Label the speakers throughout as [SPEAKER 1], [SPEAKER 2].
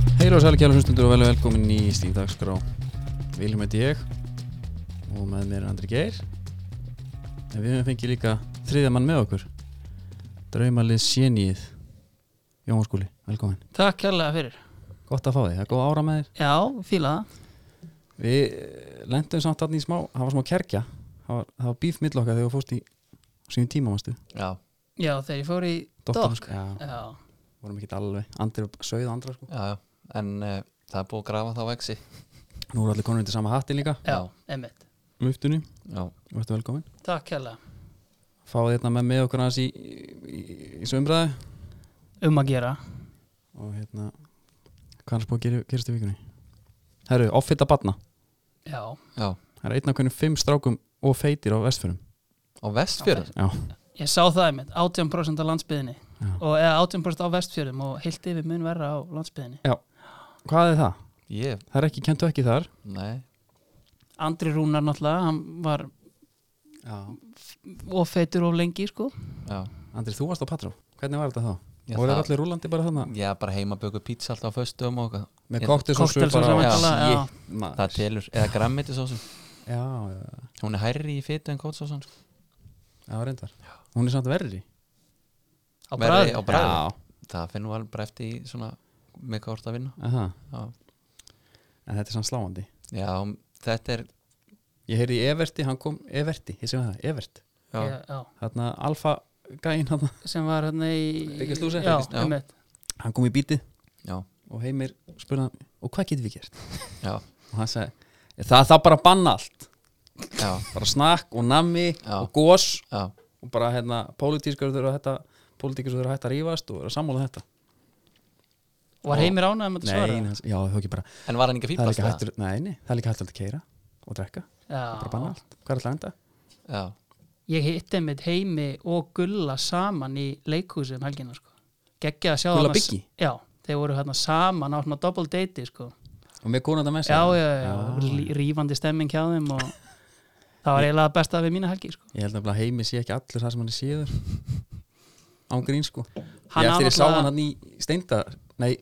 [SPEAKER 1] Kjæla hlustundur og vel velkomin í Stífdagsgrá Viljum heiti ég og með mér er Andri Geir en við höfum fengið líka þriðja mann með okkur Draumalið Sjenið Jón Skúli, velkomin
[SPEAKER 2] Takk kærlega fyrir
[SPEAKER 1] Gott að fá þig, það er góð ára með þér
[SPEAKER 2] Já, fíla það
[SPEAKER 1] Við lendum samt aðni í smá, það var smá kerkja það var, það var bíf mill okkar þegar þú fórst í síðan tíma, mástu
[SPEAKER 3] Já,
[SPEAKER 2] Já, þegar ég fór í
[SPEAKER 1] Doktorsk,
[SPEAKER 2] Dokk
[SPEAKER 1] já.
[SPEAKER 2] Já,
[SPEAKER 1] vorum ekki alveg, Andri sögðu andra sko
[SPEAKER 3] já, já. En uh, það er búið að grafa þá vexi
[SPEAKER 1] Nú eru allir konur undir sama hattin líka
[SPEAKER 2] já,
[SPEAKER 3] Já.
[SPEAKER 2] emmitt
[SPEAKER 1] Muftunni,
[SPEAKER 3] Já,
[SPEAKER 1] vært velkomin
[SPEAKER 2] Takk kærlega
[SPEAKER 1] Fáðu þérna hérna með með okkur aðeins í, í, í, í sömbræðu
[SPEAKER 2] Um að gera
[SPEAKER 1] og hérna hvað er spóð að gerast í vikunni Herru, offita batna
[SPEAKER 2] Já,
[SPEAKER 3] já
[SPEAKER 1] Það er einn af hvernig fimm strákum og feitir á vestfjörnum
[SPEAKER 3] Á vestfjörðum?
[SPEAKER 1] Já,
[SPEAKER 2] ég sá það emmitt 18% á landsbyðinni
[SPEAKER 1] Já.
[SPEAKER 2] og eða 18% á vestfjörðum og heilt yfir mun verra á landsbyðinni
[SPEAKER 1] hvað er það?
[SPEAKER 3] Ég,
[SPEAKER 1] Það er ekki kentu ekki þar
[SPEAKER 3] nei
[SPEAKER 2] Andri Rúnar náttúrulega, hann var
[SPEAKER 1] Já.
[SPEAKER 2] of feitur of lengi sko
[SPEAKER 3] Já,
[SPEAKER 1] Andri, þú varst á Patró, hvernig var þetta þá?
[SPEAKER 3] Já,
[SPEAKER 1] Voru
[SPEAKER 3] það-
[SPEAKER 1] allir rúlandi bara þannig?
[SPEAKER 3] ég er bara heima að böku pizza alltaf á föstum og eitthvað.
[SPEAKER 1] Með
[SPEAKER 3] Ég-
[SPEAKER 1] koktelsósu
[SPEAKER 2] Koktelsósu væntanlega, já.
[SPEAKER 3] það
[SPEAKER 1] maður
[SPEAKER 3] telur, eða grammetisósum
[SPEAKER 1] Já, já, já,
[SPEAKER 3] Hún er hærri í fitu en kótsósan sko.
[SPEAKER 1] já, reyndar Hún er samt verri
[SPEAKER 2] Á
[SPEAKER 3] Verri
[SPEAKER 2] bragðið.
[SPEAKER 3] Á bræði, það finnum við alveg bara eftir í svona með hvað hvort að vinna
[SPEAKER 1] Já, aha.
[SPEAKER 3] Já,
[SPEAKER 1] en þetta er samt sláandi
[SPEAKER 3] já þetta er
[SPEAKER 1] Ég heyrði í Everti, hann kom Everti, ég sem það, Evert
[SPEAKER 3] já,
[SPEAKER 2] Ég- já,
[SPEAKER 1] Þarna alfa gæinn hann
[SPEAKER 2] sem var hérna í
[SPEAKER 1] Byggjastúsi?
[SPEAKER 2] Já,
[SPEAKER 3] Byggjast- já.
[SPEAKER 2] emmitt
[SPEAKER 1] Hann kom í bítið
[SPEAKER 3] já,
[SPEAKER 1] og heimir spurði hann Og hvað getum við gert?
[SPEAKER 3] já,
[SPEAKER 1] og hann sagði það er það bara að banna allt
[SPEAKER 3] já,
[SPEAKER 1] bara snakk og nammi
[SPEAKER 3] Já.
[SPEAKER 1] og gos
[SPEAKER 3] já.
[SPEAKER 1] og bara hérna pólitískur þurfa þetta pólitíkur þurfa hægt að rífast og vera sammála um þetta
[SPEAKER 2] Var heimir ánægum að svara?
[SPEAKER 1] nei, hans, já, það er ekki bara
[SPEAKER 3] En var hann ekki
[SPEAKER 1] það er
[SPEAKER 3] fýblast
[SPEAKER 1] líka hægt, nei, nei, það er líka hægt að keira og drekka bara banna
[SPEAKER 2] Já,
[SPEAKER 1] allt hvað er alltaf enda?
[SPEAKER 3] Já,
[SPEAKER 2] ég hitti einmitt heimi og Gulla saman í leikhúsi um helgina sko. geggja að sjá
[SPEAKER 1] Gulla
[SPEAKER 2] þarna-
[SPEAKER 1] Biggi?
[SPEAKER 2] já, þeir voru hérna saman á svona double date sko.
[SPEAKER 1] og með konanda með sig
[SPEAKER 2] já, já, já,
[SPEAKER 1] Ah.
[SPEAKER 2] já. rífandi stemming hjá þeim og það var eiginlega besta við mína helgi sko.
[SPEAKER 1] ég held nefnilega að heimi sé ekki allur það sem hann er síður án grín sko
[SPEAKER 2] Hann
[SPEAKER 1] ég
[SPEAKER 2] á
[SPEAKER 1] eftir ég sá
[SPEAKER 2] náttúrulega-
[SPEAKER 1] hann hann í steinda nei,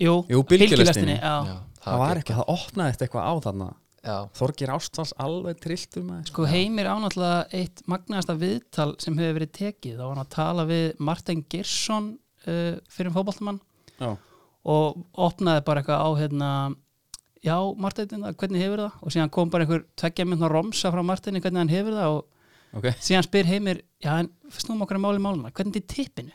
[SPEAKER 2] jú,
[SPEAKER 1] Jú, bylgjulestinni.
[SPEAKER 2] já.
[SPEAKER 1] það var ekki, það opnaði þetta eitthvað á þarna
[SPEAKER 3] Já,
[SPEAKER 1] Þorgir Ástals alveg trilltur með
[SPEAKER 2] sko heimir ánáttúrulega eitt magnaðasta viðtal sem hefur verið tekið þá var hann að tala við Martin Gersson uh, fyrir fótballtumann
[SPEAKER 1] já,
[SPEAKER 2] og opnaði bara eitthvað á hérna já, Martin, hvernig hefur það? og síðan kom bara einhver tveggja myndna romsa frá Martini hvernig hann hefur það og
[SPEAKER 1] ok
[SPEAKER 2] síðan spyr heimir já, en um snúum okkur að máli máluna, hvernig er tippinu?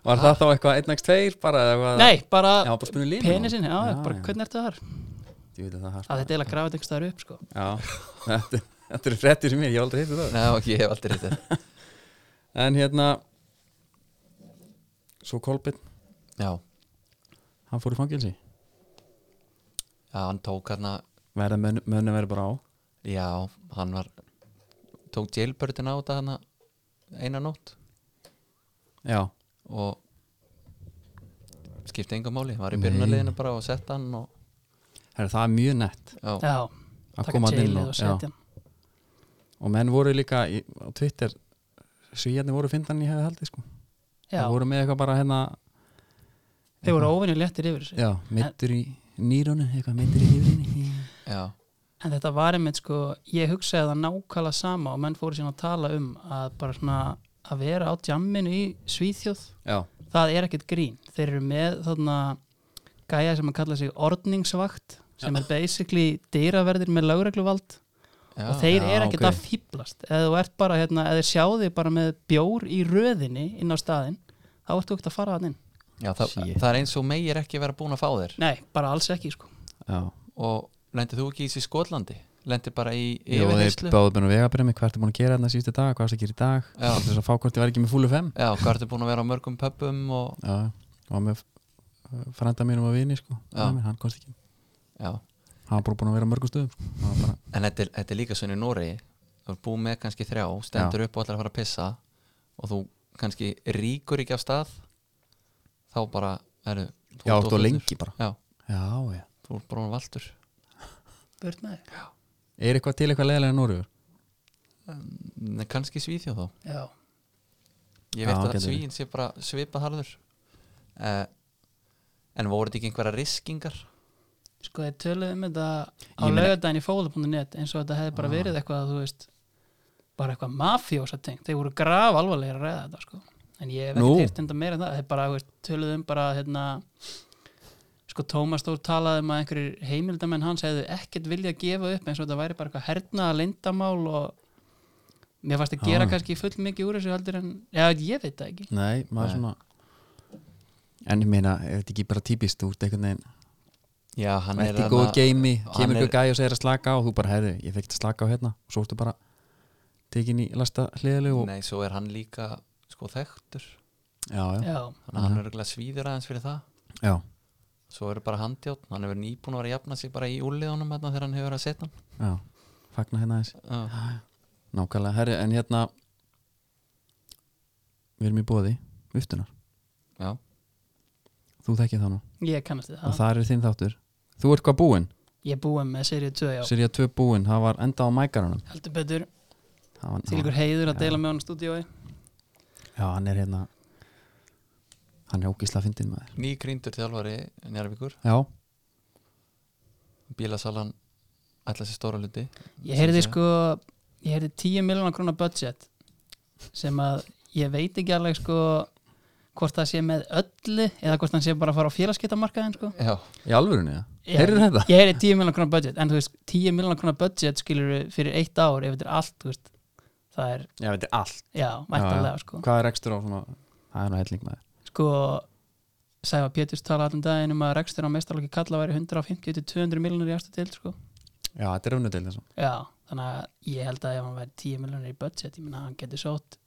[SPEAKER 1] Var það þá eitthvað 1x2 bara? eða Eitthvað,
[SPEAKER 2] Nei, bara
[SPEAKER 1] Já, bara spynu línu.
[SPEAKER 2] penisin, já,
[SPEAKER 1] Já,
[SPEAKER 2] bara
[SPEAKER 1] já.
[SPEAKER 2] hvernig ertu þar?
[SPEAKER 1] Ég veit að það
[SPEAKER 2] að
[SPEAKER 1] harpa.
[SPEAKER 2] þetta er eiginlega grafið einhvers staðar upp, sko
[SPEAKER 1] Já, þetta, þetta eru frettir sem ég, ég hef aldrei hittu það.
[SPEAKER 3] já, ég hef aldrei þetta
[SPEAKER 1] En hérna, svo Kolbinn,
[SPEAKER 3] Já,
[SPEAKER 1] hann fór í fangilsi.
[SPEAKER 3] já, hann tók hérna
[SPEAKER 1] Verða mönn, mönnum verið bara á.
[SPEAKER 3] Já, hann var tók jailbirdin á þetta hana eina nótt
[SPEAKER 1] Já,
[SPEAKER 3] og skipti enga máli, var í byrjunarliðinu bara og sett hann og
[SPEAKER 1] Herra, það er mjög nett
[SPEAKER 3] já,
[SPEAKER 2] já,
[SPEAKER 1] að
[SPEAKER 2] taka
[SPEAKER 1] koma að inn
[SPEAKER 2] jailið
[SPEAKER 1] og,
[SPEAKER 2] og
[SPEAKER 1] já.
[SPEAKER 2] setja hann
[SPEAKER 1] og menn voru líka í, á Twitter, svíjarnir voru fyndan ég hefði haldið sko.
[SPEAKER 2] já,
[SPEAKER 1] Það voru með eitthvað bara hérna,
[SPEAKER 2] þeir voru óvinni léttir yfir þessu
[SPEAKER 1] já, meittur í nýrónu, eitthvað meittur í hýrinni.
[SPEAKER 3] já,
[SPEAKER 2] en þetta var einmitt, sko, ég hugsaði það nákvæmlega sama og menn fóru síðan að tala um að bara svona að vera á djamminu í Svíþjóð
[SPEAKER 1] Já,
[SPEAKER 2] það er ekkert grín þeir eru með þarna gæja sem að kalla sig ordningsvakt sem er basically dýraverðir með lögregluvald
[SPEAKER 3] já,
[SPEAKER 2] og þeir
[SPEAKER 1] já,
[SPEAKER 2] eru ekkert
[SPEAKER 1] ok.
[SPEAKER 2] að fýblast eða þú ert bara, hérna, eða þeir sjá þig bara með bjór í röðinni inn á staðinn þá ertu ekkert að fara hann inn
[SPEAKER 3] já það,
[SPEAKER 1] Shit.
[SPEAKER 3] það er eins og meir ekki vera búin að fá þér
[SPEAKER 2] nei, bara alls ekki sko
[SPEAKER 1] já.
[SPEAKER 3] og lendið þú ekki í þessu í Skotlandi lendið bara í
[SPEAKER 1] Jó, þeir
[SPEAKER 3] yfirheyslu
[SPEAKER 1] báðu búin að vega bara með hvað ertu búin að gera þarna síðustu dag, hvað ertu að gera í dag
[SPEAKER 3] Já.
[SPEAKER 1] til þess að fá hvort ég var ekki með fúlu 5
[SPEAKER 3] Já, hvað ertu búin að vera á mörgum pöppum og
[SPEAKER 1] Já, og með eh, frænda mínum að vini sko,
[SPEAKER 3] Já.
[SPEAKER 1] Nei, hann komst ekki
[SPEAKER 3] já,
[SPEAKER 1] hann var bara búin að vera á mörgum stöðum sko. Hann var bara,
[SPEAKER 3] en þetta er, þetta er líka svona í Noregi þú er búin með kannski þrjá, stendur upp og ætlar að fara að pissa og þú kannski ríkur ekki af stað þá bara eru
[SPEAKER 1] Já, þú ert of lengi bara.
[SPEAKER 3] já,
[SPEAKER 1] já, já.
[SPEAKER 3] þú er bara valdur
[SPEAKER 2] burt með þig
[SPEAKER 1] Er eitthvað til eitthvað leðilega Nóriður?
[SPEAKER 3] Nei, kannski svíþjóð þá
[SPEAKER 2] já,
[SPEAKER 3] ég veit
[SPEAKER 1] Já,
[SPEAKER 3] að
[SPEAKER 1] getur
[SPEAKER 3] svíin sé bara svipað harður eh, en voru þetta ekki einhverja riskingar
[SPEAKER 2] sko þeir töluðu um þetta á
[SPEAKER 3] Ég meina-
[SPEAKER 2] laugardaginn í fóðal.net eins og þetta hefði
[SPEAKER 1] Ah.
[SPEAKER 2] bara verið eitthvað að þú veist bara eitthvað mafjósa tengt þeir voru graf alvarlega að ræða þetta sko en ég hef
[SPEAKER 1] Nú.
[SPEAKER 2] ekki hýrt enda meira en það þeir bara þú veist, töluðu um bara hérna sko Tómas Þór talaði um að einhverjir heimildamenn hans hefðu ekkert viljað gefa upp eins og þetta væri bara eitthvað herna leyndamál og mér fannst að gera
[SPEAKER 1] Ah.
[SPEAKER 2] kannski full mikið úr þessu heldur en já, ég veit það ekki
[SPEAKER 1] Nei, maður
[SPEAKER 3] Nei.
[SPEAKER 1] svona En ég meina, er þetta ekki bara típist Þú ert einhvern veginn,
[SPEAKER 3] já, hann er
[SPEAKER 1] ert í
[SPEAKER 3] þarna-
[SPEAKER 1] góðu geimi
[SPEAKER 3] hann
[SPEAKER 1] Kemur
[SPEAKER 3] er-
[SPEAKER 1] ykkur gæði og segir að slaka á og Þú bara, herðu, ég fekk að slaka á hérna Og svo ertu bara tekin í lasta hliðlu og...
[SPEAKER 3] nei, svo er hann líka sko þekktur
[SPEAKER 1] Já, já,
[SPEAKER 2] já,
[SPEAKER 3] þannig að hann er örugglega svíður aðeins fyrir það
[SPEAKER 1] já
[SPEAKER 3] svo eru bara handjátt, hann hefur nýbúin að vera að jafna sig bara í úliðunum þarna þegar hann hefur verið að setja hann
[SPEAKER 1] Já, fagna hérna aðeins
[SPEAKER 3] uh,
[SPEAKER 1] Nákvæmlega, herri, en hérna Við erum í bóði Viftunar,
[SPEAKER 3] já,
[SPEAKER 1] þú þekkið það nú
[SPEAKER 2] ég kannast við
[SPEAKER 1] Og
[SPEAKER 2] það
[SPEAKER 1] það er þinn þáttur Þú ert hvað búinn,
[SPEAKER 2] ég er búin með serið 2 já,
[SPEAKER 1] Sirja 2 búinn Það var enda á mækaranum
[SPEAKER 2] heldur betur
[SPEAKER 1] Það var-
[SPEAKER 2] til ykkur
[SPEAKER 1] Ah.
[SPEAKER 2] heiður að
[SPEAKER 1] Já.
[SPEAKER 2] deila með honum stúdíói
[SPEAKER 1] Já, hann er hérna Hann er ógisla fyndin maður
[SPEAKER 3] nýgríndur þjálfari Njárvíkur,
[SPEAKER 1] Já,
[SPEAKER 3] bílasalan ætla sér stóra hluti
[SPEAKER 2] ég heyrði sko ég heyrði 10 miljonar krónar budget sem að ég veit ekki alveg sko hvort það sé með öllu eða hvort hann sé bara að fara á félagskiptamarkaðin sko
[SPEAKER 3] já,
[SPEAKER 1] í alvörunni það?
[SPEAKER 2] Já.
[SPEAKER 1] Heyrðu þetta?
[SPEAKER 2] ég heyrði 10 miljonar krónar budget en þú veist 10 miljonar krónar budget skilur fyrir eitt ár ef þetta er allt þú veist það er
[SPEAKER 1] Já, þetta er allt
[SPEAKER 2] já væntanlega sko
[SPEAKER 1] Hvað er ekstra á svona Það er nú helling maður
[SPEAKER 2] sko Sæfa Péturs tala allan daginn um að rekstur á mestarlöki kalla væri 150-200 miljonar í aftur til sko
[SPEAKER 1] Já, þetta er öfnudel þessum
[SPEAKER 2] Já, þannig að ég held að ef hann væri 10 miljonir í budget, ég meina að hann getur sótt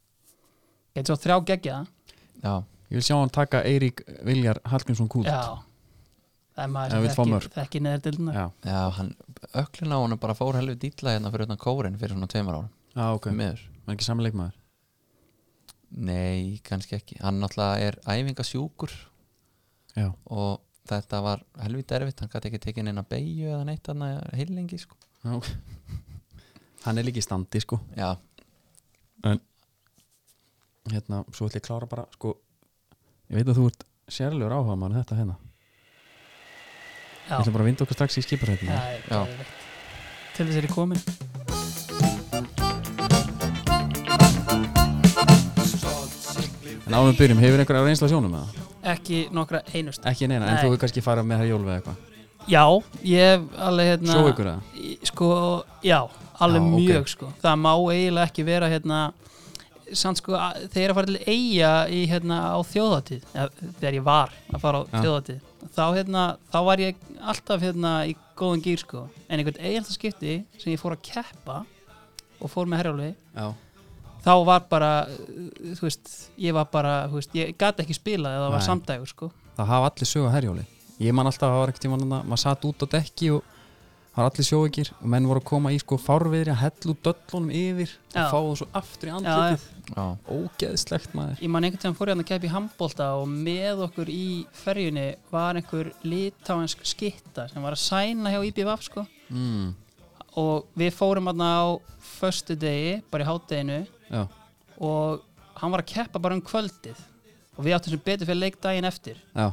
[SPEAKER 2] getur sótt þrjá geggja
[SPEAKER 3] já,
[SPEAKER 1] Ég vil sjá hann taka Eirík Viljar Hallgrímsson kút
[SPEAKER 2] Já Það er
[SPEAKER 1] Ef
[SPEAKER 2] maður
[SPEAKER 1] vill fá
[SPEAKER 2] sem
[SPEAKER 1] mörk.
[SPEAKER 2] þekki, þekki neðar dildina
[SPEAKER 1] Já,
[SPEAKER 3] já hann, öklin á hann bara fór helvið dýtla hérna fyrir utan kórin fyrir svona tveimur árum,
[SPEAKER 1] Já, ok
[SPEAKER 3] okay. meður
[SPEAKER 1] Var ekki samanleik maður
[SPEAKER 3] nei, kannski ekki, hann náttúrulega er æfingasjúkur
[SPEAKER 1] Já,
[SPEAKER 3] og þetta var helvið erfitt, hann gæti ekki tekin inn að beigju eða neitt hann heilingi sko
[SPEAKER 1] já ok Hann er líka í standi sko
[SPEAKER 3] já,
[SPEAKER 1] Hérna, svo ætla ég að klára bara sko Ég veit að þú ert sérlegur áhuga maður þetta hérna Ég ætla
[SPEAKER 2] Já,
[SPEAKER 1] bara að vinda okkur strax í skiparhættina
[SPEAKER 2] það er geðveikt. Til þess er ég komin
[SPEAKER 1] En árum byrjum, hefur einhverja reynsla af sjónum eða?
[SPEAKER 2] Ekki nokkra einust
[SPEAKER 1] Ekki neina, en
[SPEAKER 2] Nei.
[SPEAKER 1] þú hefur kannski farað með það jólfið eitthvað
[SPEAKER 2] Já, ég hef alveg hérna
[SPEAKER 1] Sjóðu ykkur eða?
[SPEAKER 2] Í- sko, já, alveg
[SPEAKER 1] Já, ok.
[SPEAKER 2] mjög sko það má eiginlega ekki vera hérna samt sko, að- þegar að fara til eiga í hérna á þjóðatíð ja, þegar ég var að fara á
[SPEAKER 1] Já.
[SPEAKER 2] þjóðatíð þá hérna, þá var ég alltaf hérna í góðan gýr sko en einhvern eiginlega skipti sem ég fór að keppa og fór með herjálu
[SPEAKER 1] Já,
[SPEAKER 2] þá var bara, uh, þú veist ég var bara, þú veist, ég gat ekki spilað eða það var
[SPEAKER 1] Nei.
[SPEAKER 2] samdægur sko
[SPEAKER 1] það hafa allir sögu að herjóli ég man alltaf að það var ekkert tímann að maður satt út á dekki og það var allir sjóekir og menn voru að koma í sko fárviðri að hellu döllunum yfir
[SPEAKER 2] Já.
[SPEAKER 1] og fá það svo aftur í
[SPEAKER 2] já, já.
[SPEAKER 1] andlitið
[SPEAKER 3] já,
[SPEAKER 1] ógeðslegt maður
[SPEAKER 2] Ég man einhvern tíðan fór hérna að keppa í handbólta og með okkur í ferjunni var einhver litáensk skitta sem var að sæna hjá IBVF sko
[SPEAKER 1] mm.
[SPEAKER 2] og við fórum hérna á föstu degi, bara í hátdeginu
[SPEAKER 1] já,
[SPEAKER 2] og hann var að keppa bara um kvöldið og við áttum sem betur fyrir leik daginn eftir
[SPEAKER 1] já,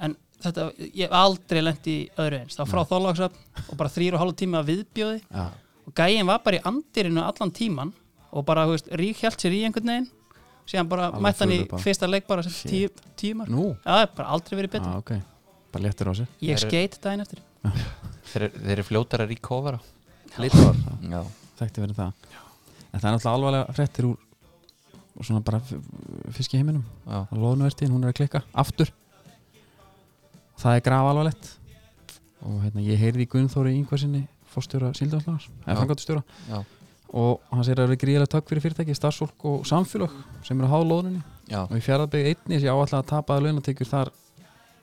[SPEAKER 2] en þetta, ég hef aldrei lent í öðru eins, það var frá þólagsöfn og bara þrýr og hálf tíma að viðbjóði
[SPEAKER 1] já,
[SPEAKER 2] og gæin var bara í andirinu allan tíman og bara, þú veist, rík held sér í einhvern veginn síðan bara
[SPEAKER 1] Alveg
[SPEAKER 2] mætt hann í
[SPEAKER 1] furðu bara.
[SPEAKER 2] fyrsta leik bara sem
[SPEAKER 1] Shit.
[SPEAKER 2] tíu, tíu mark
[SPEAKER 1] nú
[SPEAKER 2] Já, það er bara aldrei verið betur
[SPEAKER 1] ah, ok, bara léttur á sér
[SPEAKER 2] Ég
[SPEAKER 3] Þeir-
[SPEAKER 2] skeit daginn eftir
[SPEAKER 3] þeir, þeir eru fljótar að recovera
[SPEAKER 1] litur,
[SPEAKER 3] já,
[SPEAKER 1] þekkti verið það en það er náttúrulega alvarlega fréttir úr og svona bara fisk í heiminum
[SPEAKER 3] já,
[SPEAKER 1] að loðnuvertin, hún er að klikka aftur það er graf alvarlegt og hérna, ég heyrði í Gunnþóri Ingvarsinni fórstjóra síldáslags, eða
[SPEAKER 3] Já.
[SPEAKER 1] frangatustjóra
[SPEAKER 3] já,
[SPEAKER 1] og hann segir að það eru gríðilega tökk fyrir fyrirtæki, starfsfólk og samfélög sem eru að háða loðnunni
[SPEAKER 3] já,
[SPEAKER 1] og í fjaraðbygg einni sé áallega að tapaða launatekjur þar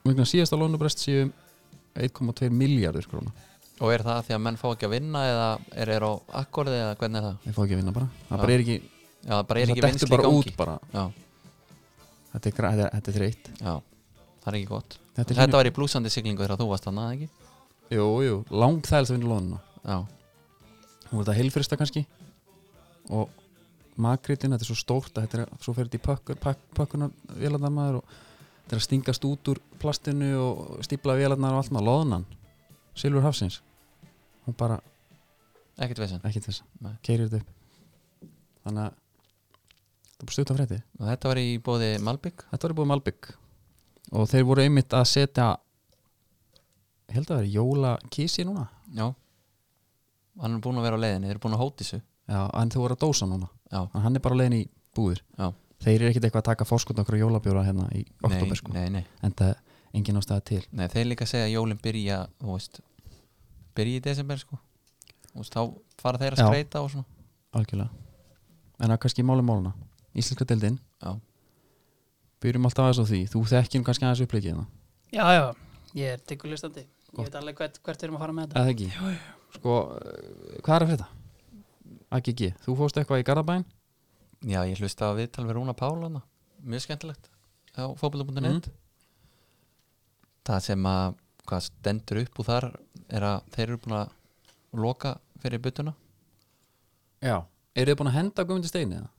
[SPEAKER 1] mjögna síðasta loðnubrest séu um 1,2 miljardur króna
[SPEAKER 3] og er það því að menn fá ekki að vinna eða er er á akkorði eða hvernig er það
[SPEAKER 1] ég fá ekki að vinna bara, það
[SPEAKER 3] Já.
[SPEAKER 1] bara er ekki,
[SPEAKER 3] já, það bara er
[SPEAKER 1] það
[SPEAKER 3] ekki
[SPEAKER 1] dettur
[SPEAKER 3] vinsli í
[SPEAKER 1] bara
[SPEAKER 3] gangi
[SPEAKER 1] út bara.
[SPEAKER 3] já,
[SPEAKER 1] Þetta, er, gra- þetta, er, þetta er þreitt
[SPEAKER 3] já, það er ekki gott
[SPEAKER 1] þetta er
[SPEAKER 3] þetta var í blúsandi siglingu þegar þú varst hann, ekki?
[SPEAKER 1] svona- jú, jú, langþægilegst að vinna loðnuna
[SPEAKER 3] já,
[SPEAKER 1] hún er þetta heilfrista kannski og makritin, þetta er svo stórt að þetta er svo fer þetta í pökkur, pökk, pökkunar vélarnar maður og þetta er að stingast út úr plastinu og stípla vélarnar og allt maður loðnan, Silfur Hafsins hún bara
[SPEAKER 3] ekkert veginn
[SPEAKER 1] ekki þess
[SPEAKER 3] Nei.
[SPEAKER 1] að keirir þetta upp þannig að þetta er bara stutt af frétti
[SPEAKER 3] og þetta var í bóði Malbygg
[SPEAKER 1] þetta var búið Malbygg og þeir voru einmitt að setja ég held að það er jólakísi núna
[SPEAKER 3] já hann er búin að vera á leiðinni, þeir eru búin að hóti þessu
[SPEAKER 1] já, en þeir voru að dósa núna
[SPEAKER 3] já,
[SPEAKER 1] en hann er bara leiðin í búður
[SPEAKER 3] Já.
[SPEAKER 1] þeir eru ekkert eitthvað að taka fórskot okkur jólabjóra hérna í oktober sko.
[SPEAKER 3] nei, nei, nei,
[SPEAKER 1] en það er engin ástæða til
[SPEAKER 3] nei, þeir líka segja að jólin byrja þú veist, byrja í desember sko Þú veist, þá fara þeir að
[SPEAKER 1] Já.
[SPEAKER 3] skreita og svona
[SPEAKER 1] algjörlega en það er kannski máli máluna Íslenska deildin,
[SPEAKER 3] já,
[SPEAKER 1] byrjum alltaf aðeins á því þú þekkir nú kannski aðeins uppleikið hérna
[SPEAKER 2] já, já, ég er diggulegstandi ég veit alveg hvert, hvert við erum að fara með þetta
[SPEAKER 1] eða ekki, sko eh, hvað er að frétta? AGG, þú fórst eitthvað í Garðabæn
[SPEAKER 3] já ég hlusta að viðtal við Rúna Pála mjög skemmtilegt á fótbolta.net það sem að hvað stendur upp úr þar er að þeir eru búin að loka fyrir byttuna
[SPEAKER 1] já, eru þið búin að henda Guðmundur Steini eða?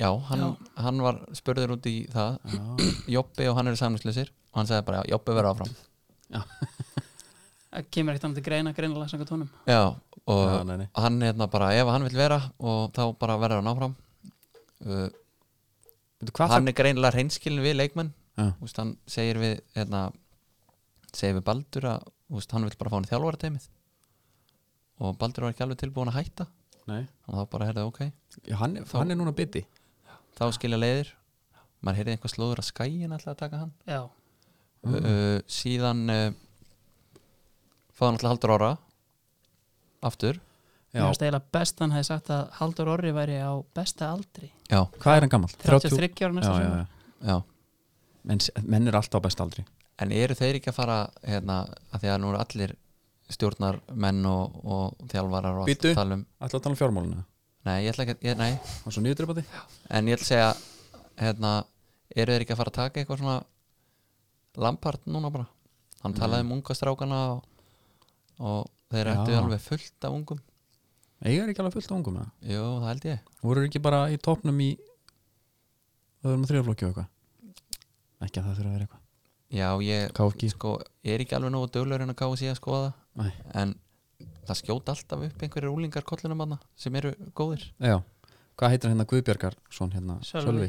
[SPEAKER 3] já hann, hann var spurður út í það
[SPEAKER 1] Já,
[SPEAKER 3] Jobbi og hann eru samlingsleysir og hann sagði bara já, Jobbi verður áfram
[SPEAKER 2] það kemur ekkert annað til greina, greinilega sanga tónum
[SPEAKER 3] já,
[SPEAKER 1] Já,
[SPEAKER 3] og
[SPEAKER 1] nei, nei.
[SPEAKER 3] hann hérna bara ef hann vil vera og þá bara verður hann áfram uh,
[SPEAKER 1] Veitu, hvað
[SPEAKER 3] hann er greinilega reynskilin við leikmenn
[SPEAKER 1] Já.
[SPEAKER 3] Úst, hann segir við hérna, segir við Baldur að úst, hann vil bara fá hann í þjálfara teimið og Baldur var ekki alveg tilbúin að hætta
[SPEAKER 1] það? Nei.
[SPEAKER 3] og þá bara herðið ok
[SPEAKER 1] Já, hann, er- hann er núna bytti
[SPEAKER 3] þá skilja leiðir maður heyrði einhver slóður að skæin alltaf að taka hann
[SPEAKER 2] já,
[SPEAKER 3] mm. síðan uh, fáði hann alltaf haldur ára aftur
[SPEAKER 2] mér finnst eiginlega best hann hefði sagt að Haldur Orri væri á besta aldri
[SPEAKER 3] já,
[SPEAKER 1] hvað er hann gammal?
[SPEAKER 2] 33 ára
[SPEAKER 1] já,
[SPEAKER 2] næsta
[SPEAKER 1] já,
[SPEAKER 2] sumar.
[SPEAKER 1] já.
[SPEAKER 3] já.
[SPEAKER 1] Menn, menn er alltaf á besta aldri
[SPEAKER 3] en eru þeir ekki að fara hérna, að því að nú eru allir stjórnar menn og, og þjálfarar og allt
[SPEAKER 1] Bíddu.
[SPEAKER 3] að tala um
[SPEAKER 1] alltaf að tala um fjármáluna
[SPEAKER 3] nei, ég ætla ekki, að- ég, nei,
[SPEAKER 1] og svo nýðutripati
[SPEAKER 3] en ég ætla að segja hérna, eru þeir ekki að fara að taka eitthvað svona lampart núna bara hann talaði um unga strákana og, og þeir
[SPEAKER 1] Mm. Já.
[SPEAKER 3] ættu alveg fullt af ungum
[SPEAKER 1] eiga er ekki alveg fullt á ungum eða?
[SPEAKER 3] jú, það held ég
[SPEAKER 1] voru þeir ekki bara í topnum í öðrum og þrjaflokki og eitthvað ekki að það þurfa að vera eitthvað
[SPEAKER 3] já, ég
[SPEAKER 1] KFG
[SPEAKER 3] sko, er ekki alveg nógu dölur en að káu síðan skoða
[SPEAKER 1] Nei.
[SPEAKER 3] en það skjóta alltaf upp einhverjir úlingar kollunum hana sem eru góðir
[SPEAKER 1] já hvað heitir hérna Guðbjargar svon hérna
[SPEAKER 2] Sölvi.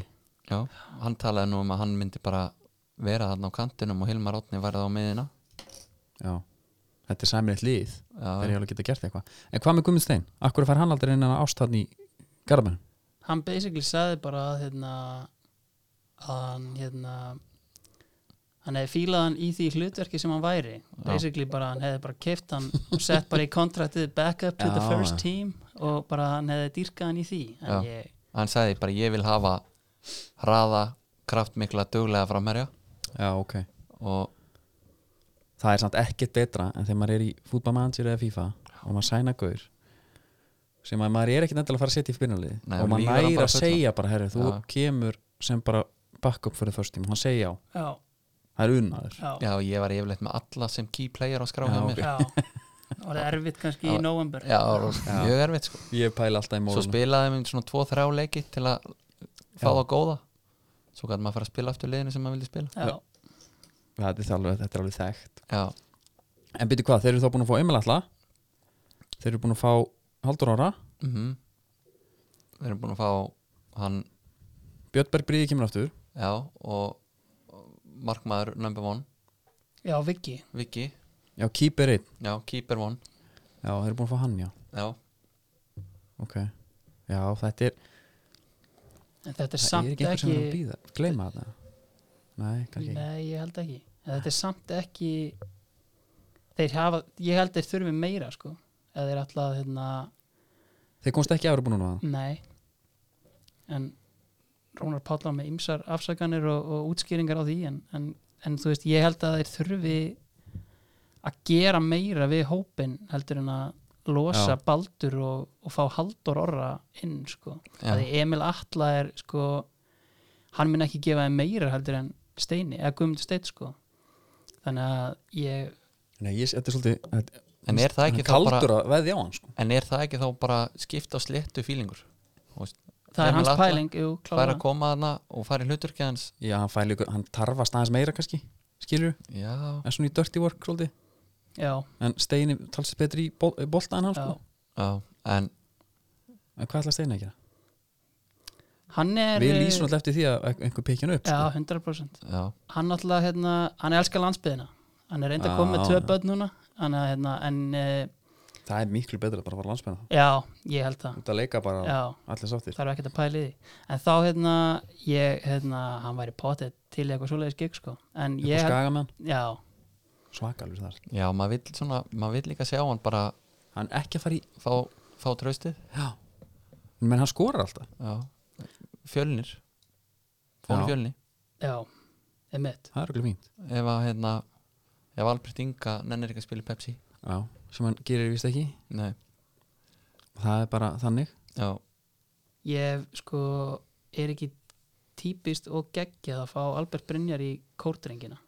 [SPEAKER 1] Sölvi
[SPEAKER 3] já, hann talaði nú um að hann myndi bara vera þarna á kantinum og Hilmar Átni værið á miðina
[SPEAKER 1] já þetta er sæmilegt lið þeir eru
[SPEAKER 3] já,
[SPEAKER 1] alveg að geta gert eitthvað en hvað með Guðmund Stein akkur fær hann aldrei inn að ástæðn í Garðabæn
[SPEAKER 2] hann basically sagði bara að hérna, að hann hérna, hann hefði fílað hann í því hlutverki sem hann væri basically bara hann hefði bara keft hann og sett bara í kontraktið back up to the
[SPEAKER 1] Já,
[SPEAKER 2] first
[SPEAKER 1] já.
[SPEAKER 2] team og bara hann hefði dýrkað hann í því en
[SPEAKER 3] Já.
[SPEAKER 2] ég,
[SPEAKER 3] hann sagði bara ég vil hafa hraða, kraftmikla, duglega framherja
[SPEAKER 1] já ok
[SPEAKER 3] og
[SPEAKER 1] það er samt ekkert betra en þegar maður er í fútbolmanager eða FIFA og maður sæna gaur sem að maður er ekkert endilega að fara að setja í byrjanlið
[SPEAKER 3] Nei,
[SPEAKER 1] og
[SPEAKER 3] og
[SPEAKER 1] maður
[SPEAKER 3] lýgur hann
[SPEAKER 1] næri
[SPEAKER 3] bara
[SPEAKER 1] að
[SPEAKER 3] fullan.
[SPEAKER 1] segja bara herri, þú
[SPEAKER 3] Já.
[SPEAKER 1] kemur sem bara back up fyrir förstum og hann segja já,
[SPEAKER 2] já,
[SPEAKER 1] það er unnaður
[SPEAKER 2] já, já,
[SPEAKER 3] já, ég var yfirleitt með alla sem key player á skrá
[SPEAKER 1] Já,
[SPEAKER 3] hjá mér
[SPEAKER 1] ok.
[SPEAKER 3] já,
[SPEAKER 2] það var erfitt kannski
[SPEAKER 3] Já.
[SPEAKER 2] í november
[SPEAKER 3] það var mjög erfitt sko.
[SPEAKER 1] ég pæla alltaf í
[SPEAKER 3] svo
[SPEAKER 1] mólunum
[SPEAKER 3] spilaði mér svona 2-3 leiki til að fá
[SPEAKER 1] Já.
[SPEAKER 3] það góða svo gæti maður að fara að spila aftur liðinu sem maður vildi spila
[SPEAKER 2] já,
[SPEAKER 1] þetta, er alveg, þetta er alveg þekkt
[SPEAKER 3] já,
[SPEAKER 1] en byrju hvað, þeir eru þá búin að fá Emil Alla þeir eru búin að fá Haldur Ára
[SPEAKER 3] mhm við erum búin að fá hann
[SPEAKER 1] Björnberg Bríði kemur aftur
[SPEAKER 3] já, og markmaður number one,
[SPEAKER 2] já, Viki
[SPEAKER 3] Viki
[SPEAKER 1] já, Keeper 1
[SPEAKER 3] já, keeper one
[SPEAKER 1] já, þeir eru búin að fá hann já
[SPEAKER 3] já,
[SPEAKER 1] ok já, þetta er
[SPEAKER 2] en þetta er
[SPEAKER 1] það er
[SPEAKER 2] samt
[SPEAKER 1] ekki einhver sem
[SPEAKER 2] ekki,
[SPEAKER 1] við erum að býða gleyma þetta nei, kannski ekki
[SPEAKER 2] nei, ég held ekki en þetta er samt ekki þeir hafa, ég held þeir þurfi meira sko, eða þeir alltaf hérna
[SPEAKER 1] þeir komst ekki ára búin núna
[SPEAKER 2] Nei en Rúnar Páll á með ymsar afsakanir og, og útskýringar á því en, en, en þú veist, ég held að þeir þurfi að gera meira við hópin heldur en að losa
[SPEAKER 1] Já.
[SPEAKER 2] baldur og, og fá haldur orra inn sko.
[SPEAKER 3] Já.
[SPEAKER 2] að Emil Atla er sko, hann mun ekki gefa þeim meira heldur en Steini, eða Guðmundur Steinn sko. þannig að ég
[SPEAKER 1] Nei, ég, þetta er svolítið þetta,
[SPEAKER 3] En er það ekki
[SPEAKER 1] hann
[SPEAKER 3] þá
[SPEAKER 1] kaldur að veðja á hann sko.
[SPEAKER 3] en er það ekki þá bara skipta og sléttu fílingur Þú veist,
[SPEAKER 2] það er
[SPEAKER 3] Emil
[SPEAKER 2] hans
[SPEAKER 3] Atla
[SPEAKER 2] pæling jú,
[SPEAKER 3] fær að
[SPEAKER 2] klárlega.
[SPEAKER 3] koma hana og fara í hluturki hans
[SPEAKER 1] Já, hann, fæ líka, hann tarfast aðeins meira kannski skilur,
[SPEAKER 3] já,
[SPEAKER 1] er svona í dirty work svolítið,
[SPEAKER 2] já,
[SPEAKER 1] en Steini talsið betri í bol, bolta en hann
[SPEAKER 2] já.
[SPEAKER 1] sko.
[SPEAKER 3] já, en
[SPEAKER 1] en hvað ætla Steini að gera?
[SPEAKER 2] hann er
[SPEAKER 1] Við lýsum alltaf eftir því að einhver pekja hann upp
[SPEAKER 2] eh, já,
[SPEAKER 1] sko.
[SPEAKER 2] 100%
[SPEAKER 3] já,
[SPEAKER 2] hann náttúrulega, hérna, hann elskar landsbyðina hann er reynda að koma með
[SPEAKER 1] Já,
[SPEAKER 2] tvö
[SPEAKER 1] já.
[SPEAKER 2] börn núna hann er, hérna, en eh,
[SPEAKER 1] það er miklu betra að bara fara á landsbyrna
[SPEAKER 2] já, ég held það
[SPEAKER 1] út að leika bara
[SPEAKER 2] já,
[SPEAKER 1] allir sáttir
[SPEAKER 2] það er ekkert að pæla í því en þá, hérna, ég, hérna hann væri potið til í eitthvað svoleiðis gig sko. en
[SPEAKER 1] upp á
[SPEAKER 2] ég, held-
[SPEAKER 1] skaga með hann,
[SPEAKER 2] já,
[SPEAKER 1] svakalur þar
[SPEAKER 3] já, maður vill svona maður vill líka sjá hann bara
[SPEAKER 1] hann er ekki að fara í
[SPEAKER 3] fá, fá tröstið
[SPEAKER 1] já. menn hann skorar alltaf
[SPEAKER 3] já, fjölnir fór
[SPEAKER 1] Já.
[SPEAKER 3] í fjölni
[SPEAKER 2] já emitt,
[SPEAKER 1] það er okkur fínt
[SPEAKER 3] ef að hérna ef Albert Inga nennir ekki að spila í Pepsi
[SPEAKER 1] já. sem hann gerir vist ekki
[SPEAKER 3] nei,
[SPEAKER 1] það er bara þannig
[SPEAKER 3] já,
[SPEAKER 2] ég, sko er ekki típist og geggjað að fá Albert Brynjar í kórdrengina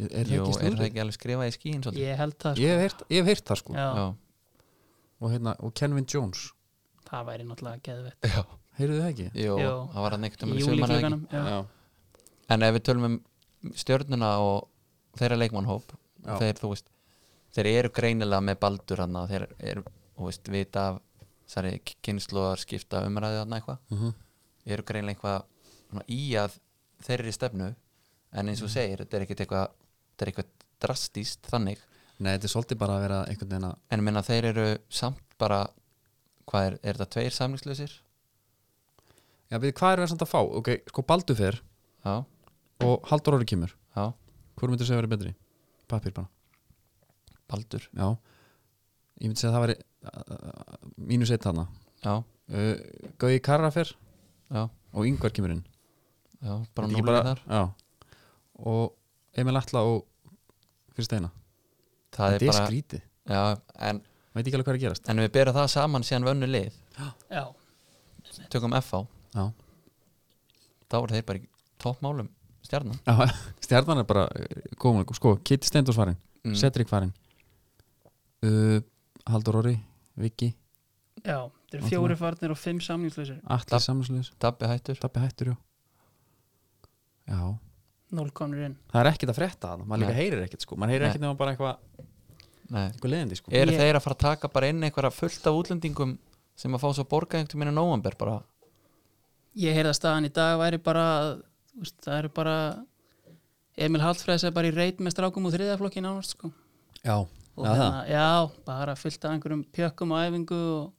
[SPEAKER 1] er það ekki
[SPEAKER 3] jú, er það
[SPEAKER 1] snúður?
[SPEAKER 3] ekki alveg skrifað í skíin svolítið
[SPEAKER 2] ég held það, sko.
[SPEAKER 1] Ég hef heyrt- ég hef heyrt það sko
[SPEAKER 2] já,
[SPEAKER 3] já,
[SPEAKER 1] og, hérna, og Kenvin Jones,
[SPEAKER 2] það væri náttúrulega geðvett
[SPEAKER 3] já,
[SPEAKER 1] heyrðu það ekki?
[SPEAKER 3] jú,
[SPEAKER 2] Jú.
[SPEAKER 3] það var hann ekkert um
[SPEAKER 2] í júlíklöganum já.
[SPEAKER 3] en ef við tölum um stjörnuna og þeirra leikmannhóp
[SPEAKER 1] Já.
[SPEAKER 3] þeir, þú veist, þeir eru greinilega með baldur hann þeir eru, þú veist, vita af þessari kynnslóðar skipta umræði hann eitthvað
[SPEAKER 1] Mhm.
[SPEAKER 3] eru greinilega eitthvað svona, í að þeirri stefnu en
[SPEAKER 1] Mhm.
[SPEAKER 3] eins og þú segir, þetta er ekkert eitthvað þetta er eitthvað drastíst þannig
[SPEAKER 1] Nei, þetta er svolítið bara að vera einhvern veginn að
[SPEAKER 3] en ég meina þeir eru samt bara hvað er, er þetta tveir samlingslausir?
[SPEAKER 1] Já, við hvað er það samt að fá? Ok, sko Baldur fer
[SPEAKER 3] Já,
[SPEAKER 1] og Haldur Orri kemur
[SPEAKER 3] já,
[SPEAKER 1] Hvor myndir segja að vera betri? Pappir bara
[SPEAKER 3] baldur
[SPEAKER 1] Já, ég myndi segja að það væri uh, uh, mínus eitt hana
[SPEAKER 3] já,
[SPEAKER 1] uh, Gauði Karra fer
[SPEAKER 3] já,
[SPEAKER 1] og Yngvar kemur inn
[SPEAKER 3] já, bara
[SPEAKER 1] Þetta ekki
[SPEAKER 3] núlega þar
[SPEAKER 1] Já Og Emil Atla og Kristeina
[SPEAKER 3] það er
[SPEAKER 1] Þetta er
[SPEAKER 3] bara,
[SPEAKER 1] skrítið
[SPEAKER 3] já, en,
[SPEAKER 1] Veit ekki alveg hvað er að gerast
[SPEAKER 3] en við berum það saman síðan vönnu lið,
[SPEAKER 2] Já.
[SPEAKER 3] tökum FH
[SPEAKER 1] Já,
[SPEAKER 3] þá eru þeir bara í toppmálum stjarnan
[SPEAKER 1] Já stjarnan er bara uh, komin Sko, Kitty Steindors farin,
[SPEAKER 3] Mm.
[SPEAKER 1] Cedric farin uh, Haldur Orri, Viki
[SPEAKER 2] Já, þetta eru
[SPEAKER 1] Náttúrulega.
[SPEAKER 2] fjóri farnir og fimm samningslausir
[SPEAKER 1] Atli
[SPEAKER 3] Dab-
[SPEAKER 1] samsleis
[SPEAKER 3] Dabbi hættur
[SPEAKER 1] Dabbi hættur, já Já,
[SPEAKER 2] Núl komnir inn
[SPEAKER 1] það er ekkert að frétta það maður líka
[SPEAKER 3] Nei.
[SPEAKER 1] heyrir ekkert sko, maður heyrir
[SPEAKER 3] Nei.
[SPEAKER 1] ekkert nema bara eitthvað
[SPEAKER 3] Nei.
[SPEAKER 1] eitthva leðandi sko
[SPEAKER 3] eru
[SPEAKER 2] Ég-
[SPEAKER 3] þeir að fara að taka bara inn einhverja fullt af útlendingum sem að fá svo borga einhvern minna nóvamber bara
[SPEAKER 2] Ég heyrði að staðan í dag væri bara úst, það eru bara Emil Hallfræðs er bara í reit með strákum úr þriðaflokki nánast sko
[SPEAKER 1] Já,
[SPEAKER 2] Og
[SPEAKER 1] Já,
[SPEAKER 2] hérna,
[SPEAKER 3] hérna-
[SPEAKER 1] það.
[SPEAKER 2] já, bara fyllt af einhverjum pjökkum og æfingu og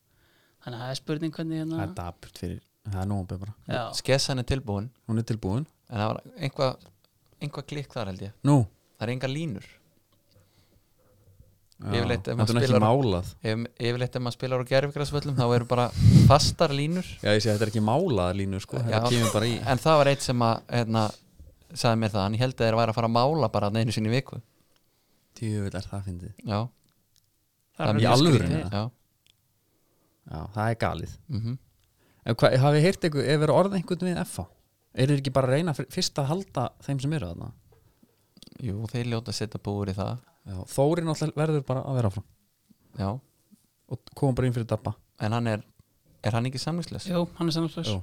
[SPEAKER 2] þannig að það er spurning hvernig
[SPEAKER 1] það
[SPEAKER 2] hérna
[SPEAKER 1] er dapurt fyrir það er nógum bara,
[SPEAKER 2] Já,
[SPEAKER 3] skessan er tilbúin
[SPEAKER 1] hún er tilbúin
[SPEAKER 3] en það var einhvað einhvað klikk þar held ég
[SPEAKER 1] Nú,
[SPEAKER 3] það er enga línur
[SPEAKER 1] já,
[SPEAKER 3] Yfirleitt
[SPEAKER 1] þetta
[SPEAKER 3] ef
[SPEAKER 1] er
[SPEAKER 3] maður
[SPEAKER 1] nú ekki
[SPEAKER 3] spilar-
[SPEAKER 1] málað
[SPEAKER 3] Ef- yfirleitt ef maður spilar á gerfigræsvöllum þá eru bara fastar línur
[SPEAKER 1] Já, ég sé, þetta er ekki málað línu sko
[SPEAKER 3] Já.
[SPEAKER 1] þetta kemur bara í
[SPEAKER 3] en það var eitt sem að hérna, sagði mér það, hann held að þeir væri að fara að mála bara þarna einu sinni í viku
[SPEAKER 1] Tjöfull er það fyndið
[SPEAKER 3] já,
[SPEAKER 2] það
[SPEAKER 1] í
[SPEAKER 2] mjög
[SPEAKER 1] alvöru,
[SPEAKER 2] skrítið.
[SPEAKER 1] nei.
[SPEAKER 3] já,
[SPEAKER 1] Já, það er galið
[SPEAKER 3] mhm
[SPEAKER 1] En hvað, hafið heyrt eitthvað, ef er orð einhvern við FA? Er ekki bara að reyna fyr- fyrst að halda þeim sem eru þarna?
[SPEAKER 3] jú, þeir ljóta að setja búur í það
[SPEAKER 1] Já, Þóri náttúrulega verður bara að vera áfram
[SPEAKER 3] já,
[SPEAKER 1] og koma bara inn fyrir Dabba
[SPEAKER 3] en hann er er hann ekki samlingslaus?
[SPEAKER 2] Jú, hann er samningslaus
[SPEAKER 1] Jú.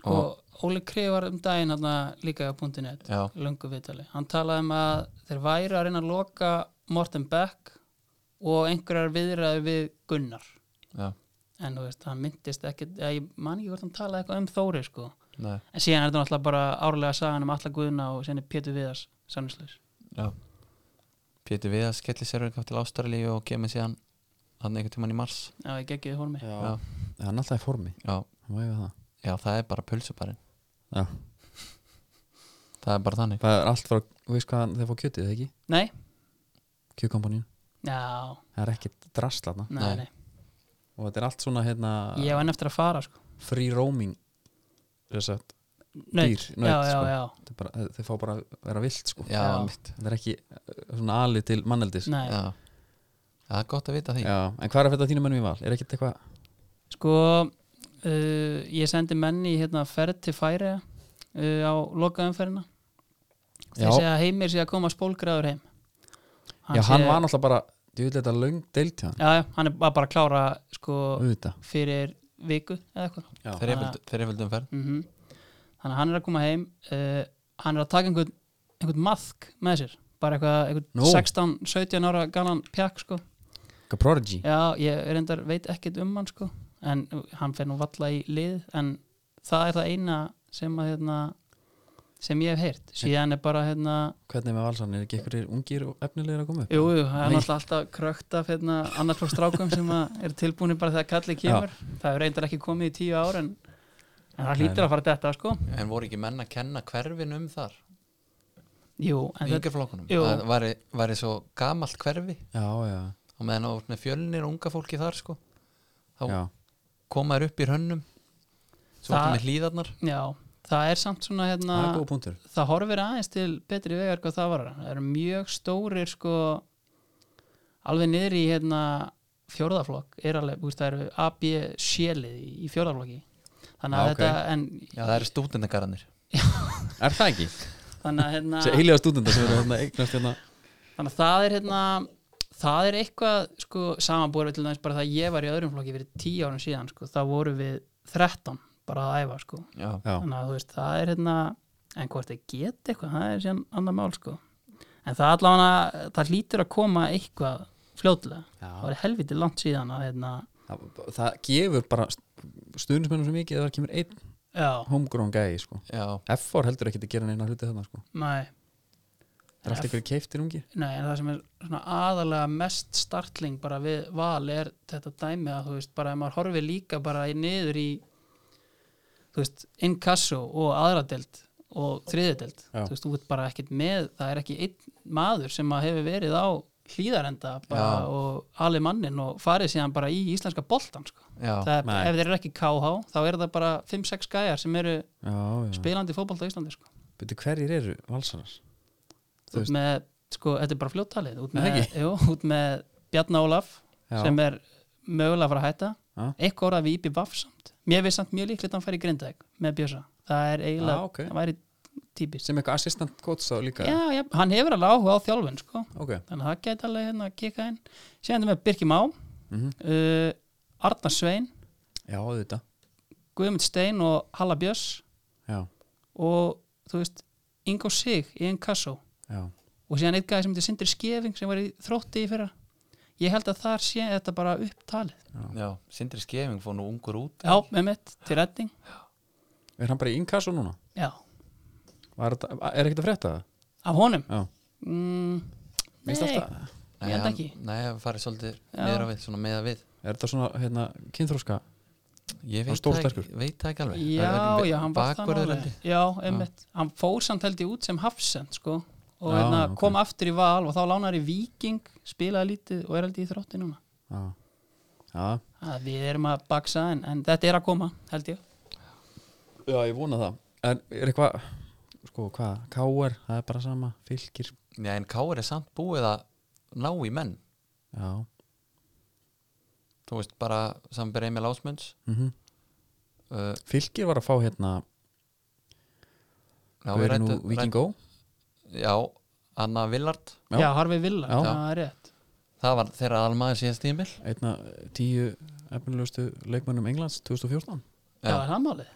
[SPEAKER 2] Sko, Óli Krið var um daginn hérna líka á punktinett
[SPEAKER 3] já,
[SPEAKER 2] löngu viðtali. Hann talaði um að þeir væri að reyna að loka Morten Beck og einhverjar viðræði við Gunnar
[SPEAKER 3] já,
[SPEAKER 2] en þú veist, hann myndist ekki eða ég man ekki hvort hann talaði eitthvað um Þóri sko.
[SPEAKER 3] nei
[SPEAKER 2] en síðan er þetta náttúrulega bara árlega sagan um alla Guðna og síðan er Pétur Viðars sannislaus.
[SPEAKER 3] Já Pétur Viðars skellir sér verið til Ástralíu og kemur síðan hann einhvern tímann í mars
[SPEAKER 2] Já, ég geggiði hormi.
[SPEAKER 1] Já, hann er alltaf í formi,
[SPEAKER 3] Já,
[SPEAKER 1] hann má eiga það
[SPEAKER 3] já það er bara pulsuparinn
[SPEAKER 1] Já.
[SPEAKER 3] Það er bara þannig
[SPEAKER 1] Það er allt frá, þú veist hvað þeir fá kjötið, eða ekki?
[SPEAKER 2] Nei?
[SPEAKER 1] Kjötkompaníun,
[SPEAKER 2] Já,
[SPEAKER 1] það er ekkert drast þarna
[SPEAKER 2] nei,
[SPEAKER 3] Nei.
[SPEAKER 2] nei.
[SPEAKER 1] og þetta er allt svona hérna
[SPEAKER 2] Ég var enn eftir að fara sko.
[SPEAKER 1] free roaming þess að
[SPEAKER 2] Naut.
[SPEAKER 1] Dýr, naut,
[SPEAKER 2] já, já,
[SPEAKER 1] sko.
[SPEAKER 2] já.
[SPEAKER 1] þetta er bara- þeir fá bara að vera vilt sko.
[SPEAKER 3] Já,
[SPEAKER 2] Já.
[SPEAKER 3] mitt
[SPEAKER 1] það er ekki uh, svona alið til manneldis
[SPEAKER 2] Nei.
[SPEAKER 3] Já, það er gott að vita því
[SPEAKER 1] Já, en hvað er þetta þínum mönnum í val? Er ekkert eitthvað
[SPEAKER 2] Sko, uh, ég sendi menni hérna ferð til færi uh, á lokaumferðina
[SPEAKER 1] Já.
[SPEAKER 2] þeir segja að heimir sé að koma spólgraður heim
[SPEAKER 1] Já, hann
[SPEAKER 2] sé-
[SPEAKER 1] var náttúrulega bara, ég vil þetta löng deilt hjá hann Mm.
[SPEAKER 2] já, já, hann er var bara að klára sko,
[SPEAKER 1] auðvitað,
[SPEAKER 2] fyrir viku eða eitthvað
[SPEAKER 1] já,
[SPEAKER 3] þreiföldum ferð
[SPEAKER 2] mm þannig að hann er að koma heim uh, hann er að taka einhvern, einhvern maðk með sér bara eitthvað, einhvern
[SPEAKER 1] Nú.
[SPEAKER 2] 16-17 ára galan pjakk sko
[SPEAKER 1] Gaprorgi
[SPEAKER 2] já, ég reyndar veit ekkert um hann sko en hann fer nú valla í lið en það er það eina sem að hérna sem ég hef heyrt, síðan er bara hérna
[SPEAKER 1] Hvernig er með valsan, er ekki einhverjir ungir og efnilegir að koma upp?
[SPEAKER 2] jú, jú, það er
[SPEAKER 1] Nei.
[SPEAKER 2] náttúrulega alltaf krökt af hérna annars frá strákum sem að er tilbúinir bara þegar kallið kemur, það er reyndar ekki komið í tíu ár en, en það
[SPEAKER 1] Nei,
[SPEAKER 2] hlýtur að fara þetta sko,
[SPEAKER 3] en voru ekki menn að kenna hverfin um þar
[SPEAKER 2] jú en þetta,
[SPEAKER 3] yngar flokkunum,
[SPEAKER 2] Jú.
[SPEAKER 3] það væri, væri svo gamalt hverfi
[SPEAKER 1] Já, já,
[SPEAKER 3] og meðan á með fjölnir og unga fólki þar sko þá
[SPEAKER 1] já
[SPEAKER 3] koma þær upp í hönnum svo
[SPEAKER 2] Það-
[SPEAKER 3] ertu með hlíðarnar
[SPEAKER 2] já, það er samt svona hérna,
[SPEAKER 1] Það er góð punktur
[SPEAKER 2] það horfir aðeins til betri vegar hvað það var það eru mjög stórir sko alveg niður í hérna fjórðaflokk er alveg, þú veist, það eru A, B, C-lið í, í fjórðaflokki þannig að
[SPEAKER 1] Já, ok.
[SPEAKER 2] þetta, en
[SPEAKER 3] já það eru stúdendagarðanir
[SPEAKER 1] Er það ekki?
[SPEAKER 2] þannig að, hérna,
[SPEAKER 1] Þessi eiliga stúdenda sem eru hérna eignast hérna
[SPEAKER 2] þannig að það er hérna það er eitthvað sko samanbúið við til dæmis bara það að ég var í öðrum flokki fyrir tíu árum síðan sko, þá voru við 13 bara að æfa sko
[SPEAKER 3] já.
[SPEAKER 1] Já,
[SPEAKER 2] þannig að þú veist, það er hérna en hvort þið geta eitthvað, það er síðan annar mál sko, en það allavega það hlýtur að koma eitthvað fljótlega, það
[SPEAKER 1] já.
[SPEAKER 2] var helviti langt síðan að hérna,
[SPEAKER 1] Það, það gefur bara stuðnismennum svo mikið að það kemur einn
[SPEAKER 2] já,
[SPEAKER 1] homegrown gæi sko.
[SPEAKER 3] já,
[SPEAKER 1] F4 heldur ekki að gera neina hluti þarna sko.
[SPEAKER 2] nei
[SPEAKER 1] Það er alltaf ykkur keiftir ungir
[SPEAKER 2] nei, en það sem er svona aðalega mest startling bara við val er þetta dæmi að þú veist, bara ef maður horfi líka bara í niður í þú veist, inkasso og aðradelt og þriðadelt,
[SPEAKER 1] Já.
[SPEAKER 2] þú veist, þú ert bara ekkit með, það er ekki einn maður sem að hefur verið á hlýðarenda bara
[SPEAKER 3] Já.
[SPEAKER 2] og ali mannin og farið síðan bara í íslenska boltan sko.
[SPEAKER 3] já,
[SPEAKER 2] það, er-
[SPEAKER 1] Nei.
[SPEAKER 2] ef þeir eru ekki KH þá eru það bara 5-6 gæjar sem eru
[SPEAKER 1] Mm. Já, já
[SPEAKER 2] spilandi fótbolta á Íslandi sko.
[SPEAKER 1] Byrju, hverjir eru valsarar? Þú
[SPEAKER 2] þú ert
[SPEAKER 1] veist.
[SPEAKER 2] með, sko, þetta er bara fljóttalið út
[SPEAKER 1] Nei,
[SPEAKER 2] með, jú, út með Bjarna Ólaf
[SPEAKER 1] Já,
[SPEAKER 2] sem er mögulega að fara að hætta
[SPEAKER 1] Já.
[SPEAKER 2] eitthvað orðað við Íbí Vaff samt mér veist samt mjög líklegt að hann fær í Grindæk með Bjösa, það er eiginlega,
[SPEAKER 1] Já, Ah, ok.
[SPEAKER 2] það væri típist
[SPEAKER 1] sem eitthvað assistant coach þá líka
[SPEAKER 2] já, já, hann hefur alveg áhuga á þjálfun sko.
[SPEAKER 1] Ok,
[SPEAKER 2] þannig að það gæti alveg hérna að kika inn síðan er með Birki Má
[SPEAKER 1] Mhm.
[SPEAKER 2] uh, Arnar Svein,
[SPEAKER 1] já, auðvitað
[SPEAKER 2] Guðmund Stein og Halla Björs
[SPEAKER 1] Já,
[SPEAKER 2] og þú veist, Ingo Sig í Inkasso
[SPEAKER 1] já,
[SPEAKER 2] og síðan eitt gæði sem heitir Sindri Skefing sem var í þrótti í fyrra ég held að þar sé þetta bara upptalið
[SPEAKER 3] já Sindri Skefing fór nú ungur út
[SPEAKER 2] já, með mitt, til redding
[SPEAKER 1] er hann bara í inkasso núna?
[SPEAKER 2] já,
[SPEAKER 1] Var, þetta- er ekkert að frétta það?
[SPEAKER 2] af honum
[SPEAKER 1] Já,
[SPEAKER 2] mm,
[SPEAKER 1] minnst
[SPEAKER 2] nei,
[SPEAKER 1] alltaf
[SPEAKER 2] ég held
[SPEAKER 3] hann-
[SPEAKER 2] ekki.
[SPEAKER 3] nei, það farið svolítið
[SPEAKER 2] Já.
[SPEAKER 3] meðra við, svona meða við
[SPEAKER 1] Er þetta svona, hérna, kynþróska?
[SPEAKER 3] ég
[SPEAKER 1] Hann
[SPEAKER 3] veit,
[SPEAKER 1] stór
[SPEAKER 3] það
[SPEAKER 1] og
[SPEAKER 3] ekki- veit það ekki alveg
[SPEAKER 2] já, já, hann var það
[SPEAKER 3] bakverður
[SPEAKER 2] nálega
[SPEAKER 3] heldur
[SPEAKER 2] já, einmitt, hann fór samt held ég út sem hafsend sko, og
[SPEAKER 1] Já,
[SPEAKER 2] hérna,
[SPEAKER 1] ok.
[SPEAKER 2] kom aftur í val og þá lánaði viking, spilaði lítið og er held ég í þrótti núna
[SPEAKER 1] Já, já
[SPEAKER 2] að við erum að baksa en, en þetta er að koma, held ég
[SPEAKER 1] Já, ég vona það En er eitthvað, sko, hvað, KR, það er bara sama, fylgir
[SPEAKER 3] já, en Káur er samt búið að ná í menn
[SPEAKER 1] Já,
[SPEAKER 3] þú veist, bara samanbyrð Emil Ásmunds
[SPEAKER 1] mm
[SPEAKER 3] uh,
[SPEAKER 1] fylgir var að fá hérna
[SPEAKER 3] já,
[SPEAKER 1] Hvað
[SPEAKER 3] við
[SPEAKER 1] er nú
[SPEAKER 3] ræddum-
[SPEAKER 1] Víkingó?
[SPEAKER 3] rædd- já, Anna Villard
[SPEAKER 1] Já.
[SPEAKER 2] já, Harfi Villa,
[SPEAKER 1] Já.
[SPEAKER 2] það er rétt
[SPEAKER 3] það var þeirra almaður síðast tímil
[SPEAKER 1] Einna eh, tíu efnilegustu leikmönnum Englands 2014
[SPEAKER 2] já, það er það málið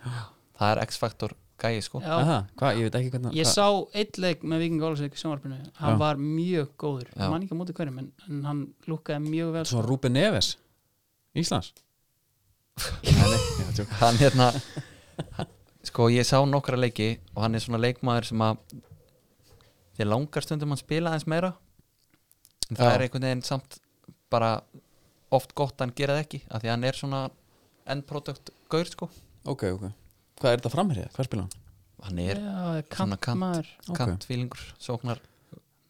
[SPEAKER 3] það er X-faktor gæi sko
[SPEAKER 2] já,
[SPEAKER 1] Aha, Hvað, ég veit ekki
[SPEAKER 3] Hérna,
[SPEAKER 1] hvernig
[SPEAKER 2] Ég
[SPEAKER 1] hvað-
[SPEAKER 2] sá eitt leik með Viking Ólasvík í sjónvarpinu, hann
[SPEAKER 1] Já.
[SPEAKER 2] var mjög góður
[SPEAKER 3] Já.
[SPEAKER 2] ég man ekki á móti hverjum, en, en hann lúkkaði mjög vel sko.
[SPEAKER 1] Svo Rúben Neves Íslands Já, tjók.
[SPEAKER 3] hann hérna hann- sko ég sá nokkra leiki og hann er svona leikmaður sem að ég langar stundum að spila aðeins meira en það
[SPEAKER 1] Já.
[SPEAKER 3] er einhvern veginn samt bara oft gott að hann gera það ekki af því að hann er svona endprodukt gaur sko
[SPEAKER 1] Ok, ok Hvað er þetta framherja? Hvað spila hann?
[SPEAKER 3] hann er
[SPEAKER 2] Já,
[SPEAKER 3] Svona kant.
[SPEAKER 2] kantmaður
[SPEAKER 1] Ok.
[SPEAKER 3] kantfílingur sóknar,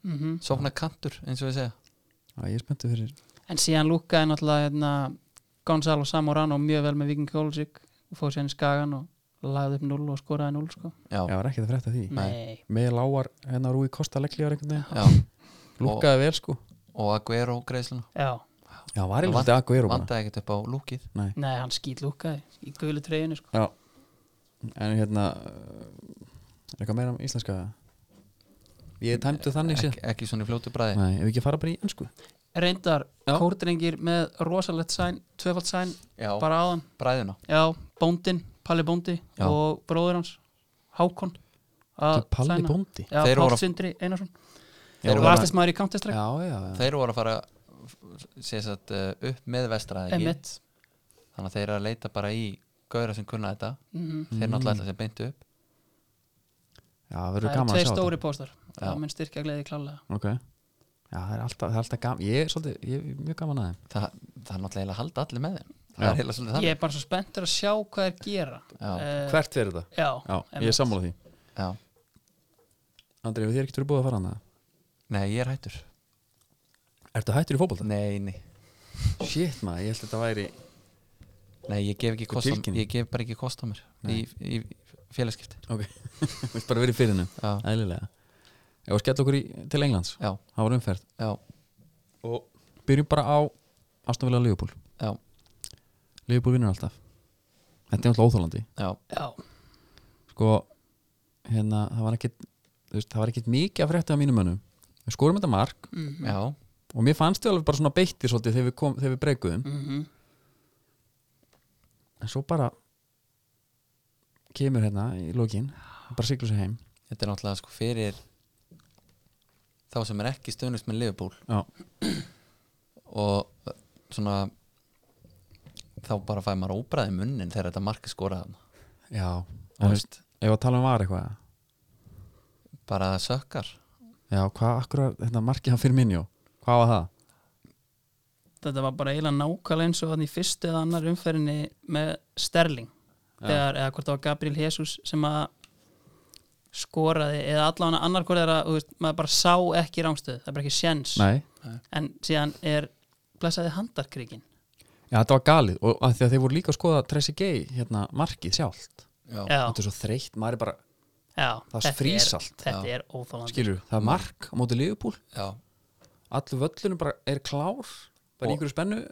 [SPEAKER 2] mm
[SPEAKER 3] sóknar kantur eins og við segja
[SPEAKER 1] Já, ég er spenntu fyrir
[SPEAKER 2] En síðan lúkkaði náttúrulega hérna, Gonzalo Samorano mjög vel með Viking Ólasvík og fóð sérni skagan og lagði upp 0 og skoraði 0 sko.
[SPEAKER 3] já,
[SPEAKER 1] Já,
[SPEAKER 3] já.
[SPEAKER 1] var ekki það frétta því
[SPEAKER 2] Nei,
[SPEAKER 1] Með lágar, hérna Rúi Kosta leiklegar einhvern veginn
[SPEAKER 3] Og-
[SPEAKER 1] Lúkkaði vel sko
[SPEAKER 3] og Aguero greiðsluna
[SPEAKER 2] já,
[SPEAKER 1] Já, var
[SPEAKER 3] Og
[SPEAKER 1] ég
[SPEAKER 3] vant-
[SPEAKER 1] lítið Aguero bara
[SPEAKER 3] vandaði ekkert upp á lúkið
[SPEAKER 1] Nei
[SPEAKER 2] nei, hann skýt lúkkaði í guðlu treyjunni sko.
[SPEAKER 1] Já En hérna eh, Er eitthvað meira um íslenska? Ég tæmdu þannig séð
[SPEAKER 3] ekki, ekki svona í fljótu bræði
[SPEAKER 1] Nei, ef við ekki að fara bara í ennsku
[SPEAKER 2] reyndar
[SPEAKER 1] Já.
[SPEAKER 2] kórdrengir með rosalett sæn, tvöfald sæn
[SPEAKER 3] já,
[SPEAKER 2] bara áðan,
[SPEAKER 3] bræðina
[SPEAKER 2] já, bóndin Palli bóndi
[SPEAKER 3] Já.
[SPEAKER 2] og bróður hans Hákon að
[SPEAKER 1] Palli
[SPEAKER 2] sæna.
[SPEAKER 1] bóndi
[SPEAKER 2] Já,
[SPEAKER 3] Þeir voru
[SPEAKER 2] Páll
[SPEAKER 3] að-
[SPEAKER 2] Sindri Einarsson
[SPEAKER 3] Þeir voru að-
[SPEAKER 2] Vastist maður í Counter-Strike
[SPEAKER 1] Já, já, já
[SPEAKER 3] þeir voru að fara sem sagt, uh, upp með vestra eða ekki?
[SPEAKER 2] Emmett
[SPEAKER 3] þannig að þeir eru að leita bara í gauðra sem kunna þetta
[SPEAKER 2] Mhm.
[SPEAKER 3] þeir náttúrulega ætla sem beint upp
[SPEAKER 1] Já, það
[SPEAKER 2] Það
[SPEAKER 1] verður
[SPEAKER 2] eru
[SPEAKER 1] gaman að
[SPEAKER 2] tveir
[SPEAKER 1] sjá
[SPEAKER 2] stóri póstar
[SPEAKER 3] Já.
[SPEAKER 2] Það mun styrkja gleði klálega
[SPEAKER 1] þetta Ok Já, það er alltaf, það er alltaf gaman Ég er svolítið, ég er mjög gaman að þeim
[SPEAKER 3] Þa, það er náttúrulega eiginlega að halda allir með þeim það
[SPEAKER 1] Já.
[SPEAKER 3] er heila svolítið
[SPEAKER 2] Ég
[SPEAKER 3] þannig
[SPEAKER 2] er bara svo spenntur að sjá hvað er gera
[SPEAKER 3] já,
[SPEAKER 2] Eh,
[SPEAKER 1] Hvert verður það?
[SPEAKER 2] Já,
[SPEAKER 1] Já, ég
[SPEAKER 2] einmitt.
[SPEAKER 1] er sammála því
[SPEAKER 3] já.
[SPEAKER 1] Andri, hefur þér ekkert verið búið að fara hana?
[SPEAKER 3] Nei, ég er hættur
[SPEAKER 1] Ertu hættur í fótbolta?
[SPEAKER 3] Nei, nei,
[SPEAKER 1] Shit maður, ég held að þetta væri
[SPEAKER 3] nei ég, gef ekki
[SPEAKER 1] Sko,
[SPEAKER 3] kost á,
[SPEAKER 1] tilkynning.
[SPEAKER 3] ég gef bara ekki kost á mér í, í félagskipti
[SPEAKER 1] Ok, þú veist bara verið fyrir hennu
[SPEAKER 3] já,
[SPEAKER 1] Æðlilega Ég var skell okkur í, til Englands
[SPEAKER 3] já,
[SPEAKER 1] Það var umferð
[SPEAKER 3] já,
[SPEAKER 1] Og byrjum bara á Astonvilla Liverpool
[SPEAKER 3] já,
[SPEAKER 1] Liverpool vinnur alltaf Þetta er alltaf óþólandi
[SPEAKER 3] já,
[SPEAKER 2] Já,
[SPEAKER 1] Sko, hérna, það var ekkit þú veist, Það var ekkit mikið að frétta af mínum mönnum Við skorum þetta mark
[SPEAKER 2] mhm,
[SPEAKER 3] já,
[SPEAKER 1] Og mér fannst þau alveg bara svona beittir svolítið Þegar við, kom, þegar við breikuðum
[SPEAKER 2] mhm
[SPEAKER 1] En svo bara Kemur hérna í lokin Bara siglu sig heim
[SPEAKER 3] þetta er náttúrulega sko fyrir þá sem er ekki stöðnust með Liverpool
[SPEAKER 1] Já,
[SPEAKER 3] og eh, svona þá bara fæ maður óbræði munnin þegar þetta marki skoraði hann
[SPEAKER 1] já
[SPEAKER 3] Þú
[SPEAKER 1] En
[SPEAKER 3] veist,
[SPEAKER 1] Ef að tala um var eitthvað
[SPEAKER 3] bara það sökkar
[SPEAKER 1] Já, hvað akkur Þetta hérna markið hann fyrir minjó Hvað var það?
[SPEAKER 2] þetta var bara eiginlega nákvæmlega eins og þannig í fyrstu eða annar umferðinni með Sterling
[SPEAKER 1] Já.
[SPEAKER 2] þegar, eða hvort það var Gabriel Jesus sem að skoraði eða allavega annar hvort þeirra þú veist, maður bara sá ekki rángstöð, það er bara ekki sjens
[SPEAKER 1] Nei
[SPEAKER 2] en síðan er blessaði handarkrikin
[SPEAKER 1] Já, þetta var galið og að því að þeir voru líka að skoða Tracy Gay, hérna, markið sjálft
[SPEAKER 3] já,
[SPEAKER 2] já,
[SPEAKER 1] Þetta er svo þreytt, maður er bara,
[SPEAKER 2] já,
[SPEAKER 1] það
[SPEAKER 2] þetta
[SPEAKER 1] frýs
[SPEAKER 2] er-
[SPEAKER 1] allt.
[SPEAKER 2] þetta er óþálandi
[SPEAKER 1] skilur, það er mark á móti liðupúl,
[SPEAKER 3] já,
[SPEAKER 1] allur völlunum bara er klár, bara og...
[SPEAKER 3] Og-
[SPEAKER 1] ykkur spennu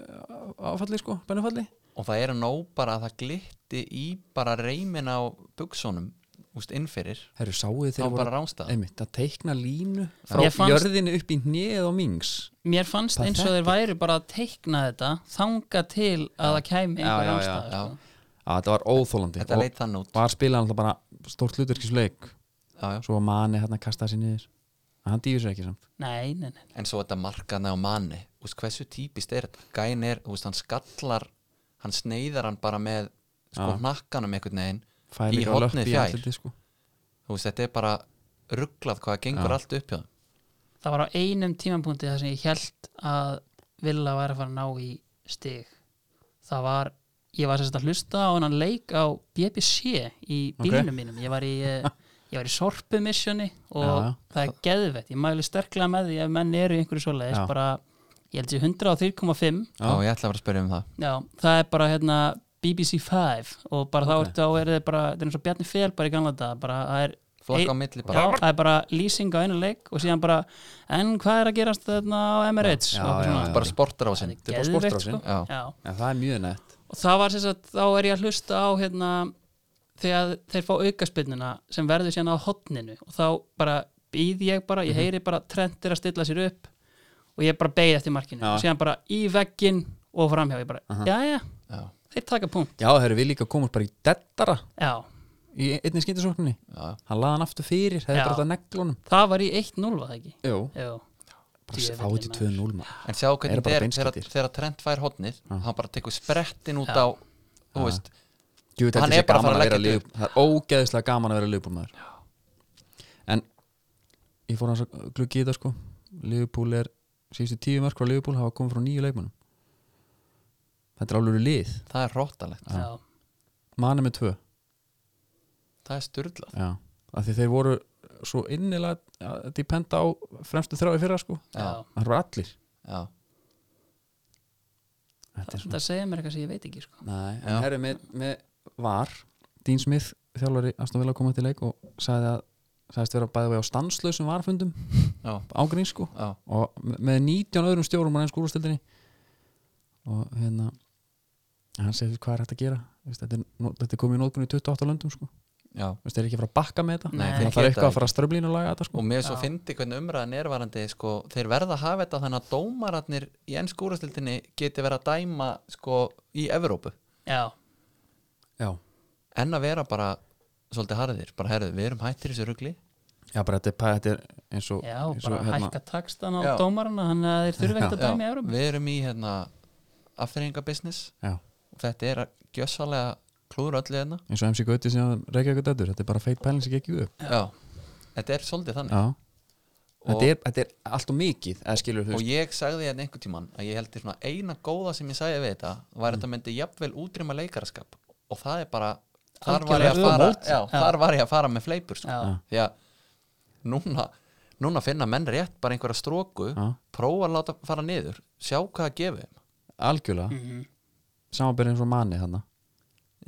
[SPEAKER 1] áfalli, sko, spennufalli
[SPEAKER 3] og það er nóg bara að það glitti í bara reymin á buksónum úst innfyrir,
[SPEAKER 1] Herru, sáu þið
[SPEAKER 3] þá
[SPEAKER 1] þeir
[SPEAKER 3] bara
[SPEAKER 1] voru
[SPEAKER 3] rámstað
[SPEAKER 1] einmitt, að teikna línu frá
[SPEAKER 2] Ég fannst-
[SPEAKER 1] jörðinu upp í hnið og mings
[SPEAKER 2] mér fannst eins og þeir væri bara að teikna þetta þanga til að það kæmi
[SPEAKER 1] Já,
[SPEAKER 2] einhver
[SPEAKER 1] já,
[SPEAKER 2] rángstöð
[SPEAKER 3] já,
[SPEAKER 2] sko.
[SPEAKER 1] að þetta var óþólandi
[SPEAKER 3] þetta leit þann út
[SPEAKER 1] var spilað alltaf bara stórt hlutverkisleik
[SPEAKER 3] já, já.
[SPEAKER 1] svo var manni hérna að kasta sér niður en hann dýfur sér ekki samt
[SPEAKER 2] nei, nei, nei,
[SPEAKER 3] en svo þetta markaðna á manni úst, hversu típist er þetta, gæn er úst, hann skallar, hann sneiðar hann bara með sko
[SPEAKER 1] Já.
[SPEAKER 3] hnakkanum einhvern veginn
[SPEAKER 1] Fær
[SPEAKER 3] Í
[SPEAKER 1] líka löpp
[SPEAKER 3] hornið
[SPEAKER 1] í
[SPEAKER 3] fjær.
[SPEAKER 1] andlitið, sko.
[SPEAKER 3] Þú veist, þetta er bara rugglað hvað það gengur
[SPEAKER 1] Já.
[SPEAKER 3] allt upp hjá þeim.
[SPEAKER 2] það var á einum tímapunkti þar sem ég held að Villa væri að fara að ná í stig það var ég var sérst að hlusta á hennan leik á BBC í bílunum mínum ég var í, eh, ég var í sorpu missioni og
[SPEAKER 1] Já, já.
[SPEAKER 2] það er geðvett ég mæli sterklega með því ef menn eru í einhverju svoleiðis
[SPEAKER 1] Já.
[SPEAKER 2] bara, ég held ég 103,5
[SPEAKER 1] Já.
[SPEAKER 3] Já, ég ætla að vera að spyrja um það
[SPEAKER 2] já, það er bara hérna BBC 5 og bara
[SPEAKER 1] Ok.
[SPEAKER 2] þá ertu á er þið bara, þetta er eins og Bjarni Fel bara í gamla dag, bara það er
[SPEAKER 3] Flokk á
[SPEAKER 2] Ein-
[SPEAKER 3] milli bara
[SPEAKER 2] Já, það er bara lýsing á einu leik og síðan bara, en hvað er að gerast þarna á Emirates
[SPEAKER 1] Já,
[SPEAKER 2] og eitthvað
[SPEAKER 1] já,
[SPEAKER 2] svona.
[SPEAKER 1] já.
[SPEAKER 3] Bara sportar á sinn
[SPEAKER 1] er bara
[SPEAKER 2] Geðveikt,
[SPEAKER 1] sportrásin.
[SPEAKER 2] sko.
[SPEAKER 3] Já.
[SPEAKER 2] Já.
[SPEAKER 1] en það er mjög nett
[SPEAKER 2] og það var sem sagt, þá er ég að hlusta á hérna, þegar þeir fá aukaspinnuna sem verður síðan á hotninu og þá bara býð ég bara
[SPEAKER 1] Mhm.
[SPEAKER 2] ég heyri bara trendir að stilla sér upp og ég bara beigð eftir markinu
[SPEAKER 1] Já.
[SPEAKER 2] og síðan bara í veggin og framhjá ég bara, já, já,
[SPEAKER 3] Já.
[SPEAKER 2] þeir taka punkt
[SPEAKER 1] Já, það eru við líka komast bara í dettara
[SPEAKER 2] já,
[SPEAKER 1] í einni skindisókninni
[SPEAKER 3] Já.
[SPEAKER 1] Hann laði hann aftur fyrir, það
[SPEAKER 2] Já.
[SPEAKER 1] er bara þetta neglunum
[SPEAKER 2] það var í 1-0 var það ekki
[SPEAKER 1] Jú,
[SPEAKER 2] Jú.
[SPEAKER 1] bara
[SPEAKER 2] Djöfullinn
[SPEAKER 1] áti 2-0
[SPEAKER 2] maður.
[SPEAKER 1] maður.
[SPEAKER 3] En sjá
[SPEAKER 1] Eru
[SPEAKER 3] hvernig
[SPEAKER 1] bara
[SPEAKER 3] þetta er
[SPEAKER 1] beinskeyttir.
[SPEAKER 3] þegar, þegar Trent fær hotnið hann bara tekur sprettin út
[SPEAKER 2] Já.
[SPEAKER 3] á þú veist,
[SPEAKER 1] Jú, þetta
[SPEAKER 3] Hann
[SPEAKER 1] sé
[SPEAKER 3] er bara að
[SPEAKER 1] gaman
[SPEAKER 3] fara að
[SPEAKER 1] að vera
[SPEAKER 3] leggja
[SPEAKER 1] liðbúl Það er ógeðislega gaman að vera liðbúl maður En ég fór hans að gluggi í þetta sko Liðbúl er, síðustu tíu mörg frá liðbúl hafa komið frá nýju leikmannum Þetta er alveg lið
[SPEAKER 3] það er róttalegt
[SPEAKER 2] já,
[SPEAKER 1] Mani með tvö
[SPEAKER 3] Það er styrlað
[SPEAKER 1] Já, af því þeir voru svo innilega að dependa á fremstu þrái fyrra sko
[SPEAKER 2] já,
[SPEAKER 3] Já.
[SPEAKER 1] Það voru allir
[SPEAKER 3] Já.
[SPEAKER 1] Þetta er
[SPEAKER 2] Það, það segja mér eitthvað sem ég veit ekki sko.
[SPEAKER 1] Nei, en herru, með, með var Dean Smith, þjálfari Aston Villa kom að til leik og sagði að sagðist vera bæði vegi á stanslausum varfundum
[SPEAKER 3] Já.
[SPEAKER 1] ágríns sko
[SPEAKER 3] Já.
[SPEAKER 1] og me- með 19 öðrum stjórum á ennsku úrstildinni og hérna hann segir hvað er hægt að gera Þú veist, þetta er, nó- þetta er komið í nótkunni í 28 löndum sko
[SPEAKER 3] já
[SPEAKER 1] Þú veist, þeir eru ekki að fara að bakka með þetta
[SPEAKER 2] Nei,
[SPEAKER 1] Þannig að það
[SPEAKER 3] þeir
[SPEAKER 1] er
[SPEAKER 3] geta
[SPEAKER 1] eitthvað
[SPEAKER 3] ekki.
[SPEAKER 1] að fara að ströflínu og laga þetta sko
[SPEAKER 3] og mér er svo
[SPEAKER 2] Já.
[SPEAKER 3] fyndi hvernig umræðan er varandi sko, þeir verða að hafa þetta þannig að dómararnir í ennsku úrastildinni geti verið að dæma sko, í Evrópu
[SPEAKER 2] já,
[SPEAKER 1] Já,
[SPEAKER 3] en að vera bara svolítið harðir bara herðu, við erum hættir í þessu rugli
[SPEAKER 1] já bara þetta er, pa- þetta er eins og
[SPEAKER 2] já
[SPEAKER 1] eins og, hérna-
[SPEAKER 2] bara hækka takstan á
[SPEAKER 3] Já.
[SPEAKER 2] dómarana þannig að þeir þurfa ekkert að
[SPEAKER 3] Já,
[SPEAKER 2] dæmi Evróp
[SPEAKER 3] við erum í hérna, afþreyingabusiness
[SPEAKER 1] Já,
[SPEAKER 3] og þetta er að gjössalega klúður öllu hérna
[SPEAKER 1] eins og MC Gauti sem reykja eitthvað dættur Þetta er bara feit pæling sem gekk upp
[SPEAKER 3] já. þetta er svolítið þannig
[SPEAKER 1] Já,
[SPEAKER 3] og,
[SPEAKER 1] þetta er, þetta er allt og mikið eða skilur þú
[SPEAKER 3] og ég sagði hérna einhvern tímann að ég held til svona eina góða sem ég sagði við þetta var
[SPEAKER 2] Mm.
[SPEAKER 3] þetta myndi jafnvel útrýma leikaraskap og það er bara þar var, ég að
[SPEAKER 2] Algjörlega
[SPEAKER 3] fara,
[SPEAKER 2] öfugt.
[SPEAKER 3] já,
[SPEAKER 2] Já.
[SPEAKER 3] þar var ég að fara með fleipur sko.
[SPEAKER 2] Já.
[SPEAKER 3] því að núna, núna finna menn rétt bara einhverja stróku
[SPEAKER 1] Já.
[SPEAKER 3] prófa að láta fara niður sjá hvað það gefi þeim.
[SPEAKER 1] algjörlega mm
[SPEAKER 3] Mhm.
[SPEAKER 1] -hmm. samanbyrðin svo manni þannig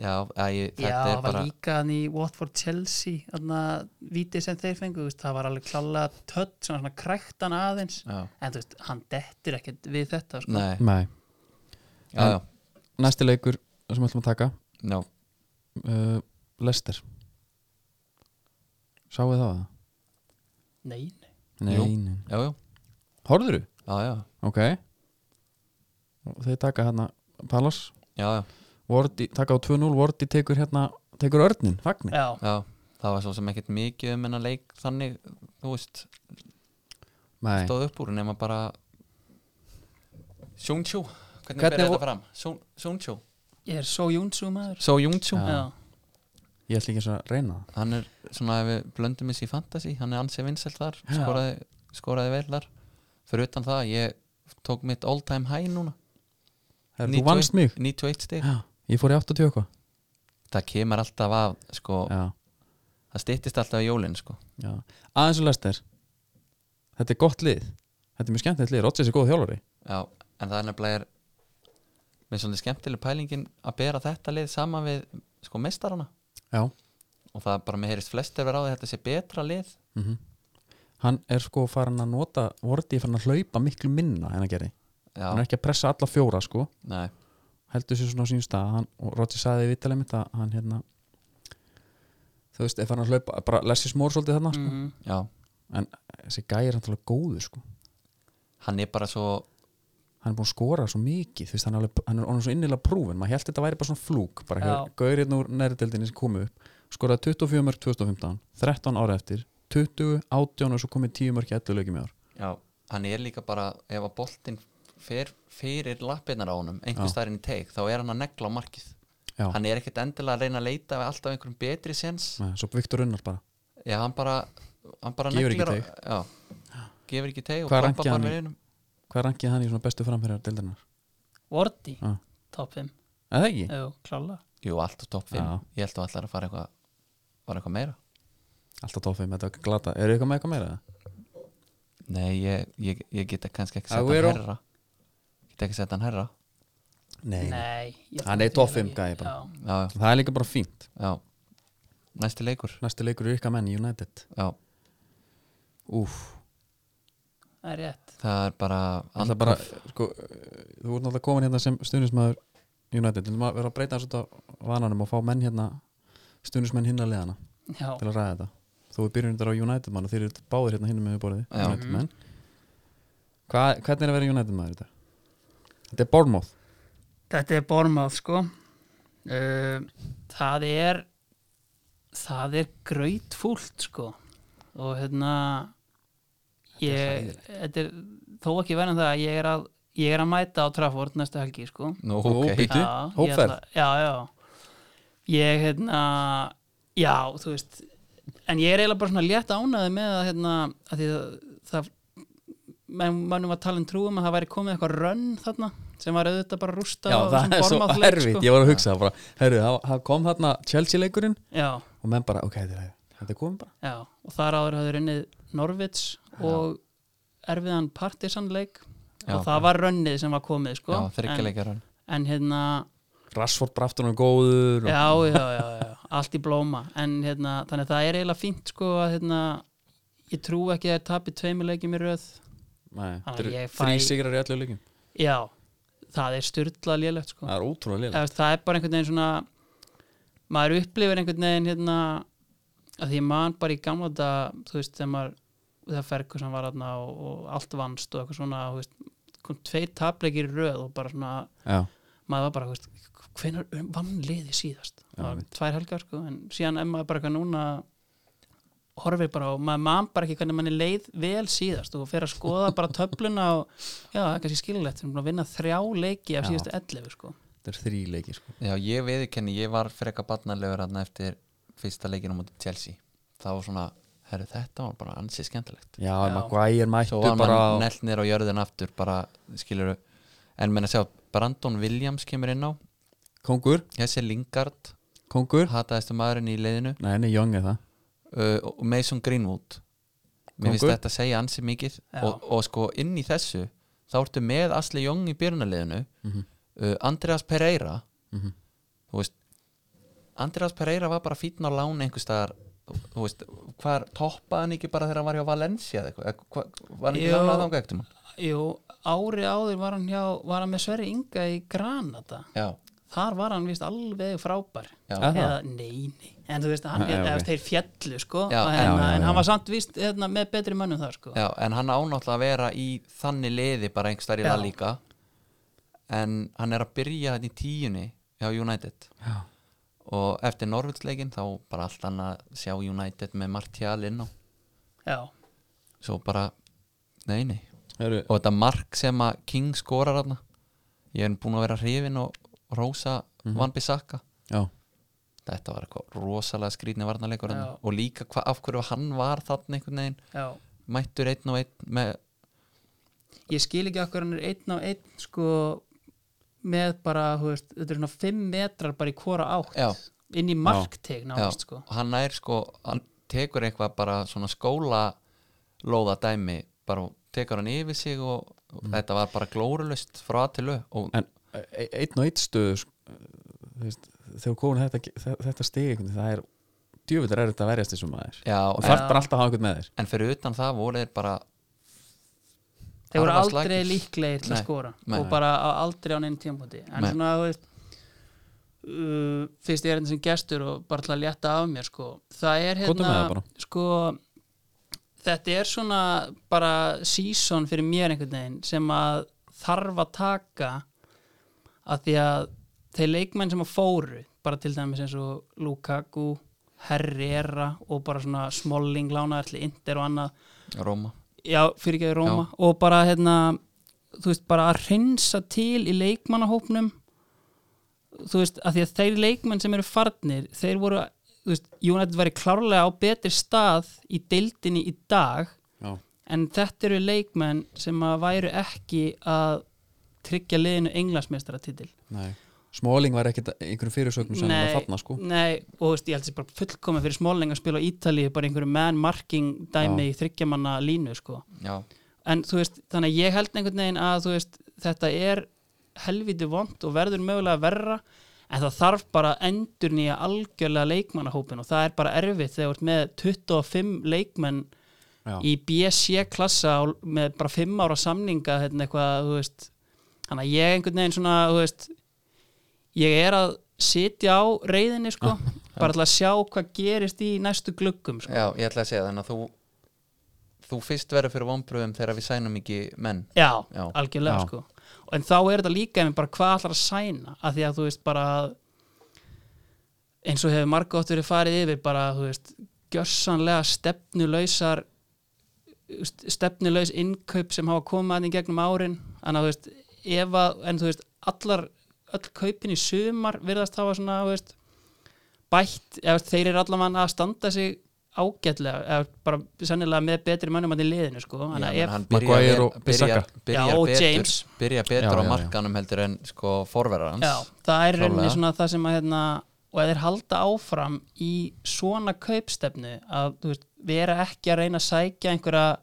[SPEAKER 3] já, að ég,
[SPEAKER 2] Já,
[SPEAKER 3] þetta
[SPEAKER 2] það
[SPEAKER 3] er
[SPEAKER 2] var
[SPEAKER 3] bara
[SPEAKER 2] líka hann í Watford Chelsea þarna vítið sem þeir fengu þú veist, það var alveg klálega tött svona, svona krækt hann aðeins
[SPEAKER 3] Já.
[SPEAKER 2] en þú veist, hann dettir ekkert við þetta sko.
[SPEAKER 3] nei,
[SPEAKER 1] Nei,
[SPEAKER 3] já, já,
[SPEAKER 1] næsti leikur sem við ætlum að taka
[SPEAKER 3] já,
[SPEAKER 1] uh, Lester Sáuð það? að það?
[SPEAKER 2] Nei,
[SPEAKER 1] Nei,
[SPEAKER 2] nei.
[SPEAKER 3] Jú.
[SPEAKER 1] nei.
[SPEAKER 3] já, já,
[SPEAKER 1] Horfðurðu?
[SPEAKER 3] já, já,
[SPEAKER 1] Ok Og Þeir taka hérna Palas
[SPEAKER 3] já, já,
[SPEAKER 1] Wardy, taka á 2-0, Wardy tekur hérna tekur örnin, fagnir
[SPEAKER 2] Já,
[SPEAKER 3] já. það var svo sem ekkert mikið um hennar leik þannig, þú veist
[SPEAKER 1] Nei,
[SPEAKER 3] stóð upp úr nema bara Sjónsjó hvernig,
[SPEAKER 1] Hvernig
[SPEAKER 3] hvernig ber
[SPEAKER 1] vo-
[SPEAKER 3] þetta fram? Sjónsjó
[SPEAKER 2] ég er svo Jónsú maður
[SPEAKER 3] Só Jónsjó,
[SPEAKER 1] Já.
[SPEAKER 2] Já,
[SPEAKER 1] ég ætla ekki eins og að reyna það
[SPEAKER 3] hann er svona ef við blöndum þessi í fantasy, hann er ansið vinsælt þar
[SPEAKER 2] Já.
[SPEAKER 3] skoraði, skoraði vel þar fyrir utan það, ég tók mitt all time high núna
[SPEAKER 1] Herra, Þú
[SPEAKER 3] 91
[SPEAKER 1] vannst mig
[SPEAKER 3] 91 stig,
[SPEAKER 1] Já, Ég fór í 80 eitthvað
[SPEAKER 3] það kemur alltaf af sko,
[SPEAKER 1] Já,
[SPEAKER 3] það styttist alltaf í jólin sko.
[SPEAKER 1] já Aðeins og Lester Þetta er gott lið Þetta er mjög skemmtilegt lið, Rodgers er góð þjálfari
[SPEAKER 3] Já, en það er nefnilega er með svona skemmtileg pælingin að bera þetta lið saman við sko mestarana
[SPEAKER 1] Já
[SPEAKER 3] og það bara með heyrist flestir vera á því að þetta sé betra lið
[SPEAKER 1] mm Hann er sko farin að nota Wardy er farin að hlaupa miklu minna en að gerði
[SPEAKER 3] Já,
[SPEAKER 1] Hann er ekki að pressa alla fjóra sko
[SPEAKER 3] nei
[SPEAKER 1] heldur sér svona á sínum stað hann, og Rodgers sagði í vitalið mitt að hann hérna þú veist, ef hann að hlaupa bara lessi smór svolítið þarna
[SPEAKER 2] mm
[SPEAKER 3] Já,
[SPEAKER 1] sko. en þessi gæi er hann alveg góður sko.
[SPEAKER 3] hann er bara svo
[SPEAKER 1] hann er búin að skora svo mikið þú veist, hann, er alveg, hann er orðinn svo innilega prúfin maður held þetta væri bara svona flúk bara
[SPEAKER 2] Já.
[SPEAKER 1] hér, gaur hérna úr næriðdeldinni sem komu upp skoraði 24 mörg 2015 13 ára eftir 20, 18 og svo komið 10 mörg 11 lögjum í ár
[SPEAKER 3] Já, hann er líka bara ef að boltinn fer fyrir lappirnar á honum, einhvers
[SPEAKER 1] Já.
[SPEAKER 3] staðar inn í teik þá er hann að negla á markið
[SPEAKER 1] Já.
[SPEAKER 3] hann er ekkert endilega að reyna að leita við alltaf einhverjum betri sens
[SPEAKER 1] Nei, svo Viktor Unnar bara
[SPEAKER 3] Já, hann bara, hann bara
[SPEAKER 1] Gefur
[SPEAKER 3] neglir
[SPEAKER 1] ekki
[SPEAKER 3] á- Já, gefur ekki teik og
[SPEAKER 1] Hvað
[SPEAKER 3] poppa
[SPEAKER 1] rankaði
[SPEAKER 3] bara
[SPEAKER 1] hann í?
[SPEAKER 3] við einum
[SPEAKER 1] hvað rankið hann í svona bestu framherjar deildarinnar
[SPEAKER 2] Vorti,
[SPEAKER 1] Já.
[SPEAKER 2] top 5
[SPEAKER 1] eða ekki?
[SPEAKER 2] Jú, klála
[SPEAKER 3] Jú, allt á topp 5
[SPEAKER 1] Já.
[SPEAKER 3] Ég held að allar að fara eitthvað fara eitthvað meira
[SPEAKER 1] alltaf tófið með þetta glata eru ykkur með eitthvað meira?
[SPEAKER 3] Nei, ég, ég, ég geta kannski ekki sett
[SPEAKER 1] Aguero.
[SPEAKER 3] hann herra Geta ekki sett hann herra
[SPEAKER 2] Nei, ég
[SPEAKER 1] Hann er
[SPEAKER 2] þekki
[SPEAKER 1] top
[SPEAKER 2] það
[SPEAKER 1] 5
[SPEAKER 2] ekki.
[SPEAKER 1] gæi bara.
[SPEAKER 2] Já.
[SPEAKER 3] Já,
[SPEAKER 1] það er líka bara fínt
[SPEAKER 3] já Næsti leikur
[SPEAKER 1] næsti leikur er ykkar menn í United
[SPEAKER 3] Já,
[SPEAKER 1] Úf,
[SPEAKER 2] Það er rétt
[SPEAKER 3] það er bara
[SPEAKER 1] það er bara sko, uh, þú ert náttúrulega komin hérna sem stuðnismæður United, þú maður verður að breyta þessu út á vananum og fá menn hérna stuðnismenn hinn að leðana
[SPEAKER 2] Já,
[SPEAKER 1] til að ræða þetta þú er byrjunum þetta á United mann og þeir eru báðir hérna hinn með borðið,
[SPEAKER 3] Já.
[SPEAKER 1] United menn Hva, hvernig er að vera United maður í dag? Þetta er Bournemouth
[SPEAKER 2] þetta er Bormáð sko uh, Það er það er grautfúlt sko og hérna ég, þetta er þó ekki verðan það að ég er að ég er að mæta á Trafford næstu helgi sko
[SPEAKER 3] Nú,
[SPEAKER 1] Nú,
[SPEAKER 3] ok
[SPEAKER 1] bíddu.
[SPEAKER 2] Já, ég
[SPEAKER 1] Hópferð?
[SPEAKER 2] ætla- Já, já Ég, hérna Já, þú veist En ég er eiginlega bara svona létt ánaði með að hérna, að því það, það menn mannum var talin trúum að það væri komið eitthvað rönn þarna sem var auðvitað bara rústa sko.
[SPEAKER 1] ég var að hugsa það bara, herru, það- það kom þarna Chelsea leikurinn
[SPEAKER 2] Já,
[SPEAKER 1] og menn bara, ok, þetta er- þetta er komið bara
[SPEAKER 2] já, og þar áður hafði runnið Norvits og erfiðan Partisan leik
[SPEAKER 3] Já.
[SPEAKER 2] og það var rönnið sem var komið sko.
[SPEAKER 3] Já,
[SPEAKER 2] en,
[SPEAKER 3] þryggjarleikjar hann
[SPEAKER 2] en hérna
[SPEAKER 1] Rashford braftunum góður og,
[SPEAKER 2] já, já, já, já, allt í blóma en hérna, þannig að það er eiginlega fínt sko að hérna, ég trú ekki að það tapi tveimur leikjum í röð
[SPEAKER 1] nei,
[SPEAKER 2] Þannig
[SPEAKER 1] þetta
[SPEAKER 2] ég
[SPEAKER 1] eru
[SPEAKER 2] fæ-
[SPEAKER 1] þrý sigrar í allu leikum
[SPEAKER 2] já, það er styrla lélegt sko,
[SPEAKER 1] það er ótrúlega
[SPEAKER 2] Eða, þú veist, það er bara einhvern veginn svona maður upplifir einhvern veginn hérna að því ég man bara í gamla þetta þú veist, þegar maður þegar Ferguson var aðna og, og allt vannst og eitthvað svona, þú veist, kom tvei tapleikir í röð og bara svona
[SPEAKER 1] já,
[SPEAKER 2] maður var bara, þú veist, hvenær vann liði síðast,
[SPEAKER 1] Já,
[SPEAKER 2] það var
[SPEAKER 1] mitt.
[SPEAKER 2] tvær helgar sko, en síðan er maður bara eitthvað núna horfir bara og maður man bara ekki hvernig manni leið vel síðast og fer að skoða bara töfluna og já, það er kannski skilulegt, við erum búin að vinna þrjá leiki af
[SPEAKER 1] Já.
[SPEAKER 2] síðustu 11 sko
[SPEAKER 1] þetta er þrý leiki sko.
[SPEAKER 3] Já, ég veðurkenni, ég var freka barnalegur hann eftir fyrsta leikinu mútið Chelsea það var svona, herru þetta var bara ansið skemmtilegt
[SPEAKER 1] já,
[SPEAKER 2] Já.
[SPEAKER 1] Maguire
[SPEAKER 3] svo
[SPEAKER 1] mættu
[SPEAKER 3] var
[SPEAKER 1] bara
[SPEAKER 3] mann nelt nýr á jörðin aftur bara, skilur en menn að sjá, Brandon Williams kemur inn á
[SPEAKER 1] kongur,
[SPEAKER 3] þessi Lingard,
[SPEAKER 1] kongur
[SPEAKER 3] hataðistu maðurinn í leiðinu
[SPEAKER 1] nei, nei, Young er það
[SPEAKER 3] uh, og Mason Greenwood mér finnst
[SPEAKER 1] Kongur.
[SPEAKER 3] þetta að segja ansið mikið
[SPEAKER 2] Já.
[SPEAKER 3] og, og sko inn í þessu þá ertu með Asli Jóng í björnuleginu
[SPEAKER 1] Mhm.
[SPEAKER 3] uh, Andreas Pereira
[SPEAKER 1] Mhm.
[SPEAKER 3] þú veist Andreas Pereira var bara fítn á lán einhvers staðar þú- þú veist, hvar toppaði hann ekki bara þegar hann var hjá Valencia eða eitthvað, eða hva, var hann ekki
[SPEAKER 2] Jú.
[SPEAKER 3] lánað þangað ekkert um
[SPEAKER 2] Jú, ári áður var hann hjá var hann með Sverri Inga í Granada
[SPEAKER 3] já,
[SPEAKER 2] þar var hann vist alveg frábær
[SPEAKER 3] já,
[SPEAKER 1] Að það?
[SPEAKER 2] eða nei, nei, en þú veist hann,
[SPEAKER 1] Já,
[SPEAKER 2] ja,
[SPEAKER 1] já,
[SPEAKER 2] ja,
[SPEAKER 1] ok.
[SPEAKER 2] þeir fjallu sko
[SPEAKER 3] Já,
[SPEAKER 2] en,
[SPEAKER 3] já,
[SPEAKER 1] já,
[SPEAKER 2] en
[SPEAKER 1] já.
[SPEAKER 2] hann var samt vist hérna, með betri mönnum þar sko
[SPEAKER 3] já, en hann ánáttúrulega að vera í þannig liði bara einhvers staðar í
[SPEAKER 2] Já.
[SPEAKER 3] það líka en hann er að byrja þetta í tíunni hjá United
[SPEAKER 1] já,
[SPEAKER 3] og eftir Norvilsleikin þá bara allt annað sjá United með Martial inn á
[SPEAKER 2] já.
[SPEAKER 3] svo bara, nei nei
[SPEAKER 1] Heru,
[SPEAKER 3] og þetta mark sem að King skorar þarna ég er búin að vera hrifin og rosa
[SPEAKER 2] Mhm.
[SPEAKER 3] mm Van Bissaka
[SPEAKER 1] já,
[SPEAKER 3] þetta var eitthvað rosalega skrýtni varnarleikur
[SPEAKER 2] Já.
[SPEAKER 3] þarna. og líka hva, af hverju hann var þarna einhvern veginn
[SPEAKER 2] já.
[SPEAKER 3] mættur einn og einn með,
[SPEAKER 2] ég skil ekki okkur hann er einn á einn sko með bara, þú veist, þetta er svona fimm metrar bara í hvora átt
[SPEAKER 3] Já.
[SPEAKER 2] inn í marktegn nánast sko
[SPEAKER 3] og hann er sko hann tekur eitthvað bara svona skóla lóða dæmi bara og tekur hann yfir sig og, og
[SPEAKER 2] Mhm.
[SPEAKER 3] þetta var bara glórulust frá að til lög og
[SPEAKER 1] en e- einn og einn stöð sko, þú veist, þegar komin þetta, þe- þetta stig einhvern veginn, það er djöfullir er þetta að verjast þessum maður
[SPEAKER 3] já,
[SPEAKER 1] og
[SPEAKER 3] en,
[SPEAKER 1] þarf bara alltaf að hafa einhvern með þér
[SPEAKER 3] en fyrir utan það voru þeir bara
[SPEAKER 2] þeir voru
[SPEAKER 3] Harfa
[SPEAKER 2] aldrei
[SPEAKER 3] slakir.
[SPEAKER 2] líklegir til að
[SPEAKER 3] Nei,
[SPEAKER 2] skora
[SPEAKER 3] nei.
[SPEAKER 2] og bara á- aldrei á neinn tímpúti en
[SPEAKER 3] Nei.
[SPEAKER 2] svona, þú veist uh, fyrst ég er þetta sem gestur og bara til að létta af mér sko það er
[SPEAKER 1] Komdu með það bara.
[SPEAKER 2] hérna, sko þetta er svona bara season fyrir mér einhvern veginn sem að þarf að taka að því að þeir leikmenn sem að fóru bara til dæmis eins og Lukaku Herrera og bara svona Smalling lánaðar til Inter og annað
[SPEAKER 3] Róma
[SPEAKER 2] já, fyrir ekki Róma og bara hérna þú veist, bara að hreinsa til í leikmannahópnum þú veist, að því að þeir leikmenn sem eru farnir, þeir voru þú veist, United væri klárlega á betri stað í deildinni í dag
[SPEAKER 1] já,
[SPEAKER 2] en þetta eru leikmenn sem að væru ekki að tryggja liðinu englansmeistaratitil
[SPEAKER 1] nei Smáling var ekkert einhverjum fyrirsögnum sem var þarna sko
[SPEAKER 2] nei, og þú veist, ég held þessi bara fullkomið fyrir smóling að spila á Ítalíu, bara einhverju man marking dæmi í þryggjamanna línu sko.
[SPEAKER 3] já,
[SPEAKER 2] en þú veist, þannig að ég held einhvern veginn að þú veist, þetta er helviti vond og verður mögulega verra en það þarf bara að endur nýja algjörlega leikmannahópin og það er bara erfitt þegar þú ert með 25 leikmenn
[SPEAKER 1] já,
[SPEAKER 2] í BSC klassa á- með bara 5 ára samninga hérna eitthvað, þú veist þannig að ég einhvern veginn svona, þú veist ég er að sitja á reyðinni sko, bara til að sjá hvað gerist í næstu gluggum sko.
[SPEAKER 3] já, ég ætla að segja þannig að þú þú fyrst verður fyrir vonbröðum þegar við sænum ekki menn
[SPEAKER 2] já,
[SPEAKER 3] Já.
[SPEAKER 2] algjörlega
[SPEAKER 1] Já.
[SPEAKER 2] sko Og en þá er þetta líka einmitt bara hvað allar að sæna af því að þú veist bara að- eins og hefur margótt verið farið yfir bara þú veist gjörsanlega stefnulausar stefnulaus innkaup sem hafa komið að í gegnum árin en, þú veist, ef að, en þú veist allar, öll kaupin í sumar virðast hafa svona þú veist, bætt, eða, þú veist, þeir eru allavega að standa sig ágætlega eða bara sennilega með betri mönnum að í liðinu sko,
[SPEAKER 3] Já,
[SPEAKER 2] þannig að
[SPEAKER 3] menn
[SPEAKER 2] ef-
[SPEAKER 3] hann
[SPEAKER 1] Maguire
[SPEAKER 3] byrjar-
[SPEAKER 1] og
[SPEAKER 3] byrjar-
[SPEAKER 1] Bissaka.
[SPEAKER 3] byrjar
[SPEAKER 2] Já, og
[SPEAKER 3] betur-
[SPEAKER 2] James.
[SPEAKER 3] byrjar betur
[SPEAKER 1] Já,
[SPEAKER 3] á
[SPEAKER 1] já, já.
[SPEAKER 3] markanum heldur en sko forverðar hans
[SPEAKER 2] Já, það er í rauninni
[SPEAKER 3] Klárlega.
[SPEAKER 2] svona það sem að hérna, og að þeir halda áfram í svona kaupstefnu að þú veist, vera ekki að reyna að sækja einhverja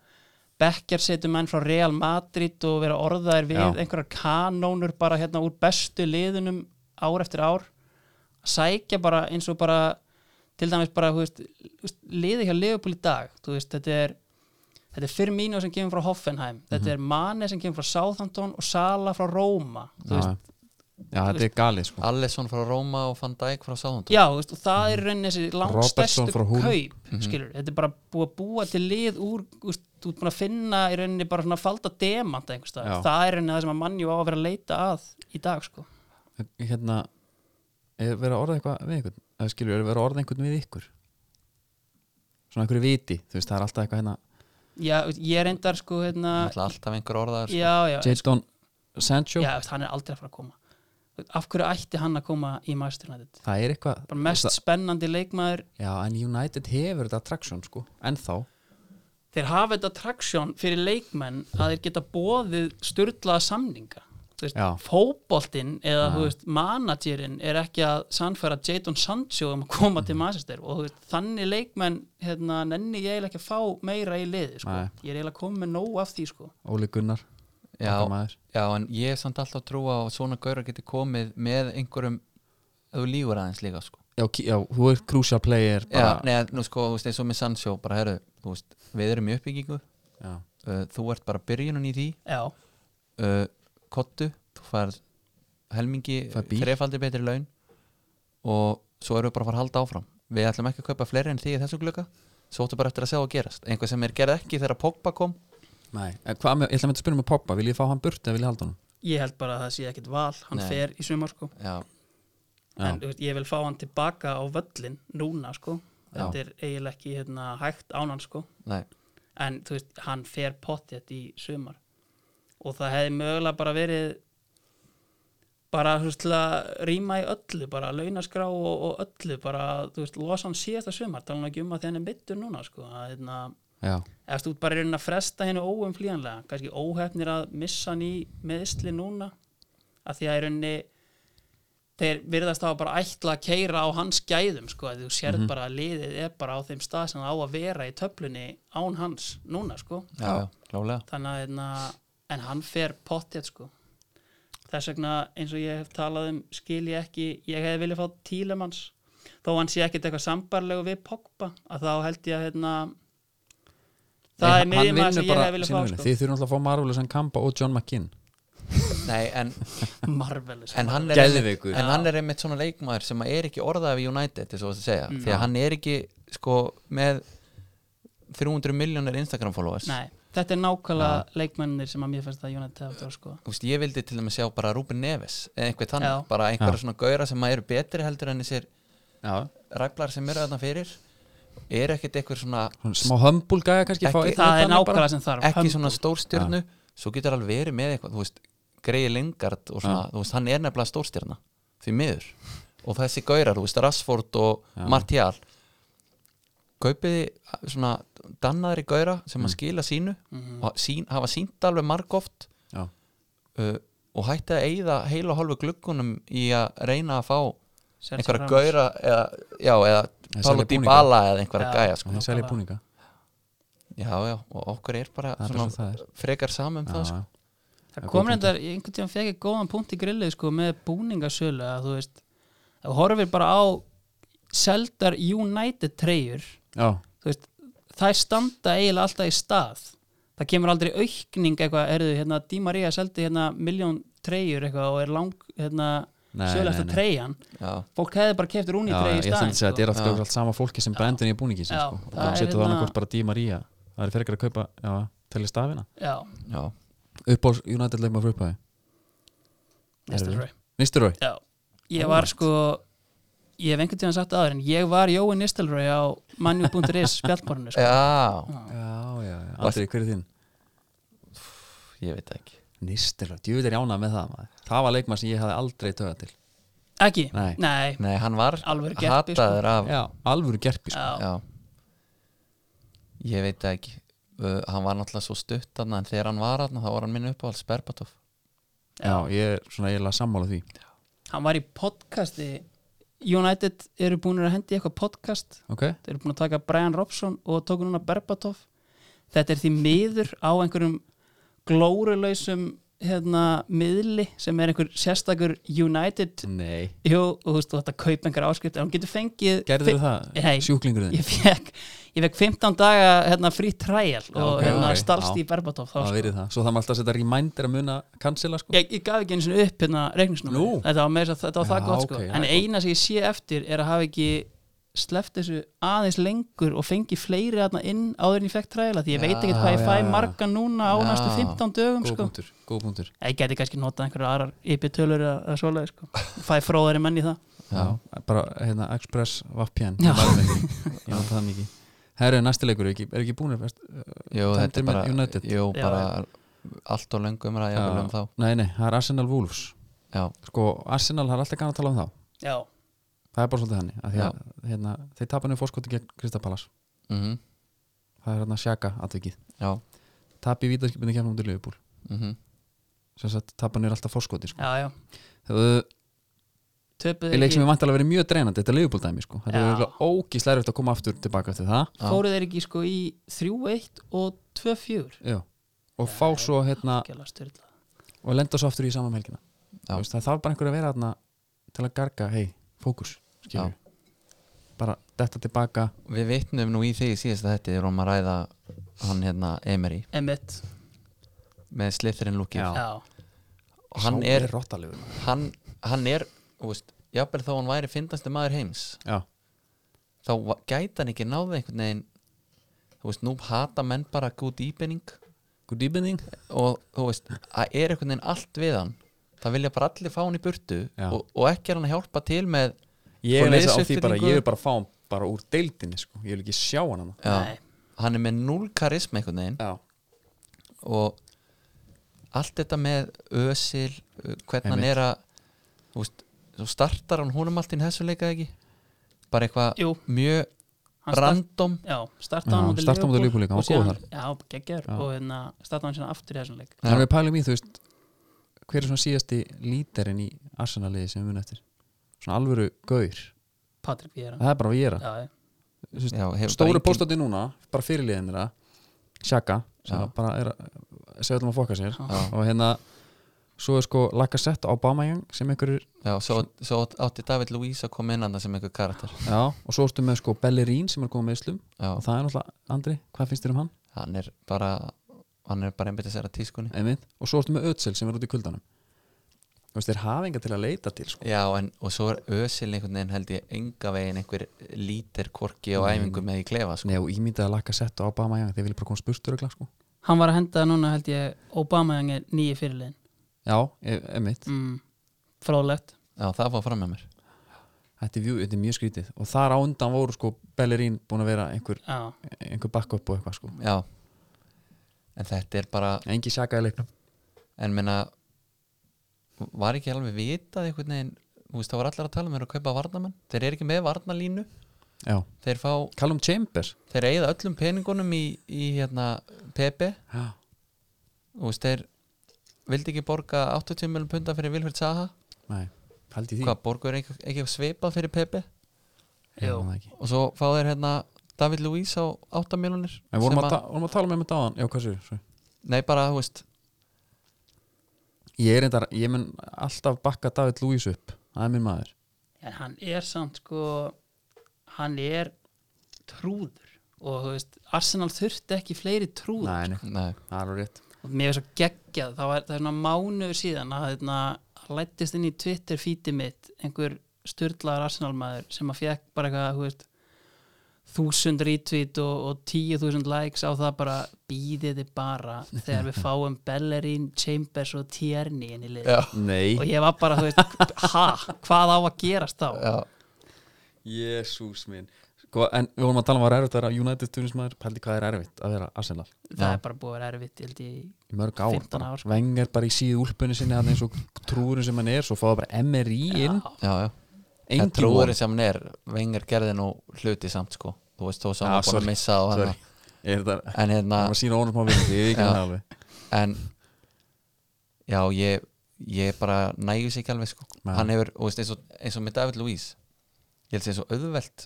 [SPEAKER 2] bekkjarsetum menn frá Real Madrid og vera orðaðir við
[SPEAKER 1] Já.
[SPEAKER 2] einhverjar kanónur bara hérna úr bestu liðunum ár eftir ár sækja bara eins og bara til dæmis bara, þú veist, þú veist, liði hjá Liverpool í dag, þú veist, þetta er þetta er Firmino sem
[SPEAKER 1] Mhm.
[SPEAKER 2] kemur frá Hoffenheim þetta er Mane sem kemur frá Southampton og Sala frá Róma, þú
[SPEAKER 1] Já,
[SPEAKER 2] veist,
[SPEAKER 1] Já, þetta er galið sko
[SPEAKER 3] Allesson frá Róma og Van Dijk frá Sáðund
[SPEAKER 2] Já, veist, og það er raunin þessi langstæstu
[SPEAKER 1] Robertson frá Hull. Mhm.
[SPEAKER 2] kaup skilur, þetta er bara búið að búa til lið úr, úst, þú ert búin að finna í rauninni bara svona falda demant einhvers
[SPEAKER 1] Já.
[SPEAKER 2] staðar. það er rauninni það sem að mannjú á að vera að leita að í dag sko
[SPEAKER 1] Hérna, er verið að orða eitthvað við einhvern eða skilur, er verið að orða einhvern við ykkur Svona einhverju viti, þú veist, það er alltaf eitthvað hérna
[SPEAKER 2] Já, veist, ég reyndar sko hérna,
[SPEAKER 3] Alltaf einhver orðaður sko.
[SPEAKER 2] já, já,
[SPEAKER 1] Jadon Sancho,
[SPEAKER 2] já, veist, hann er aldrei að fara að koma Veist, af hverju ætti hann að koma í Master United
[SPEAKER 1] það er eitthvað
[SPEAKER 2] bara mest
[SPEAKER 1] það,
[SPEAKER 2] spennandi leikmaður
[SPEAKER 1] Já, en United hefur þetta attraction sko Ennþá,
[SPEAKER 2] þeir hafa þetta traksjón fyrir leikmenn að þeir geta bóðið styrlaða samninga Þú veist,
[SPEAKER 1] Já.
[SPEAKER 2] fótboltinn eða
[SPEAKER 1] Já.
[SPEAKER 2] þú veist, managerinn er ekki að sannfæra Jadon Sancho um að koma
[SPEAKER 1] Mhm.
[SPEAKER 2] til Manchester og þú veist, þannig leikmenn hérna, nenni ég eiginlega ekki að fá meira í liði sko.
[SPEAKER 1] Nei.
[SPEAKER 2] ég er eiginlega komið með nóg af því sko.
[SPEAKER 1] Óli Gunnar okkar
[SPEAKER 3] já,
[SPEAKER 1] maður.
[SPEAKER 3] já, en ég er samt alltaf trú á að svona gaurar geti komið með einhverjum ef þú lífur aðeins líka sko.
[SPEAKER 1] já, ki- já, þú ert crucial player bara,
[SPEAKER 3] já, neða, nú sko, þú veist, eins og með Sancho bara, heru, þú veist, við erum í uppbyggingu
[SPEAKER 1] já.
[SPEAKER 3] uh, þú ert bara byrjunum í því
[SPEAKER 2] já,
[SPEAKER 3] uh, kottu, þú fær helmingi,
[SPEAKER 1] Fær bíl.
[SPEAKER 3] þrefaldi betri laun og svo erum við bara að fara að halda áfram við ætlum ekki að kaupa fleiri en því í þessum glöka svo áttu bara eftir að sjá að gerast einhver sem er gerð ekki þegar Pogba kom
[SPEAKER 1] Nei, en hvað með, ég ætla að mynda að spyrja með Poppa Vil ég fá hann burt eða vil ég halda hann?
[SPEAKER 2] ég held bara að það sé ekkit val hann
[SPEAKER 3] Nei.
[SPEAKER 2] fer í sumar sko.
[SPEAKER 3] já,
[SPEAKER 2] en þú veist, ég vil fá hann tilbaka á völlin núna sko.
[SPEAKER 1] Já.
[SPEAKER 2] þetta er eiginlega ekki hérna, hægt ánan sko.
[SPEAKER 3] nei,
[SPEAKER 2] en þú veist, hann fer pottjætt í sumar og það hefði mögulega bara verið bara þú veist til að rýma í öllu, bara launaskrá og, og öllu, bara þú veist, losa hann síðasta sumar, tala hann ekki um að því hann er mittur núna sko, að hérna
[SPEAKER 1] Já,
[SPEAKER 2] ef þú bara er að fresta henni óumflýjanlega kannski óhefnir að missa hann í meðisli núna að því að í rauninni þeir virðast þá bara ætla að keira á hans gæðum sko, að þú sérð bara að liðið er bara á þeim stað sem það á að vera í töflunni án hans núna sko
[SPEAKER 3] já, já, klálega
[SPEAKER 2] þannig að hérna, en hann fer pottjætt sko þess vegna eins og ég hef talað um skil ég ekki, ég hefði viljað fá Tílemanns þó hann sé ekkit eitthvað sambarlegu við Pogba að þá held ég að hérna, það
[SPEAKER 1] Nei,
[SPEAKER 2] er
[SPEAKER 1] hann
[SPEAKER 2] miðjum að
[SPEAKER 1] vinnur
[SPEAKER 2] sem ég
[SPEAKER 1] bara
[SPEAKER 2] hefði
[SPEAKER 1] sína
[SPEAKER 2] viljað
[SPEAKER 1] vinnu.
[SPEAKER 2] fá sko.
[SPEAKER 1] Þið þurfum alltaf að fá Marvelous en Kamba og John McKinn
[SPEAKER 3] nei, en,
[SPEAKER 2] sko. marvelous
[SPEAKER 3] en, hann er einmitt,
[SPEAKER 1] Geðveikur.
[SPEAKER 3] en hann er einmitt svona leikmaður sem er ekki orðað við United eins og þess að segja, því að hann er ekki sko með 300 miljónir Instagram followers
[SPEAKER 2] Nei, þetta er nákvæmlega
[SPEAKER 1] Ah.
[SPEAKER 2] leikmennir sem að mér finnst að United hafa sko.
[SPEAKER 3] Þú veist, ég vildi til dæmis sjá bara Rúben Neves eða einhver þannig,
[SPEAKER 2] Já.
[SPEAKER 3] bara einhverja
[SPEAKER 1] Já.
[SPEAKER 3] svona gauðra sem eru betri heldur en þessir
[SPEAKER 1] Já,
[SPEAKER 3] ræflar sem eru þarna fyrir er ekkert eitthvað svona
[SPEAKER 1] Svona smá humble gæja kannski fá
[SPEAKER 3] Ekki-
[SPEAKER 1] einn
[SPEAKER 2] það er
[SPEAKER 1] þannig bara.
[SPEAKER 2] nákvæmlega sem þarf
[SPEAKER 3] ekki svona stórstjörnu svo getur alveg verið með eitthvað þú veist, greiði lengard og svona þú veist, hann er nefnilega stórstjörna því miður og þessi gaurar, þú veist, Rassford og Martial kaupiði svona dannaðri gauðra sem að skila sínu
[SPEAKER 2] Mm. Mhm.
[SPEAKER 3] og sín, hafa sínt alveg margóft
[SPEAKER 1] Já,
[SPEAKER 3] uh, og hætti að eyða heila og hálfu gluggunum í að reyna að fá
[SPEAKER 2] Sergio
[SPEAKER 3] einhverja
[SPEAKER 2] Ramos.
[SPEAKER 3] gauðra eða, já, eða
[SPEAKER 1] Eða
[SPEAKER 3] Pálo
[SPEAKER 1] selja búninga.
[SPEAKER 3] Dybala eða einhverja
[SPEAKER 2] Já.
[SPEAKER 3] gæja sko.
[SPEAKER 1] hann selja búninga
[SPEAKER 3] já, já, og okkur er
[SPEAKER 1] Það
[SPEAKER 3] bara
[SPEAKER 1] er bara svo
[SPEAKER 3] svona,
[SPEAKER 1] það er.
[SPEAKER 3] frekar saman um
[SPEAKER 1] Já,
[SPEAKER 3] það sko.
[SPEAKER 1] já.
[SPEAKER 2] Það
[SPEAKER 1] er
[SPEAKER 2] kom
[SPEAKER 1] góð
[SPEAKER 2] reyndar, ég einhvern tíðan fekk ég góðan punkt í grillið sko með búningasölu að þú veist, ef þú horfir bara á seldar United treyjur,
[SPEAKER 1] Já,
[SPEAKER 2] þú veist það standa eiginlega alltaf í stað það kemur aldrei aukning eitthvað, erðu, hérna, Di Maria seldi hérna miljón treyjur eitthvað og er lang hérna,
[SPEAKER 1] Nei,
[SPEAKER 2] sölu
[SPEAKER 1] nei,
[SPEAKER 2] eftir
[SPEAKER 1] nei.
[SPEAKER 2] treyjan
[SPEAKER 3] já,
[SPEAKER 2] fólk hefði bara keftur
[SPEAKER 1] já
[SPEAKER 2] unni treyju
[SPEAKER 1] ég
[SPEAKER 2] í sko.
[SPEAKER 1] ætla að
[SPEAKER 2] staðin
[SPEAKER 1] segja að þetta er alltaf
[SPEAKER 3] Já.
[SPEAKER 1] allt sama fólki sem brendur í búningi sin
[SPEAKER 2] Já,
[SPEAKER 1] sko. og
[SPEAKER 2] það
[SPEAKER 1] það
[SPEAKER 2] er
[SPEAKER 1] setur
[SPEAKER 2] hérna-
[SPEAKER 1] það annarkvort bara Díma Ría Það er fyrir að kaupa, já, telja stafina
[SPEAKER 2] já,
[SPEAKER 3] já,
[SPEAKER 1] Upp á United leikma fyrir upphæði
[SPEAKER 2] næsta
[SPEAKER 1] Herðu.
[SPEAKER 2] trey
[SPEAKER 1] Nisturau,
[SPEAKER 2] já, ég var sko ég hef einhvern tíðan sagt aður en ég var Jói Nistelröy á manju.is spjallborinu sko.
[SPEAKER 3] já
[SPEAKER 1] já, já, já Andri, hver er þín?
[SPEAKER 3] ég veit ekki
[SPEAKER 1] Nisturau, djúið er jánað með það maður. Það var leikma sem ég hafði aldrei töða til
[SPEAKER 2] ekki,
[SPEAKER 1] Nei.
[SPEAKER 2] nei
[SPEAKER 3] nei, hann var
[SPEAKER 2] Alvöru geppi, sko.
[SPEAKER 3] hataður af
[SPEAKER 1] Já, alvöru gerpi sko.
[SPEAKER 2] Já,
[SPEAKER 3] já. ég veit það ekki uh, hann var náttúrulega svo stutt þarna, en þegar hann var hann, þá var hann minn uppáhalds Berbatov
[SPEAKER 1] já, ég er svona eiginlega sammála því
[SPEAKER 2] hann var í podcasti United eru búin að hendi í eitthvað podcast
[SPEAKER 1] Ok,
[SPEAKER 2] þeir eru búin að taka Brian Robson og tóku núna Berbatov þetta er því miður á einhverjum glórulausum hérna, miðli sem er einhver sérstakur United
[SPEAKER 1] nei
[SPEAKER 2] jú, og þú veist, þú þetta kaup einhver áskrift en hún getur fengið
[SPEAKER 1] Gerður það,
[SPEAKER 2] Nei.
[SPEAKER 1] sjúklingurðin
[SPEAKER 2] ég fekk, ég vekk 15 daga hérna, free trial og
[SPEAKER 1] ok,
[SPEAKER 2] hérna,
[SPEAKER 1] ok,
[SPEAKER 2] stalst
[SPEAKER 1] já.
[SPEAKER 2] í Berbatov þá,
[SPEAKER 1] það
[SPEAKER 2] sko.
[SPEAKER 1] verið það Svo það maður alltaf að setja reminder að muna cancela sko
[SPEAKER 2] ég, ég gaf ekki einu sinni upp hérna reikningsnúmer
[SPEAKER 1] Nú?
[SPEAKER 2] þetta var með þess að þetta var það
[SPEAKER 1] Já,
[SPEAKER 2] gott sko
[SPEAKER 1] ok, já,
[SPEAKER 2] en
[SPEAKER 1] já.
[SPEAKER 2] eina sem ég sé eftir er að hafa ekki sleppt þessu aðeins lengur og fengi fleiri aðna inn áður en ég fekk træla því ég veit ekki hvað
[SPEAKER 1] Já,
[SPEAKER 2] ég
[SPEAKER 1] já, já.
[SPEAKER 2] fæ marga núna á
[SPEAKER 3] Já.
[SPEAKER 2] næstu 15 dögum
[SPEAKER 1] Góð
[SPEAKER 2] sko
[SPEAKER 1] punktur, góð punktur
[SPEAKER 2] ég geti kannski notað einhverjar aðrar ypitölur að, að svolega sko fæ fróðari menn í það
[SPEAKER 1] Já, bara hérna Express VPN
[SPEAKER 2] Já.
[SPEAKER 1] Ég var það ekki. Ég var það mikið Herru, næstilegur, er ekki, er ekki búin
[SPEAKER 3] Jú, þetta
[SPEAKER 1] Tottenham
[SPEAKER 3] er bara
[SPEAKER 1] United.
[SPEAKER 3] Jú,
[SPEAKER 2] Já.
[SPEAKER 3] bara allt og lengum er að jafnvel um þá
[SPEAKER 1] Nei, nei, það er Arsenal Wolves
[SPEAKER 3] Já,
[SPEAKER 1] Sko, Arsenal, það er alltaf gana að tala um þá
[SPEAKER 2] já,
[SPEAKER 1] Það er bara svolítið þannig af því að hérna, þeir tapa niður fórskoti gegn Kristapalas
[SPEAKER 3] mhm,
[SPEAKER 1] það er hérna sjaka atvikið
[SPEAKER 3] já
[SPEAKER 1] tapi vítaskipinu kemur um til Liverpool
[SPEAKER 3] mhm
[SPEAKER 1] sem sagt tapa niður alltaf fórskoti sko.
[SPEAKER 2] já, já
[SPEAKER 1] það er
[SPEAKER 2] töpuð
[SPEAKER 1] leik sem
[SPEAKER 2] ekki,
[SPEAKER 1] er vantilega verið mjög dreinandi þetta Liverpool dæmi sko. það
[SPEAKER 2] Já.
[SPEAKER 1] er örugglega ógíslega erfitt að koma aftur tilbaka eftir það
[SPEAKER 3] Já.
[SPEAKER 2] fóruð þeir ekki sko í 3-1 og 2-4
[SPEAKER 1] Já. og fá svo hérna
[SPEAKER 2] Algjörlega sturlað.
[SPEAKER 1] og lenda svo aftur í saman helgina
[SPEAKER 3] Já.
[SPEAKER 1] Þú veist, það þarf bara einhver að vera þarna til að garga, hei, fókus skilur
[SPEAKER 3] Já.
[SPEAKER 1] bara detta tilbaka
[SPEAKER 3] Við vitnum nú í því síðast að þetta er um að ræða hann hérna Emery
[SPEAKER 2] Emmett,
[SPEAKER 3] með slithrin lúkið
[SPEAKER 1] Já.
[SPEAKER 2] já,
[SPEAKER 3] og hann
[SPEAKER 1] Sá
[SPEAKER 3] er,
[SPEAKER 1] rottalegur
[SPEAKER 3] hann, hann er þú veist, jafnvel þó hann væri fyndasti maður heims
[SPEAKER 1] Já.
[SPEAKER 3] þá va- gæti hann ekki náði einhvern veginn þú veist, nú hata menn bara góð íbynning
[SPEAKER 1] good evening
[SPEAKER 3] og þú veist, það er einhvern veginn allt við hann það vilja bara allir fá hann í burtu
[SPEAKER 1] Já.
[SPEAKER 3] og, og ekki er hann að hjálpa til með
[SPEAKER 1] ég er
[SPEAKER 3] Og
[SPEAKER 1] eins og á því bara,
[SPEAKER 3] liðsuppstillingu.
[SPEAKER 1] ég vil bara fá hann bara úr deildinni sko, ég vil ekki sjá hann hann
[SPEAKER 2] Nei.
[SPEAKER 3] já, hann er með núl karisma einhvern veginn
[SPEAKER 1] já,
[SPEAKER 3] og allt þetta með ösil uh, hvernig hann
[SPEAKER 1] Einmitt.
[SPEAKER 3] er að þú veist, svo startar hann húnum allt í þessu leika ekki
[SPEAKER 2] Jú.
[SPEAKER 3] bara eitthvað mjög
[SPEAKER 2] Hann start-
[SPEAKER 3] random
[SPEAKER 2] Já, starta
[SPEAKER 1] Já,
[SPEAKER 2] hann mútið
[SPEAKER 1] starta á móti Liverpool líka, hann var góður
[SPEAKER 2] Já, geggjör
[SPEAKER 1] Já.
[SPEAKER 2] og hérna starta hann síðan aftur í þessum leik
[SPEAKER 1] en við pælum í þú veist hver er svona síðasti lítarinn í Arsenaliði sem við munum eftir svona alvöru gaur,
[SPEAKER 2] Patrik Vieira
[SPEAKER 1] það er bara að gera
[SPEAKER 2] Já, já.
[SPEAKER 1] Þú veist,
[SPEAKER 3] Já, hefur
[SPEAKER 1] stóru
[SPEAKER 3] bara
[SPEAKER 1] engin... póstandi núna, bara fyrirliðin þeirra Sjaka, sem
[SPEAKER 3] Já.
[SPEAKER 1] bara er að segja allum að fokka sér
[SPEAKER 3] Já.
[SPEAKER 1] og hérna, svo er sko Lacazette og Aubameyang sem einhverjur,
[SPEAKER 3] já, svo, svo átti David Luís að koma inn andan sem einhver karakter
[SPEAKER 1] já, og svo ertu með sko Bellerín sem er komið með Íslum
[SPEAKER 3] já,
[SPEAKER 1] og það er náttúrulega, Andri, hvað finnst þér um hann?
[SPEAKER 3] hann er bara hann er bara einbyttis að tískunni
[SPEAKER 1] Einmitt. og svo ertu með Ötsel sem er út í kuldanum þú veist, þeir hafa enga til að leita til sko.
[SPEAKER 3] já, en, og svo er ösil einhvern veginn held ég enga veginn einhver lítir korki og æfingu með í klefa sko.
[SPEAKER 1] Nei, og ímyndaði að lakka sett á Aubameyang þeir vilja bara koma spurstur örugglega, sko.
[SPEAKER 2] Hann var að henda núna held ég Obama er nýju fyrirliðin
[SPEAKER 1] já, e- einmitt
[SPEAKER 2] mm. Fróðlegt
[SPEAKER 3] já, það fór fram með mér
[SPEAKER 1] þetta er, vjú, þetta er mjög skrítið og þar á undan voru sko Bellerín búin að vera einhver,
[SPEAKER 2] Já,
[SPEAKER 1] einhver backup og eitthvað sko.
[SPEAKER 3] já, en þetta er bara
[SPEAKER 1] engi sjaka í leiknum
[SPEAKER 3] en meina var ekki alveg vitað einhvern veginn þú veist, þá var allir að tala um þeir að kaupa varnamenn þeir eru ekki með varnalínu
[SPEAKER 1] já.
[SPEAKER 3] þeir, fá,
[SPEAKER 1] Callum Chambers
[SPEAKER 3] þeir eigða öllum peningunum í, í hérna, PP
[SPEAKER 1] já.
[SPEAKER 3] þú veist, þeir vildi ekki borga 80 miljón punda fyrir Vilfred Saha
[SPEAKER 1] nei, haldi því
[SPEAKER 3] hvað, borgur ekki, ekki svipað fyrir PP
[SPEAKER 1] Ég
[SPEAKER 2] Jú.
[SPEAKER 1] man það ekki.
[SPEAKER 3] og svo fá þeir hérna David Luís á 8 miljónir
[SPEAKER 1] en vorum að, ta vorum að tala með með dáðan já, hvað séu, svo
[SPEAKER 3] nei bara, þú veist,
[SPEAKER 1] ég er reyndar, ég mun alltaf bakka David Lewis upp, það er minn maður
[SPEAKER 2] en hann er samt sko hann er trúður og þú veist, Arsenal þurfti ekki fleiri trúður
[SPEAKER 1] nei, nei,
[SPEAKER 3] nei,
[SPEAKER 1] það er alveg rétt
[SPEAKER 2] og mér er svo geggjað það, var, það er svona mánuður síðan að hérna, lættist inn í Twitter fítið mitt einhver styrlaðar arsenalmaður sem að fekk bara eitthvað þú veist, þúsund retweet og, og tíu þúsund likes á það bara býðið þið bara þegar við fáum Bellerín, Chambers og Tierney inn í lið
[SPEAKER 3] Já.
[SPEAKER 1] nei,
[SPEAKER 2] og ég var bara, þú veist, ha, hvað á að gerast þá
[SPEAKER 3] já,
[SPEAKER 1] jésús minn sko, en við vorum að tala um að það er erfitt að vera United tunismæður, pældi hvað er erfitt að vera Arsenal
[SPEAKER 2] það
[SPEAKER 3] Já.
[SPEAKER 2] er bara búið að vera erfitt ég held ég,
[SPEAKER 1] í mörg ár,
[SPEAKER 2] 15
[SPEAKER 1] bara.
[SPEAKER 2] ár, sko.
[SPEAKER 1] vengar bara í síðu úlpunni sinni hann eins og trúurinn sem hann er svo fáða bara MRI inn
[SPEAKER 3] já, já
[SPEAKER 1] engin
[SPEAKER 3] en trúður
[SPEAKER 1] von.
[SPEAKER 3] sem hann er, vengar gerði nú hluti samt sko, þú veist þó sem
[SPEAKER 1] Já,
[SPEAKER 3] hann var búin
[SPEAKER 1] sorry.
[SPEAKER 3] að missa og hann
[SPEAKER 1] Sorry. er það,
[SPEAKER 3] en hérna,
[SPEAKER 1] það var sína ónum smá vinni, ég veit
[SPEAKER 3] Já.
[SPEAKER 1] ekki það alveg
[SPEAKER 3] en já, ég ég bara nægjus ekki alveg sko
[SPEAKER 1] Nei.
[SPEAKER 3] hann hefur, þú veist, eins og, eins og með David Luís ég held sér svo auðvelt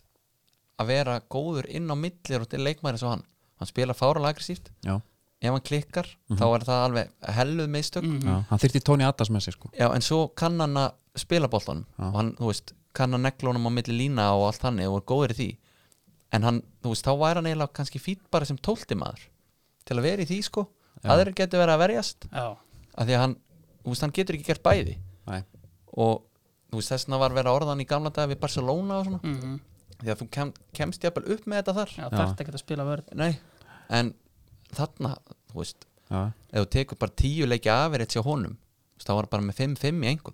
[SPEAKER 3] að vera góður inn á millir og til leikmæri eins og hann, hann spila fárala aggressíft,
[SPEAKER 1] já, Mhm.
[SPEAKER 3] ef hann klikkar þá er það alveg helluð meðstök
[SPEAKER 2] Mm. Mhm.
[SPEAKER 1] já, hann þyrfti Tony Addas með sér sko
[SPEAKER 3] já, en svo kann hann að spila boltanum
[SPEAKER 1] Já.
[SPEAKER 3] og hann, þú veist, kann að negla honum á milli lína og allt þannig og er góður í því en hann, þú veist, þá væri hann eiginlega kannski fýtt bara sem tólti maður til að vera í því sko, aðrir getur verið að verjast
[SPEAKER 2] já,
[SPEAKER 3] af því að hann, þú veist, hann getur ekki gert bæði
[SPEAKER 1] Nei.
[SPEAKER 3] og þú veist, þessna var verið að orða hann í gamla dag við Barcelona og svona,
[SPEAKER 2] mm
[SPEAKER 3] því að þú kem, kemst jafnvel upp með þetta þar
[SPEAKER 2] já þarft ekki að spila vörð
[SPEAKER 3] Nei, en þarna, þú veist
[SPEAKER 1] já,
[SPEAKER 3] ef þú tekur bara tíu leikja afrétt hjá honum þú veist, þá var bara með 5-5 í engum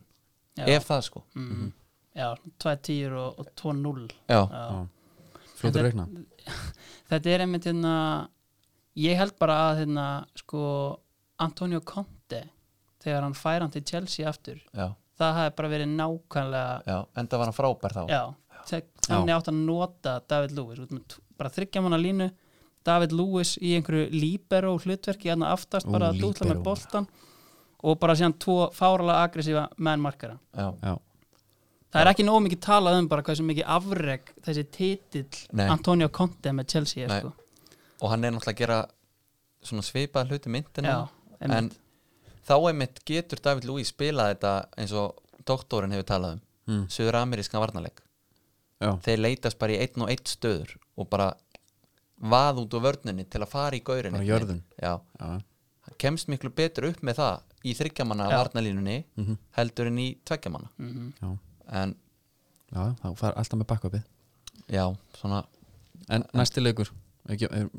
[SPEAKER 2] já,
[SPEAKER 3] ef það sko
[SPEAKER 2] mm já, 2-10 og, og 2-0
[SPEAKER 3] já,
[SPEAKER 2] já.
[SPEAKER 1] já. fljótur
[SPEAKER 2] Þetta-
[SPEAKER 1] reikna
[SPEAKER 2] þetta er einmitt hérna ég held bara að hérna sko Antonio Conte þegar hann fær hann til Chelsea aftur
[SPEAKER 3] já,
[SPEAKER 2] það hafi bara verið nákvæmlega
[SPEAKER 3] já, enda var hann frábær þá
[SPEAKER 2] já, já. þannig átt að nota David Lewis út með t- bara þryggja manna línu David Lewis í einhverju libero hlutverki hann aftast
[SPEAKER 1] Ú,
[SPEAKER 2] bara að dútla með
[SPEAKER 1] libero.
[SPEAKER 2] boltan og bara síðan tvo fárala aggressífa mennmarkara
[SPEAKER 3] já.
[SPEAKER 1] já,
[SPEAKER 2] það er ekki nóg mikið talað um bara hversu mikið afreg þessi titill
[SPEAKER 3] Nei.
[SPEAKER 2] Antonio Conte með Chelsea er,
[SPEAKER 3] Nei,
[SPEAKER 2] sko.
[SPEAKER 3] og hann er náttúrulega að gera svona svipað hluti myndina
[SPEAKER 2] já,
[SPEAKER 3] en þá einmitt getur David Lúi spilað þetta eins og doktorinn hefur talað um
[SPEAKER 1] Mm.
[SPEAKER 3] söður amerískan varnarleik
[SPEAKER 1] já,
[SPEAKER 3] þeir leitast bara í einn og einn stöður og bara vað út úr vörninni til að fara í gaurin
[SPEAKER 1] bara jörðun
[SPEAKER 3] já,
[SPEAKER 1] já,
[SPEAKER 3] hann kemst miklu betur upp með það í þryggjamanna
[SPEAKER 2] Já.
[SPEAKER 3] varnalínunni
[SPEAKER 1] Mhm.
[SPEAKER 3] heldur en í tveggjamanna
[SPEAKER 2] mm
[SPEAKER 1] já,
[SPEAKER 3] en
[SPEAKER 1] já, þá fara alltaf með bakkvapið
[SPEAKER 3] já, svona
[SPEAKER 1] en næsti leikur ekki, er,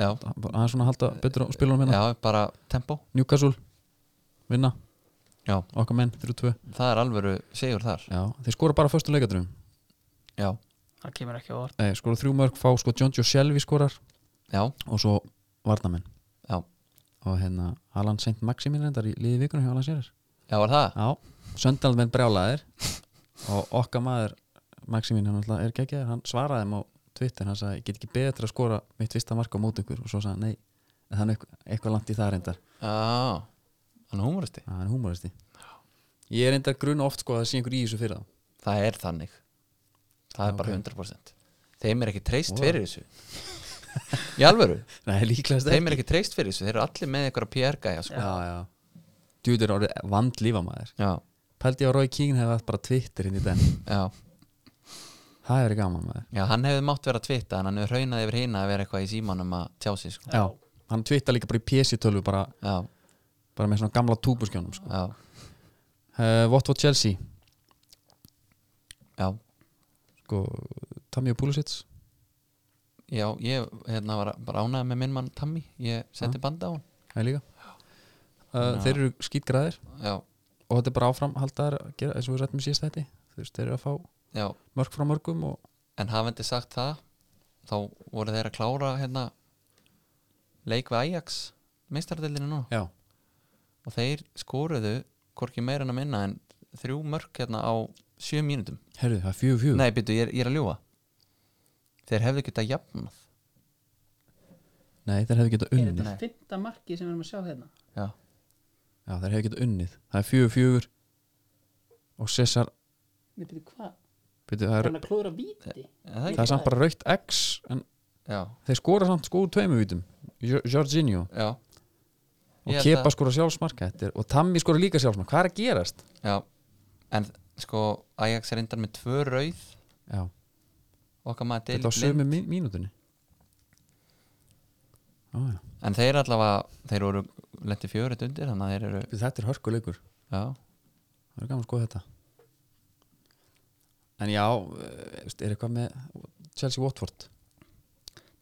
[SPEAKER 3] já,
[SPEAKER 1] hann svona að halda betur á spilunum hérna
[SPEAKER 3] já, bara tempo
[SPEAKER 1] Newcastle, vinna
[SPEAKER 3] já,
[SPEAKER 1] okkar menn, 3-2
[SPEAKER 3] það er alvöru segjur þar
[SPEAKER 1] já, þeir skora bara föstum leikadröfum
[SPEAKER 3] já,
[SPEAKER 2] það kemur ekki á orð
[SPEAKER 1] Nei, skora þrjú mörg, fá sko John Joe Shelby skorar
[SPEAKER 3] já,
[SPEAKER 1] og svo Varnamenn
[SPEAKER 3] já,
[SPEAKER 1] og hérna Alan St. Maximin reyndar í liði vikunum hjá Alan Sérir
[SPEAKER 3] já, var það
[SPEAKER 1] Já, söndalmenn brjálaðir og okkar maður Maximin hann alltaf er geggjaður, hann svaraði þeim á Twitter, hann sagði, ég get ekki betra að skora mitt fyrsta marka á mót ykkur og svo sagði hann, nei en hann er eitthvað, eitthvað langt í það reyndar
[SPEAKER 3] já, hann húmuristi
[SPEAKER 1] að hann er húmoristi Ég er reyndar grun oft sko að það sé einhver í þessu fyrir þá
[SPEAKER 3] það er þannig það er
[SPEAKER 1] Já,
[SPEAKER 3] bara
[SPEAKER 1] ok.
[SPEAKER 3] 100% þeim er ekki treyst
[SPEAKER 1] Wow.
[SPEAKER 3] fyrir þessu í alvöru,
[SPEAKER 1] Nei, líklegast
[SPEAKER 3] þeim er ekki treyst fyrir þessu þeir eru allir með einhverja PR-gæja sko.
[SPEAKER 1] Já, já Djúður er orðið vand maður
[SPEAKER 3] já,
[SPEAKER 1] Pældi ég á Rói King hefði haft bara Twitter hinn í den
[SPEAKER 3] já,
[SPEAKER 1] Það er gaman maður
[SPEAKER 3] já, hann hefði mátt vera að tvita en hann hefur raunað yfir hina að vera eitthvað í símanum að tjá sig sko.
[SPEAKER 1] Já, hann twittar líka bara í PC-tölvu bara,
[SPEAKER 3] já,
[SPEAKER 1] bara með svona gamla túbuskjónum sko.
[SPEAKER 3] já,
[SPEAKER 1] uh, Votvot Chelsea
[SPEAKER 3] já
[SPEAKER 1] sko, Tammy og Pulisic
[SPEAKER 3] Já, ég hérna var bara ánægð með minn mann Tammy, ég setti banda á hann
[SPEAKER 1] Það er líka uh, Þeir eru skýtgræðir
[SPEAKER 3] Já,
[SPEAKER 1] og þetta er bara áfram haldar að gera eins og við rættum í síðast þetta þú veist, þeir eru að fá
[SPEAKER 3] já,
[SPEAKER 1] mörg frá mörgum og
[SPEAKER 3] en hafandi sagt það þá voru þeir að klára hérna leik við Ajax meistardildinu nú
[SPEAKER 1] já,
[SPEAKER 3] og þeir skoruðu hvorki meira en að minna en þrjú mörk hérna á sjö mínútum
[SPEAKER 1] herðu, það er fjögur fjögur
[SPEAKER 3] Nei, byrju, ég, er- ég er að ljúga Þeir hefðu getað jafnað
[SPEAKER 1] Nei, þeir hefðu getað
[SPEAKER 2] er
[SPEAKER 1] unnið
[SPEAKER 2] þetta fymta marki sem við erum að sjá hérna
[SPEAKER 3] Já,
[SPEAKER 1] Já, þeir hefðu getað unnið, það er fjögur fjögur og Cesar
[SPEAKER 2] Nei, byrju, hvað?
[SPEAKER 1] byrju, það,
[SPEAKER 2] Er
[SPEAKER 1] er,
[SPEAKER 2] hann að klóra víti?
[SPEAKER 3] er það
[SPEAKER 1] það
[SPEAKER 3] ekki?
[SPEAKER 1] er samt bara raukt X en
[SPEAKER 3] Já,
[SPEAKER 1] þeir skora samt sko úr tveimur vítum Jor- Jorginho
[SPEAKER 3] já Ég
[SPEAKER 1] og
[SPEAKER 3] held
[SPEAKER 1] Kepa sko.
[SPEAKER 3] að-
[SPEAKER 1] skora sjálfsmarka þetta er, og Tammy skora líka sjálfsmarka, hvað er að gerast?
[SPEAKER 3] Já, en sko Ajax er reyndar með tvö rauð
[SPEAKER 1] Já,
[SPEAKER 3] okkar maður Daley
[SPEAKER 1] þetta á
[SPEAKER 3] Blind.
[SPEAKER 1] sömu mí- mínútunni Ó, já.
[SPEAKER 3] En þeir allavega, þeir voru letti fjörut undir, þannig að þeir eru
[SPEAKER 1] Þetta er hörkuleikur
[SPEAKER 3] já,
[SPEAKER 1] Það er gaman að skoða þetta En já, eh, veist, er eitthvað með Chelsea Watford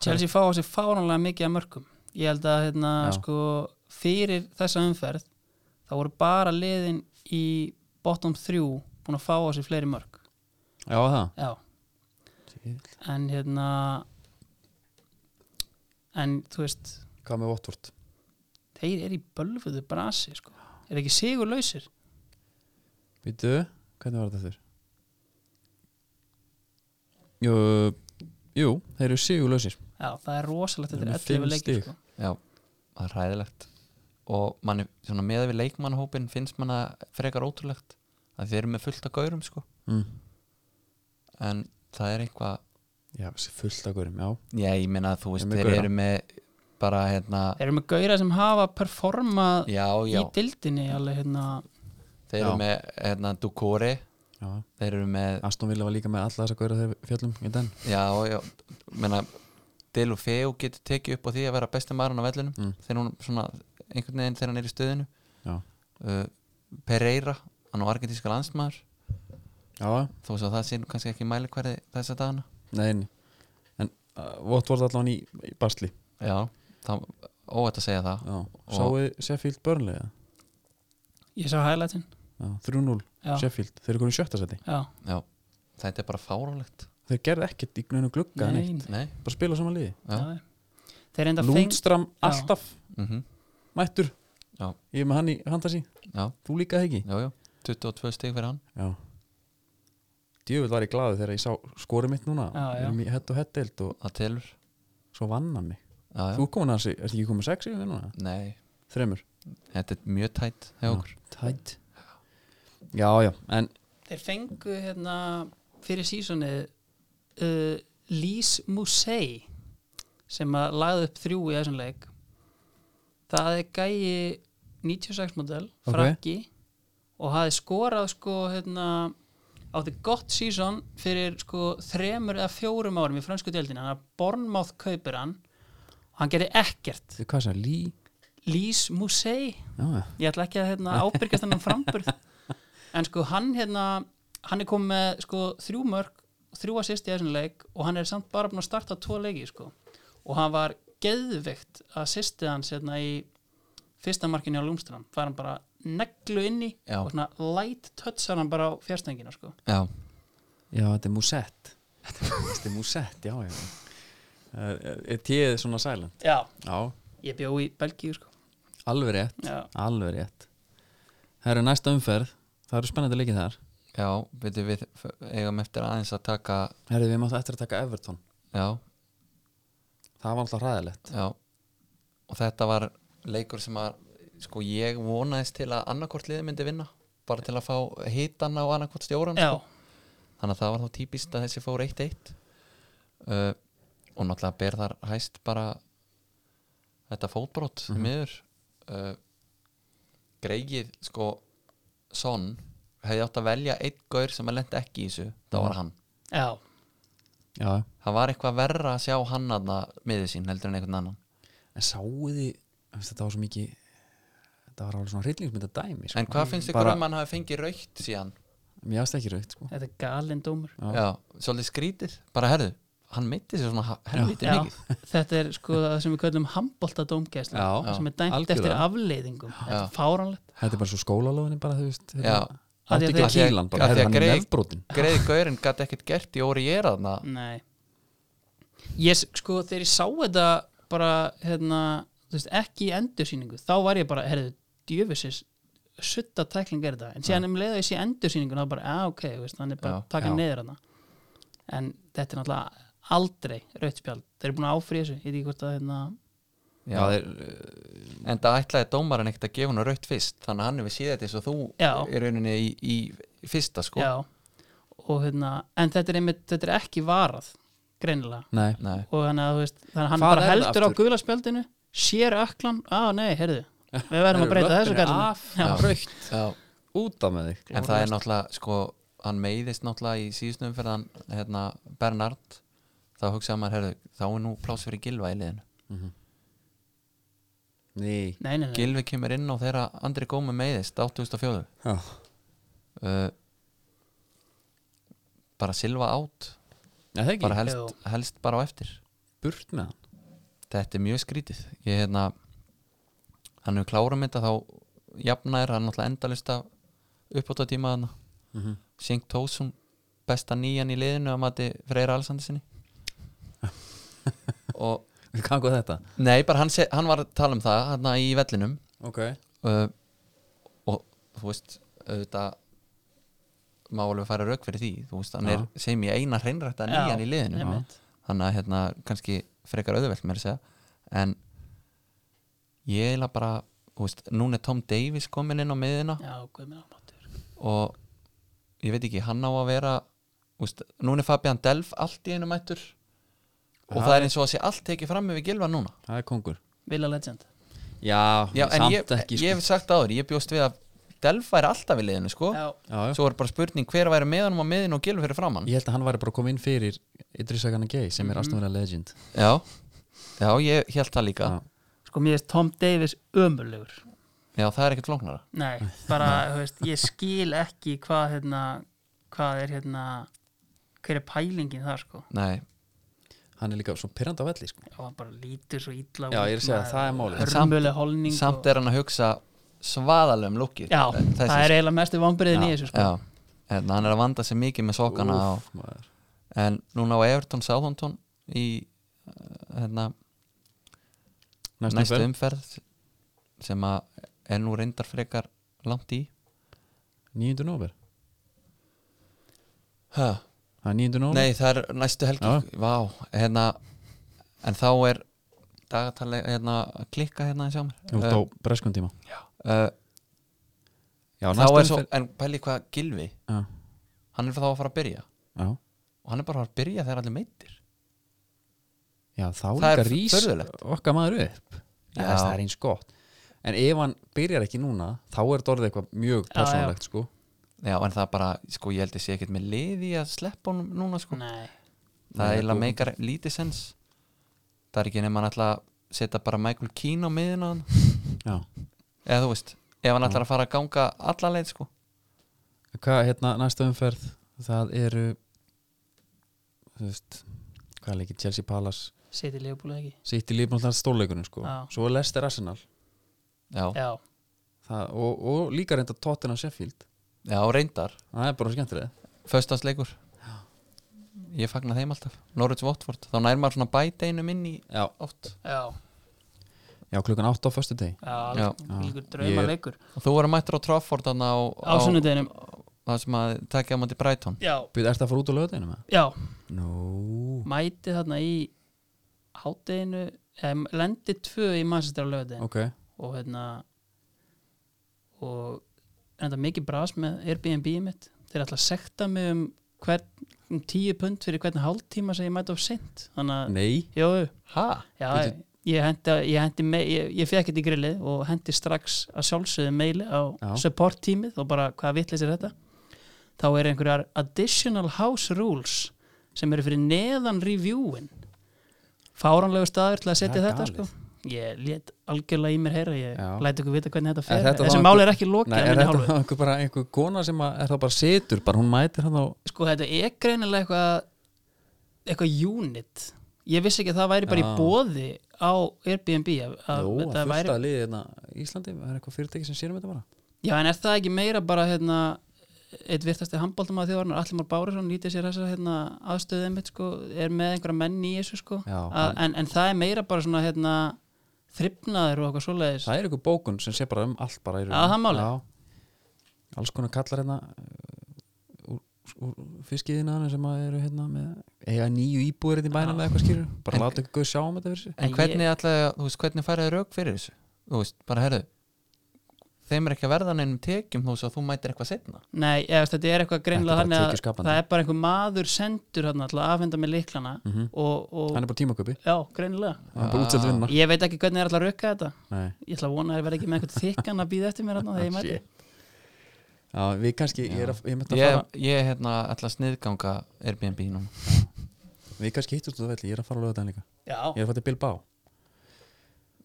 [SPEAKER 2] Chelsea fá á sig fáranlega mikið af mörkum ég held að hérna
[SPEAKER 1] Já.
[SPEAKER 2] sko fyrir þessa umferð þá voru bara liðin í bottom 3 búin að fá á sig fleiri mörk
[SPEAKER 1] Já, það
[SPEAKER 2] já, en hérna en þú veist
[SPEAKER 1] Hvað með Watford?
[SPEAKER 2] þeir eru í bölfuðu brasi sko er ekki sigurlausir
[SPEAKER 1] Býtu, hvernig var þetta þurr? Jú, jú, þeir eru sigurlausir
[SPEAKER 2] já, það er rosalegt
[SPEAKER 1] Þeir eru
[SPEAKER 2] þetta
[SPEAKER 1] með
[SPEAKER 2] er 11
[SPEAKER 1] fimm
[SPEAKER 2] leikir
[SPEAKER 1] stig.
[SPEAKER 2] sko.
[SPEAKER 3] já, það er ræðilegt og manni, svona meða við leikmannhópin finnst manna frekar ótrúlegt að þeir eru með fullt af gaurum sko
[SPEAKER 1] mm.
[SPEAKER 3] en það er eitthvað,
[SPEAKER 1] Já, þessi fullt af hverjum, já
[SPEAKER 3] já ég meina að þú veist
[SPEAKER 1] Þeir eru með gaura.
[SPEAKER 3] þeir eru með bara hérna
[SPEAKER 2] þeir eru með gauðra sem hafa performað
[SPEAKER 3] já, já,
[SPEAKER 2] í dildinni alveg hérna
[SPEAKER 3] þeir eru
[SPEAKER 1] Já.
[SPEAKER 3] með hérna Dukore
[SPEAKER 1] já.
[SPEAKER 3] þeir eru með
[SPEAKER 1] Aston Villa var líka með alla þess að góra þegar fjallum í den
[SPEAKER 3] já, já, menna Del og Feo getur tekið upp á því að vera besti maðurinn á vellinum
[SPEAKER 1] Mm.
[SPEAKER 3] þegar hún svona, einhvern veginn þegar hann er í stöðinu
[SPEAKER 1] Já,
[SPEAKER 3] uh, Pereira, hann á argentíska landsmaður
[SPEAKER 1] já,
[SPEAKER 3] þó svo að það sé nú kannski ekki mælikverði þessa dagana
[SPEAKER 1] nein En uh, Votvort allan í, í basli
[SPEAKER 3] já, það óætt að segja það
[SPEAKER 1] Já, sáuð Sheffield Burnley eða?
[SPEAKER 2] Ég sá highlightin
[SPEAKER 1] Já, 3-0
[SPEAKER 2] Já,
[SPEAKER 1] Sheffield, þeir eru konið sjötta seti
[SPEAKER 2] já,
[SPEAKER 3] já, þetta er bara fáránlegt
[SPEAKER 1] Þeir gerðu ekkert í gnöðinu glugga eða neitt.
[SPEAKER 2] nein
[SPEAKER 3] nei,
[SPEAKER 1] Bara spila saman liði
[SPEAKER 3] já, já.
[SPEAKER 2] Þeir reynda feng
[SPEAKER 1] Lundstram
[SPEAKER 2] Já.
[SPEAKER 1] alltaf
[SPEAKER 3] Mhm.
[SPEAKER 1] mættur
[SPEAKER 3] Já.
[SPEAKER 1] Ég er með hann í fantasy
[SPEAKER 3] já,
[SPEAKER 1] Þú líka ekki
[SPEAKER 3] já, já, 22 stig fyrir hann
[SPEAKER 1] Já Djöfull var ég glaðu þegar ég sá skorið mitt núna
[SPEAKER 2] Já, já.
[SPEAKER 1] Við erum í hett og hett deild og
[SPEAKER 3] það telur
[SPEAKER 1] svo vann hann mig
[SPEAKER 3] já, já.
[SPEAKER 1] Þú komin að þessi, ertu ekki komin sex yfir núna?
[SPEAKER 3] nei,
[SPEAKER 1] Þremur
[SPEAKER 3] þetta er mjög tætt hjá
[SPEAKER 1] Já.
[SPEAKER 3] okkur
[SPEAKER 1] Tætt Já, já, en
[SPEAKER 2] Þeir fengu hérna fyrir sísonið uh, Lise Musei sem að lagði upp þrjú í þessum leik Það er gæi 96 model,
[SPEAKER 1] Ok.
[SPEAKER 2] frakki og hafði skorað sko hérna átti gott síson fyrir sko þremur eða fjórum árum í fransku deildinu, hann að Bornmáð kaupir hann og hann gerði ekkert
[SPEAKER 1] þið hvað sagði, Lý
[SPEAKER 2] Lise Musei
[SPEAKER 1] Já, já,
[SPEAKER 2] ég ætla ekki að hérna, ábyrgast hennan framburð en sko hann hérna, hann er komið með sko, þrjú mörg, þrjú assist í þessum leik og hann er samt bara búin að starta tvo leiki sko. og hann var geðveikt assistið hans hérna, í fyrsta markinu á Lúmstrand var hann bara neglu inni
[SPEAKER 3] Já.
[SPEAKER 2] og svona light touchar hann bara á fjárstængina sko.
[SPEAKER 3] já,
[SPEAKER 1] já, þetta er Musett Þetta er Musett, já, já Er, er- er tíðið svona silent?
[SPEAKER 2] já,
[SPEAKER 1] Já,
[SPEAKER 2] ég bjó í Belgíu sko.
[SPEAKER 1] alveg rétt
[SPEAKER 2] já,
[SPEAKER 1] Alveg rétt Það eru næsta umferð, það eru spennandi leikið þar
[SPEAKER 3] já, veitum við f- eigum eftir aðeins að taka
[SPEAKER 1] Herðu, við máttu eftir að taka Everton
[SPEAKER 3] já,
[SPEAKER 1] Það var alltaf hræðilegt
[SPEAKER 3] já og þetta var leikur sem að sko ég vonaðist til að annarkort liði myndi vinna bara til að fá hitan á annarkort stjóran
[SPEAKER 2] já,
[SPEAKER 3] þannig að það var þá típist að þessi fór 1-1 uh, og náttúrulega ber þar hæst bara þetta fótbrot mm
[SPEAKER 1] Mhm.
[SPEAKER 3] miður uh, greigið sko Son hefði átt að velja einn gaur sem að lenda ekki í þessu þá var hann
[SPEAKER 2] já
[SPEAKER 1] Já,
[SPEAKER 3] það var eitthvað verra að sjá hann aðna miður sín heldur en einhvern annan
[SPEAKER 1] en sáu þið þetta var svo mikið þetta var alveg svona hryllingsmynda dæmi sko.
[SPEAKER 3] en hvað finnst ykkur
[SPEAKER 1] Bara-
[SPEAKER 3] um hann hafi fengið raukt síðan
[SPEAKER 1] mér aðst ekki raukt sko.
[SPEAKER 2] þetta er galinn dómur
[SPEAKER 1] Já.
[SPEAKER 3] já, svolítið skrítið, bara herðu hann mitti sér svona ha- helvítið
[SPEAKER 2] Já,
[SPEAKER 3] mikið
[SPEAKER 2] þetta er sko það sem við köllum handbólta dómgæsla
[SPEAKER 1] Já,
[SPEAKER 2] sem er dæmt
[SPEAKER 1] algjörlega.
[SPEAKER 2] eftir afleiðingum þetta
[SPEAKER 3] Já.
[SPEAKER 2] er fáránlegt
[SPEAKER 1] þetta er bara svo skólalóðin bara þú veist hérna.
[SPEAKER 3] já,
[SPEAKER 2] Af
[SPEAKER 1] Það
[SPEAKER 2] því
[SPEAKER 1] er
[SPEAKER 2] að
[SPEAKER 1] ekki að
[SPEAKER 2] þeir-
[SPEAKER 1] kýla hann bara,
[SPEAKER 3] af því að
[SPEAKER 1] herra hann er
[SPEAKER 3] Greg-
[SPEAKER 1] nefbrotin
[SPEAKER 3] greiði gaurinn gæti ekkert gert í óri ég er aðna
[SPEAKER 2] Nei Ég s- sko þegar ég sá þetta bara hérna þú veist, ekki í endursýningu þá var ég bara herðu djöfisins sutta tækling er þetta en síðan um leiða ég sé endursýningu þá bara að ok þú veist, hann er bara
[SPEAKER 3] Já,
[SPEAKER 2] að taka
[SPEAKER 1] já.
[SPEAKER 2] neður hana en þetta er náttúrulega aldrei rautspjald þeir eru búin að áfrýja þessu ég veit ekki hvort að hérna
[SPEAKER 1] Já, þeir,
[SPEAKER 3] en það ætlaði dómarinn ekkert að gefa hún raukt fyrst þannig að hann hefur síðið þetta eins og þú
[SPEAKER 2] Já.
[SPEAKER 3] er rauninni í, í fyrsta sko
[SPEAKER 2] já og hérna en þetta er, einmitt, þetta er ekki varað greinilega
[SPEAKER 1] nei,
[SPEAKER 3] Nei,
[SPEAKER 2] og þannig að þú veist, þannig að hann
[SPEAKER 1] Hvað er
[SPEAKER 2] bara
[SPEAKER 1] það
[SPEAKER 2] heldur á
[SPEAKER 1] aftur?
[SPEAKER 2] gula spjaldinu sér öklan, á nei, heyrðu við verðum að
[SPEAKER 1] Heyrðu,
[SPEAKER 2] breyta
[SPEAKER 1] vötnin
[SPEAKER 2] þessu
[SPEAKER 1] er af.
[SPEAKER 2] kallinu
[SPEAKER 3] Já.
[SPEAKER 1] raukt,
[SPEAKER 3] já.
[SPEAKER 1] út af með þig
[SPEAKER 3] en það er náttúrulega sko, hann meiðist náttúrulega í síðustum fyrir hann hérna, Bernard þá hugsaði maður, herðu, þá er nú pláss fyrir Gilva í liðinu
[SPEAKER 1] Mhm. Nei,
[SPEAKER 2] nei, nei, nei,
[SPEAKER 3] Gilvi kemur inn á þegar Andri Gómi meiðist 2004
[SPEAKER 1] já,
[SPEAKER 3] uh, bara Silva átt
[SPEAKER 1] Já, það ekki,
[SPEAKER 3] bara helst, helst bara á eftir
[SPEAKER 1] burt með hann
[SPEAKER 3] þetta er mjög skrítið ég hérna hann hefur klárum þetta þá jafnæður, hann er náttúrulega endalista uppbóta tíma þarna
[SPEAKER 1] mm -hmm.
[SPEAKER 3] Sink Tósum, besta nýjan í liðinu að mati Freyra Alsandersinni og
[SPEAKER 1] Hvað góð þetta?
[SPEAKER 3] nei, bara hann, se, hann var að tala um það hann í vellinum
[SPEAKER 1] Ok,
[SPEAKER 3] uh, og þú veist auðvitað má alveg fara rauk fyrir því þú veist, hann
[SPEAKER 1] Já.
[SPEAKER 3] er sem ég eina hreinrætta
[SPEAKER 2] Já,
[SPEAKER 3] nýjan í liðinu
[SPEAKER 2] einmitt.
[SPEAKER 3] þannig að hérna kannski frekar auðvelt mér að segja en ég eiginlega bara þú veist, núna er Tom Davis komin inn á miðina
[SPEAKER 2] já, guð minn ámáttur
[SPEAKER 3] og ég veit ekki, hann á að vera þú veist, núna er Fabian Delf allt í einu mættur og
[SPEAKER 1] Já,
[SPEAKER 3] það er eins og að sé allt tekið fram yfir gilva núna
[SPEAKER 1] það er kongur
[SPEAKER 2] Villa Legend
[SPEAKER 1] Já,
[SPEAKER 3] Já, en
[SPEAKER 1] samt
[SPEAKER 3] ég,
[SPEAKER 1] ekki sko.
[SPEAKER 3] ég hef sagt áður, ég bjóst við að Delfa er alltaf í liðinu sko
[SPEAKER 2] Já,
[SPEAKER 1] já, já.
[SPEAKER 3] svo er bara spurning hver væri með honum á miðinu og gilur fyrir framann
[SPEAKER 1] Ég held að hann væri bara að koma inn fyrir Idrissa Gana Gay
[SPEAKER 3] Mhm.
[SPEAKER 1] sem er mm. Aston Villa legend
[SPEAKER 3] já, já ég held það líka
[SPEAKER 1] Já.
[SPEAKER 3] já,
[SPEAKER 2] sko mér er Tom Davis ömurlegur
[SPEAKER 3] það er ekkert flóknara
[SPEAKER 2] Nei, bara, þú veist, ég skil ekki hvað, hérna, hvað er, hérna, hver er pælingin þar, sko.
[SPEAKER 3] nei,
[SPEAKER 1] Hann er líka svo pyrrandi á velli sko.
[SPEAKER 2] Já, hann bara lítur svo illa
[SPEAKER 1] Já, ég er að segja, það er málið. En
[SPEAKER 3] samt-
[SPEAKER 2] Hörmuleg holning
[SPEAKER 3] samt er hann að hugsa um svaðalegum lukkið
[SPEAKER 2] Já, það er eiginlega mestu vombriðin í þessu, sko.
[SPEAKER 3] já, en hann er að vanda sig mikið með sokkana á,
[SPEAKER 1] Úff, maður.
[SPEAKER 3] en núna á Everton Southampton í eh, hérna,
[SPEAKER 1] Næstu
[SPEAKER 3] næstu
[SPEAKER 1] umferð.
[SPEAKER 3] umferð sem að er nú reyndar frekar langt í
[SPEAKER 1] 9. november
[SPEAKER 3] Hæ?
[SPEAKER 1] Það er 9. november
[SPEAKER 3] Nei, það er næstu helgi Vá, hérna En þá er dagatalið hérna, klikka hérna eins og
[SPEAKER 1] Þú
[SPEAKER 3] mér
[SPEAKER 1] ert á breskum tíma
[SPEAKER 3] uh,
[SPEAKER 1] Já,
[SPEAKER 3] Þá
[SPEAKER 1] næstu
[SPEAKER 3] er svo,
[SPEAKER 1] umferð-
[SPEAKER 3] en pæli hvað Gilvi
[SPEAKER 1] Já,
[SPEAKER 3] Hann er þá að fara að byrja
[SPEAKER 1] já.
[SPEAKER 3] Og hann er bara að fara að byrja þegar allir meittir
[SPEAKER 1] já þá
[SPEAKER 3] Það
[SPEAKER 1] líka
[SPEAKER 3] er
[SPEAKER 1] rís
[SPEAKER 3] furðulegt.
[SPEAKER 1] okkar maður upp
[SPEAKER 3] Já.
[SPEAKER 1] Þess, Það er eins gott En ef hann byrjar ekki núna þá er þetta orðið eitthvað mjög
[SPEAKER 2] Já, já.
[SPEAKER 1] persónlegt sko.
[SPEAKER 3] Já, en það er bara, sko, ég held ég sé ekkert með liði að sleppa honum núna, sko
[SPEAKER 2] Nei,
[SPEAKER 3] Það
[SPEAKER 1] Mm. Nei,
[SPEAKER 3] er eiginlega
[SPEAKER 1] þú-
[SPEAKER 3] meikar lítið sens Það er ekki nema hann ætla að setja bara Michael Keane á miðina á hann
[SPEAKER 1] Já
[SPEAKER 3] eða þú veist, ef hann ætlar að fara að ganga alla leið sko
[SPEAKER 1] Hvað, hérna, næstu umferð það eru þú veist, hvað er leikir Chelsea Palace,
[SPEAKER 2] seti leifbúlega ekki.
[SPEAKER 1] City Liverpool það er stórleikunum sko,
[SPEAKER 2] Já.
[SPEAKER 1] svo er Leicester Arsenal
[SPEAKER 3] já,
[SPEAKER 2] Já,
[SPEAKER 1] það, og, og líka reynda Tottenham Sheffield
[SPEAKER 3] já reyndar,
[SPEAKER 1] það er bara skemmtilega
[SPEAKER 3] föstansleikur ég fagna þeim alltaf Norwich Watford, þá nær maður svona bæta einum inn í
[SPEAKER 1] Já,
[SPEAKER 3] oft
[SPEAKER 2] já,
[SPEAKER 1] Já klukkan 8 á föstu deg
[SPEAKER 2] já,
[SPEAKER 3] Já.
[SPEAKER 2] líkur drauma leikur.
[SPEAKER 3] og þú verður mættur á Trafford þarna á,
[SPEAKER 2] Á sunnudeginum,
[SPEAKER 3] það sem að takja á móti Brighton
[SPEAKER 2] já,
[SPEAKER 1] Býð, ert það að fara út á lögadeginu með?
[SPEAKER 2] já,
[SPEAKER 1] Nú,
[SPEAKER 2] mæti þarna í hátteginu, lendi tvö í mannsistra lögadeginu.
[SPEAKER 1] ok
[SPEAKER 2] og hérna og enda mikið bras með Airbnb mitt þeir ætla að sekta mig um hvern um tíu pund fyrir hvern hálftíma sem ég mæta of sent þannig að,
[SPEAKER 1] Nei,
[SPEAKER 2] jú,
[SPEAKER 3] ha?
[SPEAKER 2] já
[SPEAKER 1] Bíddu.
[SPEAKER 2] ég hendi, ég hendi me, ég, ég fekk þetta í grillið og hendi strax að sjálfsögðu meili á
[SPEAKER 1] Já.
[SPEAKER 2] support tímið og bara hvaða vitleis er þetta þá er einhverjar additional house rules sem eru fyrir neðan reviewin fáranlegu staður til að setja
[SPEAKER 1] Það er
[SPEAKER 2] þetta
[SPEAKER 1] galið.
[SPEAKER 2] sko ég let algjörlega í mér heyra ég
[SPEAKER 1] Já.
[SPEAKER 2] læt ykkur vita hvernig þetta
[SPEAKER 1] Er
[SPEAKER 2] fer
[SPEAKER 1] þetta
[SPEAKER 2] þessi
[SPEAKER 1] þá
[SPEAKER 2] mál
[SPEAKER 1] einhver-
[SPEAKER 2] er ekki lokið
[SPEAKER 1] Nei
[SPEAKER 2] að
[SPEAKER 1] er
[SPEAKER 2] minni
[SPEAKER 1] þetta
[SPEAKER 2] hálfu
[SPEAKER 1] einhver, bara einhver kona sem að, er það bara setur bara hún mætir hann á
[SPEAKER 2] sko þetta er greinilega eitthvað eitthvað unit ég vissi ekki að það væri
[SPEAKER 1] Já.
[SPEAKER 2] bara í bóði á Airbnb að, að
[SPEAKER 1] Jú, að
[SPEAKER 2] þetta
[SPEAKER 1] fyrsta
[SPEAKER 2] væri,
[SPEAKER 1] væri... liðið hérna í Íslandi það er eitthvað fyrirtæki sem sérum þetta bara
[SPEAKER 2] já en er það ekki meira bara hérna eitt virtasti handbóltum að þjóðarnar Allimar Bárusson nýtið sér þessa hérna, aðstöðu einmitt sko, er með einhverja menn í þessu sko
[SPEAKER 1] Já,
[SPEAKER 2] að, en, en það er meira bara svona hérna þrifnaður og eitthvað svoleiðis
[SPEAKER 1] Það er einhver bókun sem sé bara um allt bara í
[SPEAKER 2] Já,
[SPEAKER 1] rauninni.
[SPEAKER 2] það er málið.
[SPEAKER 1] Já. Alls konar kallar hérna uh, úr, úr fiskiðina sem að eru hérna með eiga nýju íbúður hérna í bænum eða eitthvað skýrur bara
[SPEAKER 3] En-
[SPEAKER 1] láta ykkur sjá um þetta fyrir sig
[SPEAKER 2] En
[SPEAKER 3] en
[SPEAKER 2] ég-
[SPEAKER 3] hvernig ég... þú veist, hvernig færið rauk fyrir þessu þú veist, bara herðu þeim er ekki að verða neinum tekjum þú veist að þú mætir eitthvað setna
[SPEAKER 2] Nei, eða, þú veist, þetta er eitthvað greinlega
[SPEAKER 1] Þetta er bara
[SPEAKER 2] þannig að
[SPEAKER 1] tekjuskapandi.
[SPEAKER 2] það er bara einhver maður sendur hann alltaf að afhenda með liklana og, og
[SPEAKER 1] Mm. Hann er bara tímaköpi,
[SPEAKER 2] já, greinilega
[SPEAKER 1] hann er bara útsett vinna
[SPEAKER 2] Ég veit ekki hvernig er alltaf að rökka þetta
[SPEAKER 1] Nei.
[SPEAKER 2] Ég ætla að vona að það verði ekki með einhvern þykkan að býða eftir mér hann
[SPEAKER 1] Ah,
[SPEAKER 2] þegar ég mæti
[SPEAKER 1] Já, við kannski, ég er að, ég myndi að
[SPEAKER 3] ég, ég hérna ætla að sniðganga Airbnb núna
[SPEAKER 1] fara við kannski hittum þetta velli, ég er að fara að löða þetta líka ég
[SPEAKER 2] Já,
[SPEAKER 1] er að fara til Bilbao,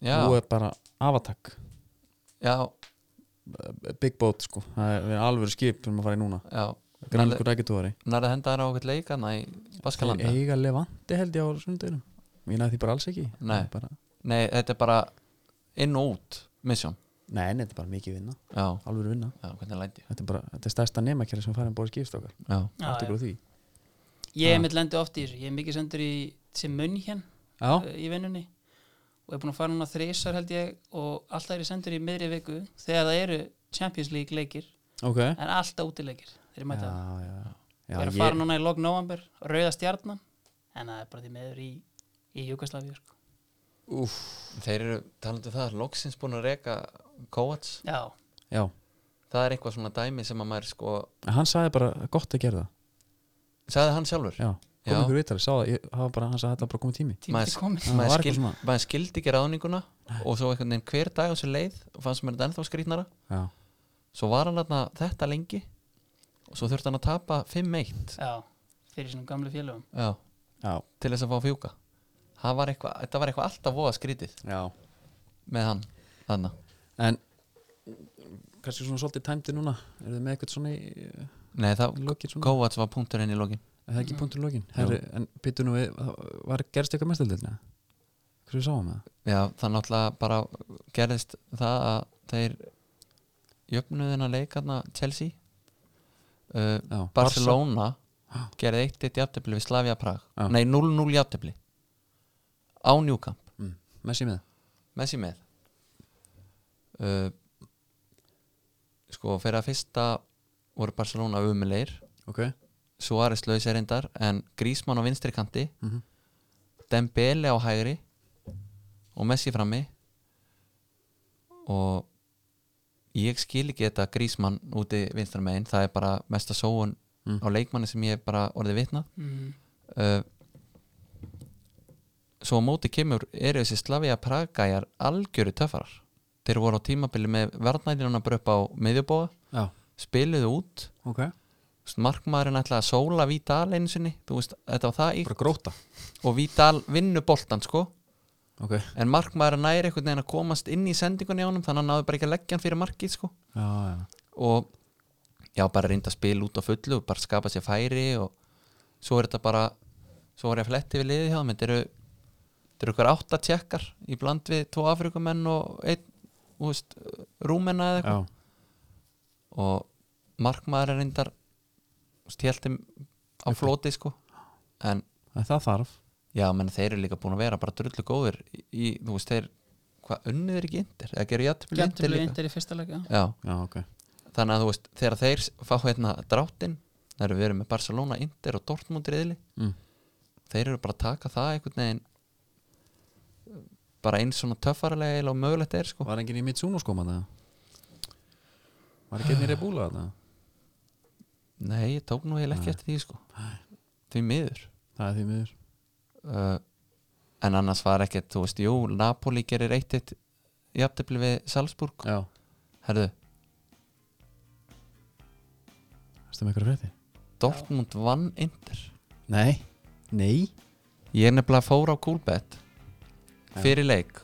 [SPEAKER 3] já,
[SPEAKER 1] þú er bara avatak,
[SPEAKER 3] já,
[SPEAKER 1] big boat sko það er, er alveg skip sem að fara í núna
[SPEAKER 3] já
[SPEAKER 1] grænleikur rækjutúari
[SPEAKER 3] nærið henda þær á okkur leikana í Baskalanda
[SPEAKER 1] eiga levandi held ég á sunnudeginum ég næði því bara alls ekki
[SPEAKER 3] Nei.
[SPEAKER 1] Það er bara,
[SPEAKER 3] nei, þetta er bara inn og út misjón,
[SPEAKER 1] nei en þetta er bara mikið vinna
[SPEAKER 3] já,
[SPEAKER 1] alveg vinna,
[SPEAKER 3] já, hvernig læti ég
[SPEAKER 1] þetta er bara þetta er stærsta nefnakjæri sem farið um bóði skipstokar
[SPEAKER 3] já,
[SPEAKER 2] Já,
[SPEAKER 1] allt ykkur á því
[SPEAKER 2] ég
[SPEAKER 1] Já.
[SPEAKER 2] er mitt lendi oft í þessu Ég er mikið sendur í sem munn hér
[SPEAKER 1] já,
[SPEAKER 2] eh, í vinnunni og er búin að fara núna þrisar held ég og alltaf er ég sendur í miðri viku þegar það eru Champions League leikir
[SPEAKER 1] ok já,
[SPEAKER 2] en alltaf útileikir þegar ég mæta
[SPEAKER 1] já, já
[SPEAKER 2] Ég er að fara núna í lok november Rauða stjarnan en það er bara því meður í, í Júkaslavju sko.
[SPEAKER 1] úf,
[SPEAKER 3] þeir eru talandi um það, loksins búin að reka Kovacs,
[SPEAKER 2] Já,
[SPEAKER 1] já,
[SPEAKER 3] það er eitthvað svona dæmi sem að maður sko,
[SPEAKER 1] En hann sagði bara gott að gera það
[SPEAKER 3] sagði hann sjálfur
[SPEAKER 1] já, kom
[SPEAKER 3] Já.
[SPEAKER 1] ykkur viðtali, sá það, ég hafa bara hann sagði þetta var bara komið tími
[SPEAKER 2] tíma
[SPEAKER 3] Maður-
[SPEAKER 2] til komin
[SPEAKER 1] Það var
[SPEAKER 3] maður,
[SPEAKER 1] eitthvað
[SPEAKER 3] skil,
[SPEAKER 1] svona.
[SPEAKER 3] maður skildi ekki ráðninguna og svo einhvern veginn hver dag á sér leið og fannst mér þetta ennþá skrýtnara
[SPEAKER 1] já,
[SPEAKER 3] svo var hann þarna þetta lengi og svo þurfti hann að tapa 5-1
[SPEAKER 2] já, fyrir sínum gamlu félögum
[SPEAKER 3] Já,
[SPEAKER 1] Já,
[SPEAKER 3] til þess að fá fjúka Það var eitthvað, þetta var eitthvað alltaf voða skrítið
[SPEAKER 1] já
[SPEAKER 3] með hann þarna.
[SPEAKER 1] En kannski svona svolítið tæmdi núna Er þið með eitthvað svona í eh,
[SPEAKER 3] Nei, það,
[SPEAKER 1] lokin svona?
[SPEAKER 3] Kovacs var punkturinn í lokin
[SPEAKER 1] Er það
[SPEAKER 2] Mm.
[SPEAKER 1] ekki punktur í lokin? Herri, en byttu nú við, það var gerst eitthvað mestaldildina? Hversu við sáum það?
[SPEAKER 3] Já, það náttúrulega bara gerðist það að þeir jöfnuðina leikarna Chelsea uh,
[SPEAKER 1] Já,
[SPEAKER 3] Barcelona gerði eitt eitt jafntefli við Slavia Prag nei 0-0 jafntefli á Newcamp,
[SPEAKER 1] mm. Messi með
[SPEAKER 3] Messi með uh, sko fyrir að fyrsta voru Barcelona umulegir
[SPEAKER 1] Ok
[SPEAKER 3] Suárez lausir reyndar en Grísmann á vinstri kanti
[SPEAKER 1] mm
[SPEAKER 3] Dembele á hægri og Messi frammi og ég skil ekki þetta grísmann úti vinstra megin, það er bara mesta sóun
[SPEAKER 1] Mm.
[SPEAKER 3] á leikmanni sem ég hef bara orðið vitna
[SPEAKER 2] mm.
[SPEAKER 3] uh, svo á móti kemur eru þessi Slavia Pragæjar algjöru töffarar þeir voru á tímabili með verðnæðinuna bara upp á miðjubóa,
[SPEAKER 1] Já,
[SPEAKER 3] spiluðu út
[SPEAKER 1] ok
[SPEAKER 3] þú veist, markmaðurinn ætlaði að sóla Vítal einu sinni, þú veist, þetta var það í
[SPEAKER 1] Bara gróta
[SPEAKER 3] og Vítal vinnu boltan sko
[SPEAKER 1] Ok
[SPEAKER 3] en markmaður næri einhvern veginn að komast inn í sendingunni á honum þannig að hann náði bara ekki að leggja hann fyrir markið sko.
[SPEAKER 1] Já, já
[SPEAKER 3] og já, bara reynda að spila út á fullu og bara skapa sér færi og svo er þetta bara svo var ég að fletti við liðið hjá þeim, þetta eru þetta eru ykkur átta tjekkar í bland við tvo afrikumenn og einn þú veist, rúmenna eða
[SPEAKER 1] Já,
[SPEAKER 3] eitthvað og markmaður er reyndar stjæltum á
[SPEAKER 1] Upp.
[SPEAKER 3] floti sko en
[SPEAKER 1] en það þarf
[SPEAKER 3] Já, menn þeir eru líka búin að vera bara drullu góðir í, í, þú veist, þeir hvað unnið er ekki indir, eða gerðu jættubli indir
[SPEAKER 2] Gjöntublið
[SPEAKER 3] líka
[SPEAKER 2] yndir í fyrsta leika
[SPEAKER 3] Já,
[SPEAKER 1] Já, ok
[SPEAKER 3] þannig að þú veist, þegar þeir s- fá hérna dráttin, þeir eru verið með Barcelona indir og Dortmund reyðli
[SPEAKER 1] mm.
[SPEAKER 3] þeir eru bara að taka það einhvern veginn bara eins svona töffaralega eiginlega og mögulegt er sko
[SPEAKER 1] Var enginn í Mitsuno skóma það? Var ekki einnig reyðbúla það?
[SPEAKER 3] Nei, ég tók nú eiginlega ekki
[SPEAKER 1] Nei.
[SPEAKER 3] eftir því sko því miður
[SPEAKER 1] Það er því miður
[SPEAKER 3] uh, en annars var ekkert, þú veist, jú, Napoli gerir eitt eitt jættubli við Salzburg
[SPEAKER 1] Já
[SPEAKER 3] Herðu,
[SPEAKER 1] Erstu með eitthvað frétti?
[SPEAKER 3] Dortmund vann indir
[SPEAKER 1] Nei Nei
[SPEAKER 3] Ég er nefnilega fór á Coolbet fyrir leik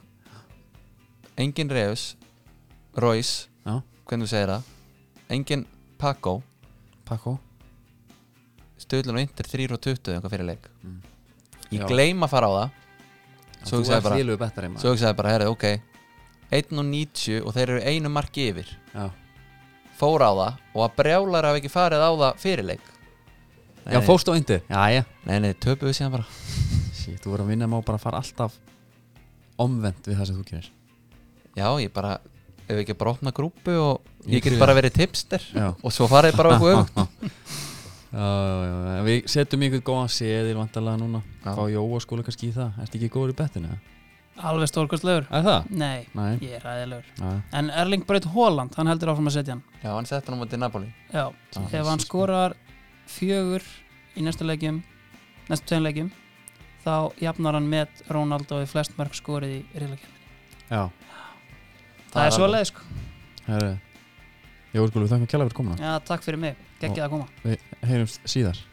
[SPEAKER 3] Engin Reus Royce,
[SPEAKER 1] Já.
[SPEAKER 3] hvernig þú segir það Engin Paco
[SPEAKER 1] Pakko
[SPEAKER 3] Stöðlun og Inter 3 og 20 eitthvað fyrir leik
[SPEAKER 1] Mm.
[SPEAKER 3] Ég
[SPEAKER 1] Já.
[SPEAKER 3] gleym að fara á það Svo
[SPEAKER 1] Þú
[SPEAKER 3] hugsaði
[SPEAKER 1] ert
[SPEAKER 3] bara-
[SPEAKER 1] félög bettari maður
[SPEAKER 3] Svo ekki sagði bara, herri, ok 1 og 90 og þeir eru einu marki yfir
[SPEAKER 1] Já,
[SPEAKER 3] Fór á það og að brjálar hafi ekki farið á það fyrir leik
[SPEAKER 1] já
[SPEAKER 3] nei,
[SPEAKER 1] fórst á yndir Já, já
[SPEAKER 3] Nei, nei, töpuðu síðan bara
[SPEAKER 1] Shit, þú voru að vinna maður bara að fara alltaf omvend við það sem þú gerir
[SPEAKER 3] Já, ég bara, ef ekki bara opna grúpu og
[SPEAKER 1] Ég
[SPEAKER 3] ég, get
[SPEAKER 1] trúi
[SPEAKER 3] bara verið tipster
[SPEAKER 1] Já,
[SPEAKER 3] og svo farið bara okkur um
[SPEAKER 1] já, já, já. En Við setjum ykkur góðan seðil vantarlega núna
[SPEAKER 3] Já.
[SPEAKER 1] Fá Jóa skóla kannski í það Ertu ekki góður í bettinu? eða?
[SPEAKER 2] Alveg stórkostlegur
[SPEAKER 1] Er það?
[SPEAKER 2] Nei,
[SPEAKER 1] Nei
[SPEAKER 2] ég er ræðilegur
[SPEAKER 1] Já,
[SPEAKER 2] En Erling Braut Holland, hann heldur áfram að setja hann
[SPEAKER 3] Já, hann setti hann á móti Napoli
[SPEAKER 2] Já,
[SPEAKER 1] Já.
[SPEAKER 2] ef hann skorar fjögur í næstu leikjum næstu tveim leikjum þá jafnar hann með Ronaldo í flest mörg skorið í riðleikjum
[SPEAKER 1] já.
[SPEAKER 2] Það, er svo leið sko
[SPEAKER 1] Herru Jóa skóla, við þakkum kjalla fyrir komuna
[SPEAKER 2] Já, takk fyrir mig, geggjað að koma
[SPEAKER 1] Heyrumst síðar